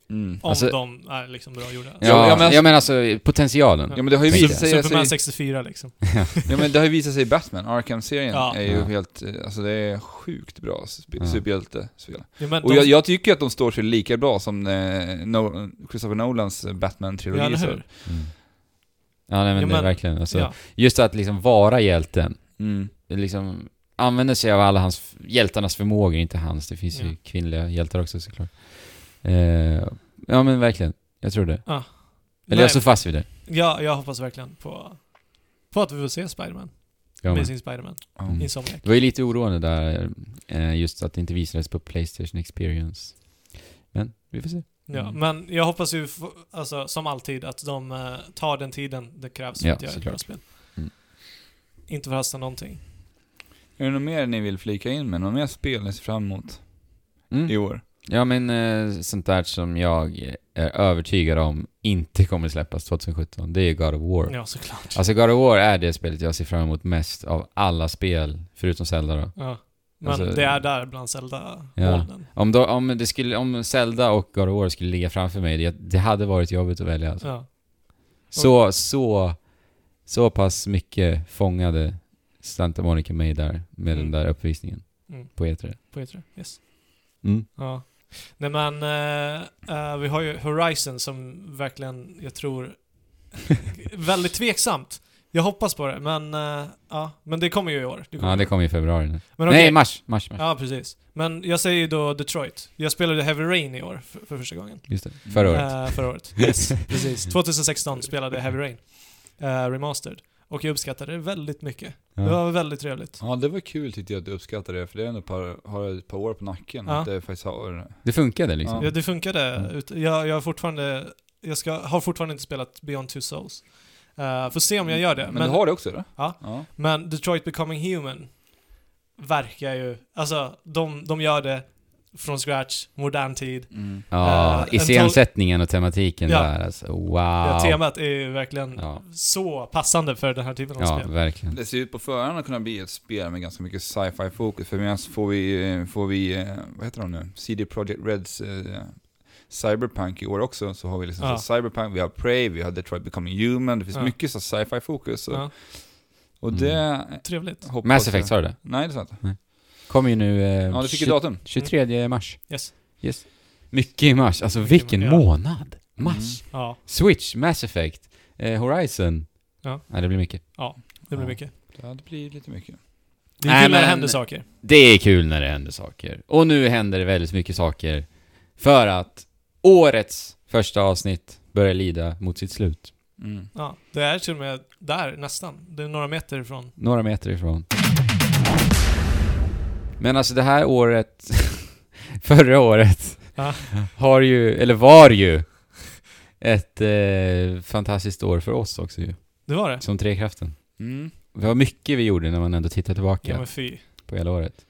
A: Mm.
C: Om
B: Alltså-
C: de är liksom bra gjorda.
B: Ja,
A: ja, men-
B: jag menar alltså potentialen.
A: Ja men det har ju
B: Tänk
A: visat
B: det.
A: sig...
C: Superman
A: alltså-
C: 64 liksom.
A: Ja men det har ju visat sig i Batman, Arkham-serien
C: Ja.
A: är ju
B: Ja.
A: helt, eh, alltså det är sjukt bra sp-
B: Ja.
A: superhjältespel.
C: Ja, men
A: Och
C: de,
A: jag, jag tycker att de står sig lika bra som eh, no, Christopher Nolans
C: ja,
A: Batman-trilogi.
C: eller
A: så.
C: hur?
B: Mm. Ja, nej,
C: Ja,
B: men, det är
C: men-
B: verkligen. Alltså,
C: ja.
B: Just att liksom vara hjälten,
A: Mm.
B: liksom använda sig av alla hans, hjältarnas förmågor, inte hans. Det finns
C: Ja.
B: ju kvinnliga hjältar också såklart. Eh, ja men verkligen, jag tror det. Eller
C: Nej,
B: jag står fast vid det.
C: ja, jag hoppas verkligen på, på att vi får se Spiderman.
B: Jag med.
C: Amazing Spiderman.
A: Ja.
B: Mm.
C: Insomniac.
B: Det var ju lite oroande där, eh, just att det inte visades på Playstation Experience. Men vi får se.
C: Ja,
B: Mm.
C: Men jag hoppas ju, få- alltså, som alltid, att de eh, tar den tiden det krävs för
B: Ja,
C: att göra ett
B: såklart.
C: bra spel.
B: Mm.
C: Inte förhasta någonting.
A: Är det något mer ni vill flika in med? Något mer spel ni ser fram emot
B: Mm.
A: i år?
B: Ja men eh, sånt där som jag eh, är övertygad om inte kommer släppas 2017, det är God of War.
C: Ja, såklart.
B: Alltså God of War är det spelet jag ser fram emot mest av alla spel, förutom Zelda då.
C: ja. Men
B: Alltså-
C: det är där bland Zelda
B: Ja.
C: molnen.
B: Om, då, om, det skulle, om Zelda och God of War skulle ligga framför mig, det, det hade varit jobbigt att välja. Alltså.
C: Ja.
B: Så, så, så pass mycket fångade Santa Monica mig där med
C: Mm.
B: den där uppvisningen
C: Mm.
B: på E E3.
C: På E3. Yes.
B: Mm.
C: Ja. Nej men, eh, eh, vi har ju Horizon som verkligen, jag
B: <laughs>
C: tror, väldigt tveksamt. Jag hoppas på det, men eh, ja, men det kommer ju i år. Det kommer.
B: Ja, det kom i februari nu.
C: men
B: Nej,
C: okej.
B: mars, mars, mars.
C: Ja, precis. Men jag säger ju då Detroit. Jag spelade Heavy Rain i år för, för första gången.
B: Just det, förra året.
C: Eh, förra året.
B: <laughs>
C: Yes, precis. 2016 spelade jag Heavy Rain. eh, remastered. Och jag uppskattade det väldigt mycket.
B: Ja.
C: Det var väldigt trevligt.
A: Mm. Ja det var kul tyckte jag att du uppskattade det, för det är ändå ett par, har ett par år på nacken
C: Ja.
A: att det faktiskt har...
B: Det funkade liksom.
A: Ja.
C: Ja, det funkade.
B: Mm.
C: Ut- Jag, jag, har fortfarande, jag ska, har fortfarande inte spelat Beyond Two Souls. Uh, får se om jag gör det.
A: Men,
C: Men, men,
A: du har det också eller?
C: Ja.
A: ja.
C: Detroit Becoming Human verkar ju... Alltså, de, de gör det från scratch, modern tid.
A: Mm.
B: Ja,
C: Eh, en
B: iscensättningen och tematiken
C: Ja.
B: där alltså. Wow.
C: Ja, temat är ju verkligen
B: Ja.
C: så passande för den här typen av
B: Ja,
C: spel.
B: verkligen.
A: Det ser ut på förhand att kunna bli ett spel med ganska mycket sci-fi fokus, för medan får vi, eh, får vi, eh, vad heter de nu, CD Projekt Reds eh, Cyberpunk i år också, så har vi liksom
C: Ja.
A: så Cyberpunk, vi har Prey, vi har Detroit Becoming Human, det finns
C: Ja.
A: mycket så sci-fi fokus. Så.
C: Ja.
A: Och det
C: Trevligt.
A: hoppas
B: Mm. Mass
A: jag-
B: Effect, sa du det?
A: Nej, det sa jag inte.
B: Kommer ju nu... Eh,
A: Ja, du fick ju Mm.
B: 20
A: datum.
B: 23 mars.
C: Yes.
B: Yes. Mycket i mars. Alltså
C: Mycket
B: vilken
C: i mars.
B: månad! Mars.
A: Mm.
C: Ja,
B: Switch, Mass Effect, eh, Horizon.
C: Ja.
B: det blir mycket.
C: det blir
A: Ja.
C: mycket.
A: Ja, det blir lite mycket.
C: Det
B: Nej,
C: är kul när det
B: men-
C: händer saker.
B: Det är kul när det händer saker. Och nu händer det väldigt mycket saker. För att årets första avsnitt börjar lida mot sitt slut.
A: Mm.
C: Ja, det är till och med där, nästan. Det är några meter ifrån.
B: Några meter ifrån. Men alltså det här året, <laughs> förra året,
C: Ja.
B: har ju, eller var ju, ett eh, fantastiskt år för oss också ju,
C: Det var det?
B: som Trekraften.
A: Mm.
B: Det var mycket vi gjorde när man ändå tittar tillbaka
C: Ja men fy.
B: på hela året.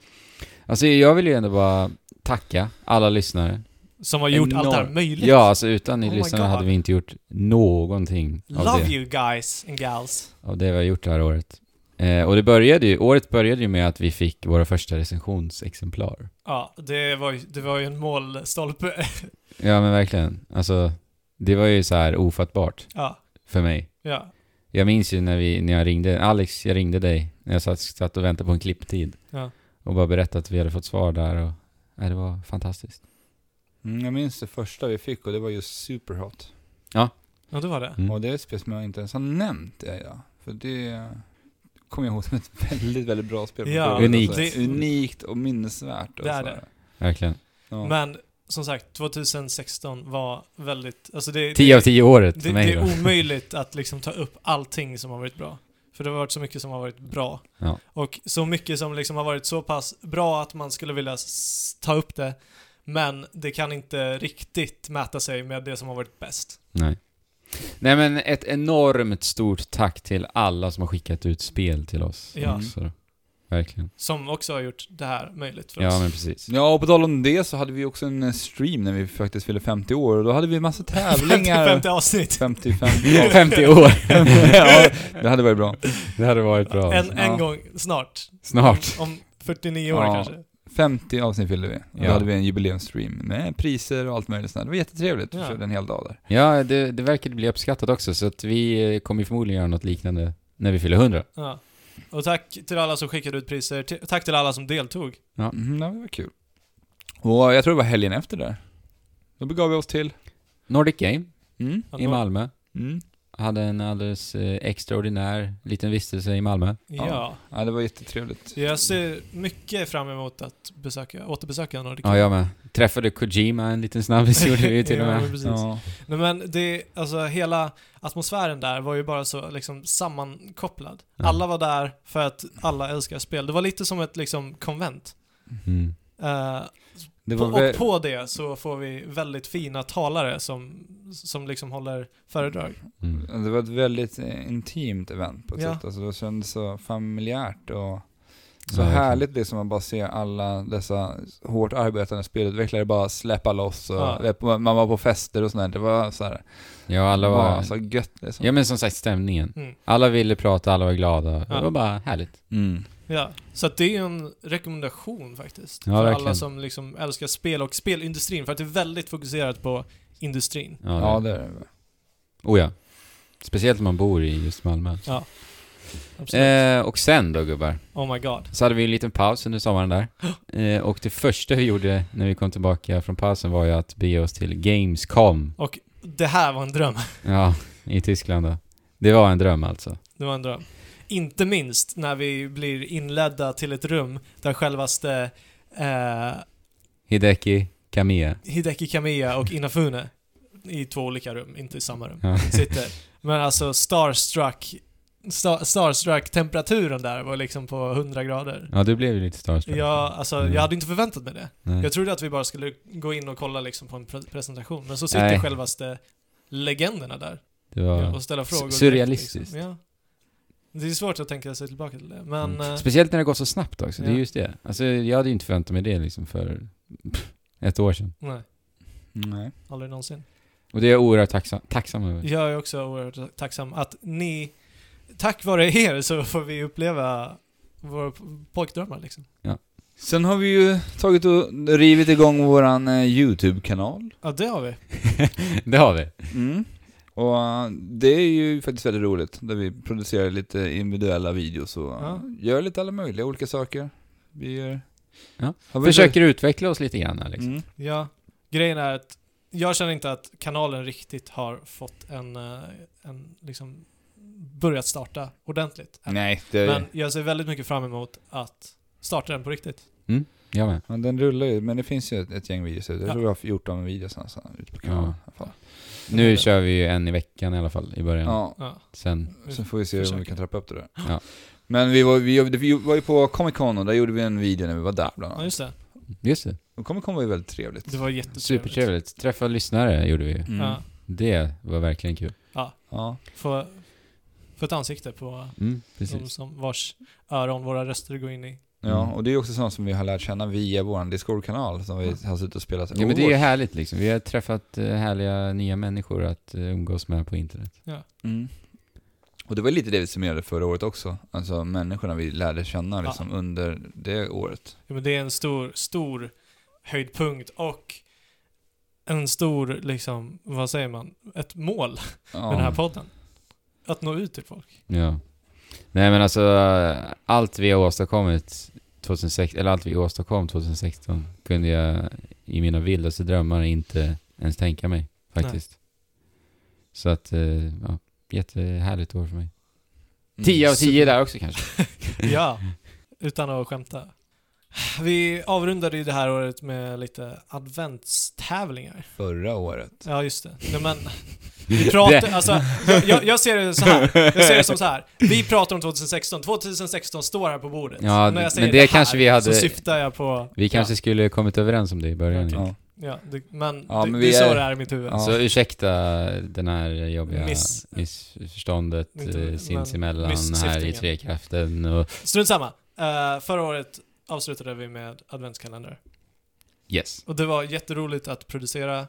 B: Alltså jag vill ju ändå bara tacka alla lyssnare.
C: Som har gjort allt det här
B: Enormt.
C: möjligt.
B: Ja, alltså utan ni
C: Oh my
B: lyssnare hade
C: God.
B: vi inte gjort någonting av
C: Love
B: det.
C: you guys and gals.
B: av det vi har gjort det här året. Eh, och det började ju, året började ju med att vi fick våra första recensionsexemplar.
C: Ja, det var, ju- det var ju en målstolpe. <laughs>
B: Ja men verkligen. Alltså, det var ju så här ofattbart
C: Ja,
B: för mig.
C: ja,
B: Jag minns ju när, vi, när jag ringde, Alex, jag ringde dig när jag satt, satt och väntade på en klipptid.
C: Ja.
B: Och bara berättade att vi hade fått svar där och nej, det var fantastiskt.
A: Mm, jag minns det första vi fick och det var ju Superhot.
C: ja det var det.
B: Mm.
A: Och det är ett spel som jag inte ens har nämnt det idag. För det kommer jag ihåg som ett <laughs> väldigt, väldigt bra spel. på
C: Ja,
A: förhand.
B: Unikt.
A: Alltså,
C: det-
A: unikt och minnesvärt. Och
C: Det är
A: så här.
C: det.
B: Verkligen.
A: Ja.
C: Men som sagt, 2016 var väldigt... Alltså det,
B: 10 av 10 året
C: det,
B: för
C: det
B: mig då.
C: är omöjligt att liksom ta upp allting som har varit bra. För det har varit så mycket som har varit bra.
B: Ja.
C: Och så mycket som liksom har varit så pass bra att man skulle vilja s- ta upp det. Men det kan inte riktigt mäta sig med det som har varit bäst.
B: Nej. Nej men ett enormt stort tack till alla som har skickat ut spel till oss.
C: Ja. Mm.
B: Också. Verkligen.
C: Som också har gjort det här möjligt för
B: Ja
C: oss.
B: men precis.
A: Ja, och på tal om det så hade vi också en eh, stream när vi faktiskt fyllde 50 år och då hade vi massa
C: <laughs> 50,
A: tävlingar.
C: 50 avsnitt.
A: 50,
C: <laughs>
B: 50 år.
A: <laughs> ja, det hade varit bra.
B: Det hade varit bra.
C: En, en
A: Ja.
C: gång snart.
B: Snart.
C: Om, om 49 år
A: Ja.
C: kanske.
A: 50 avsnitt fyllde vi. Och
B: Ja.
A: Då hade vi en jubileumsstream med priser och allt möjligt sånt. Det var jättetrevligt.
C: Ja.
A: Vi körde en hel dag där.
B: Ja, det, det verkar bli uppskattat också, så att vi eh, kommer ju förmodligen göra något liknande när vi fyller 100.
C: Ja. Och tack till alla som skickade ut priser. Ti- Tack till alla som deltog.
A: Mm, ja, det var kul. Och jag tror det var helgen efter där. Då begav vi oss till...
B: Nordic Game
A: Mm.
C: Att
B: i
C: vara-
B: Malmö.
A: Mm.
B: Hade en alldeles eh, extraordinär liten vistelse i Malmö.
A: Ja.
C: Ja.
A: Ja, det var jättetrevligt.
C: Jag ser mycket fram emot att besöka, återbesöka Nordic
B: Ja, jag med. Träffade Kojima en
C: <laughs>
B: liten snabbis gjorde vi ju till och
C: Ja, men
B: med.
C: precis.
A: Ja.
C: Nej, men det, alltså hela atmosfären där var ju bara så liksom sammankopplad.
B: Ja.
C: Alla var där för att alla älskar spel. Det var lite som ett liksom konvent.
B: Mm.
C: Eh,
A: Det
C: på,
A: var
C: och
A: vä-
C: på det så får vi väldigt fina talare som, som liksom håller föredrag.
B: Mm.
A: det var ett väldigt eh, intimt event på ett
C: Ja.
A: sätt. Alltså, det kändes så familjärt och så
B: Ja, verkligen.
A: härligt liksom att bara se alla dessa hårt arbetande spelutvecklare bara släppa loss. Och,
C: Ja.
A: vet, man var på fester och sånt där. Det var så här,
B: Ja, alla
A: bara
B: var...
A: så gött liksom.
B: Ja men som sagt stämningen.
C: Mm.
B: Alla ville prata, alla var glada.
C: Ja.
B: Det var bara härligt.
A: Mm.
C: Ja, så att det är ju en rekommendation faktiskt.
B: Ja,
C: för alla
B: verkligen.
C: som liksom älskar spel och spelindustrin. För att det är väldigt fokuserat på industrin.
B: Ja,
A: Ja,
B: det.
A: det är det.
B: Oh, ja. Speciellt om man bor i just Malmö.
C: Absolut.
B: Eh, och sen då gubbar?
C: oh my god.
B: Så hade vi en liten paus under
C: <gasps>
B: sommaren där. Eh, och det första vi gjorde när vi kom tillbaka från pausen var ju att bege oss till Gamescom.
C: Och det här var en dröm.
B: Ja, i Tyskland då. Det var en dröm alltså.
C: Det var en dröm. Inte minst när vi blir inledda till ett rum där självaste eh,
B: Hideki Kamiya.
C: Hideki Kamiya och Inafune i två olika rum, inte i samma rum,
B: Ja.
C: sitter. Men alltså starstruck, sta, starstruck temperaturen där var liksom på 100 grader.
B: Ja, du blev ju lite starstruck.
C: Jag, alltså,
B: Mm.
C: jag hade inte förväntat mig det.
B: Nej.
C: Jag trodde att vi bara skulle gå in och kolla liksom på en pre- presentation, men så sitter
B: Nej.
C: självaste legenderna där
B: Det var...
C: och ställer
B: Su-
C: frågor. direkt,
B: surrealistiskt.
C: liksom. Ja. Det är svårt att tänka sig tillbaka till det, men...
B: Mm.
C: eh,
B: Speciellt när det går så snabbt också. Det
C: ja.
B: är just det. Alltså, jag hade ju inte förväntat mig det liksom för pff, ett år sedan.
C: Nej,
A: Nej.
C: aldrig någonsin.
B: Och det är jag oerhört tacksam, tacksam över.
C: Jag är också oerhört tacksam att ni, tack vare er så får vi uppleva våra p- pojkdrömmar liksom.
A: Sen har vi ju tagit och rivit igång våran eh, YouTube-kanal.
C: Ja, det har vi.
B: Det har vi.
A: Mm. Och eh, det är ju faktiskt väldigt roligt, där vi producerar lite individuella videos och eh,
C: Ja.
A: gör lite alla möjliga olika saker. Vi gör...
B: Ja.
A: Har vi
B: Försöker utveckla oss lite grann här liksom.
A: Mm.
C: Ja, grejen är att jag känner inte att kanalen riktigt har fått en, eh, en liksom, börjat starta ordentligt. än.
A: Nej, det...
C: Men jag ser väldigt mycket fram emot att starta den på riktigt.
B: Jag med.
A: Ja, den rullar ju, men det finns ju ett, ett gäng videos ute. Jag
C: Ja.
A: tror vi har 14 videos någonstans ute på kanalen. i alla fall.
B: Nu kör vi ju en i veckan i alla fall, i början.
A: Ja.
C: Ja.
B: Sen.
A: Sen får vi se om vi
C: Försöker.
A: kan trappa upp det där.
B: Ja.
A: Men vi var, vi, vi var ju på Comic Con och där gjorde vi en video när vi var där bland
C: Ja,
A: annat.
C: just det.
B: Just det.
A: Och Comic Con var ju väldigt trevligt.
C: Det var jättetrevligt.
B: Supertrevligt. Träffa lyssnare gjorde vi ju.
A: Mm.
C: Ja.
B: Det var verkligen kul.
A: Ja.
C: Få, få ett ansikte på
B: Mm,
C: de
B: precis.
C: som vars öron våra röster går in i.
B: Mm.
A: ja, och det är ju också sånt som vi har lärt känna via vår Discord-kanal som vi har suttit och spelat
B: Ja men det är
A: år.
B: ju härligt liksom. Vi har träffat eh, härliga nya människor att eh, umgås med på internet.
A: Mm. Och det var lite det vi summerade förra året också. Alltså människorna vi lärde känna
C: Ja.
A: liksom, under det året.
C: Ja, men det är en stor, stor höjdpunkt och en stor, liksom, vad säger man, ett mål
A: Ja.
C: med den här podden. Att nå ut till folk.
B: Ja. Nej men alltså, eh, allt vi har åstadkommit 2006, eller allt vi åstadkom 2016 kunde jag i mina vildaste drömmar inte ens tänka mig faktiskt. Så att, eh, ja, jättehärligt år för mig.
A: Mm.
B: 10 av 10 där också kanske.
C: Ja, utan att skämta. Vi avrundade ju det här året med lite adventstävlingar.
A: Förra året.
C: Ja, just det. Nej,
B: <laughs>
C: men, vi pratar, alltså, jag- jag, jag ser det så här. Jag ser det som så här. Vi pratar om 2016. 2016 står här på bordet.
B: Ja,
C: När jag säger
B: men det kanske vi hade-
C: Så syftar jag på...
B: Vi kanske skulle kommit överens om det i början.
C: Okej.
A: Ja.
C: Ja, ja, det, men,
A: Ja,
C: det,
A: men
C: det
A: vi
C: är så
A: är-
C: det är i mitt huvud.
A: Ja.
B: Så ursäkta den här jobbiga
C: Miss-
B: missförståndet
C: Inte-
B: eh,
C: men
B: sinsemellan här i
C: misssyftningen.
B: Trekraften och
C: Strunt samma. Eh, förra året avslutade vi med adventskalender.
B: yes.
C: Och det var jätteroligt att producera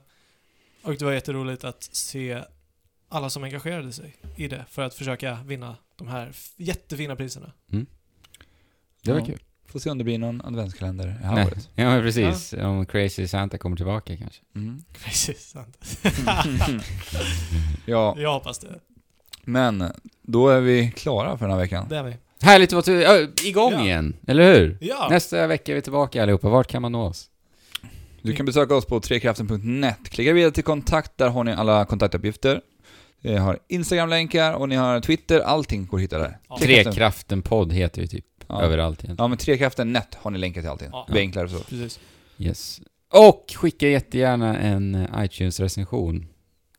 C: och det var jätteroligt att se alla som engagerade sig i det för att försöka vinna de här f- jättefina priserna. <laughs>
B: Det var
A: Ja.
B: kul.
A: Får se om det blir någon adventskalender det här
B: Nej.
A: året.
B: Ja men precis, om Crazy Santa kommer tillbaka kanske.
A: Mm.
C: Precis,
B: <laughs>
C: sant.
A: ja,
C: Jag hoppas det.
A: men då är vi klara för den här veckan.
C: Det är vi.
B: Härligt att vara ö, igång
C: Ja.
B: igen, eller hur?
C: Ja!
B: Nästa vecka är vi tillbaka allihopa, vart kan man nå oss?
A: Du kan besöka oss på trekraften.net. Klicka vidare till kontakt, där har ni alla kontaktuppgifter. Ni har Instagram-länkar och ni har Twitter, allting går att hitta där.
C: Ja.
A: Trekraften.
B: Trekraften podd heter vi typ
A: Ja.
B: överallt egentligen.
A: ja, men Trekraften.net har ni länkar till allting.
C: Ja.
A: Det är enklare så.
C: Precis.
B: Yes. Och skicka jättegärna en eh, iTunes-recension.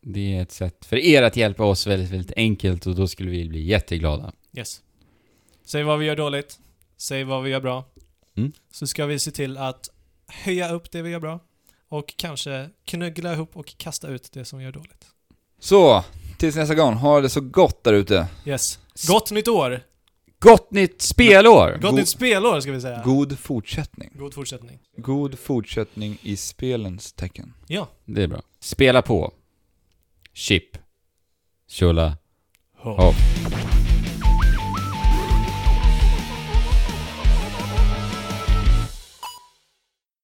B: Det är ett sätt för er att hjälpa oss väldigt, väldigt enkelt och då skulle vi bli jätteglada.
C: Yes. Säg vad vi gör dåligt. Säg vad vi gör bra.
B: Mm.
C: Så ska vi se till att höja upp det vi gör bra och kanske knöggla ihop och kasta ut det som vi gör dåligt.
A: Så, tills nästa gång. Ha det så gott där ute.
C: Yes. Gott nytt år!
B: Gott nytt spelår!
C: Gott
A: God-
C: nytt spelår ska vi säga. God,
A: God fortsättning.
C: fortsättning.
A: God fortsättning i spelens tecken.
C: Ja.
B: Det är bra. Spela på. Chip. Chula.
C: Ho.
B: Ho.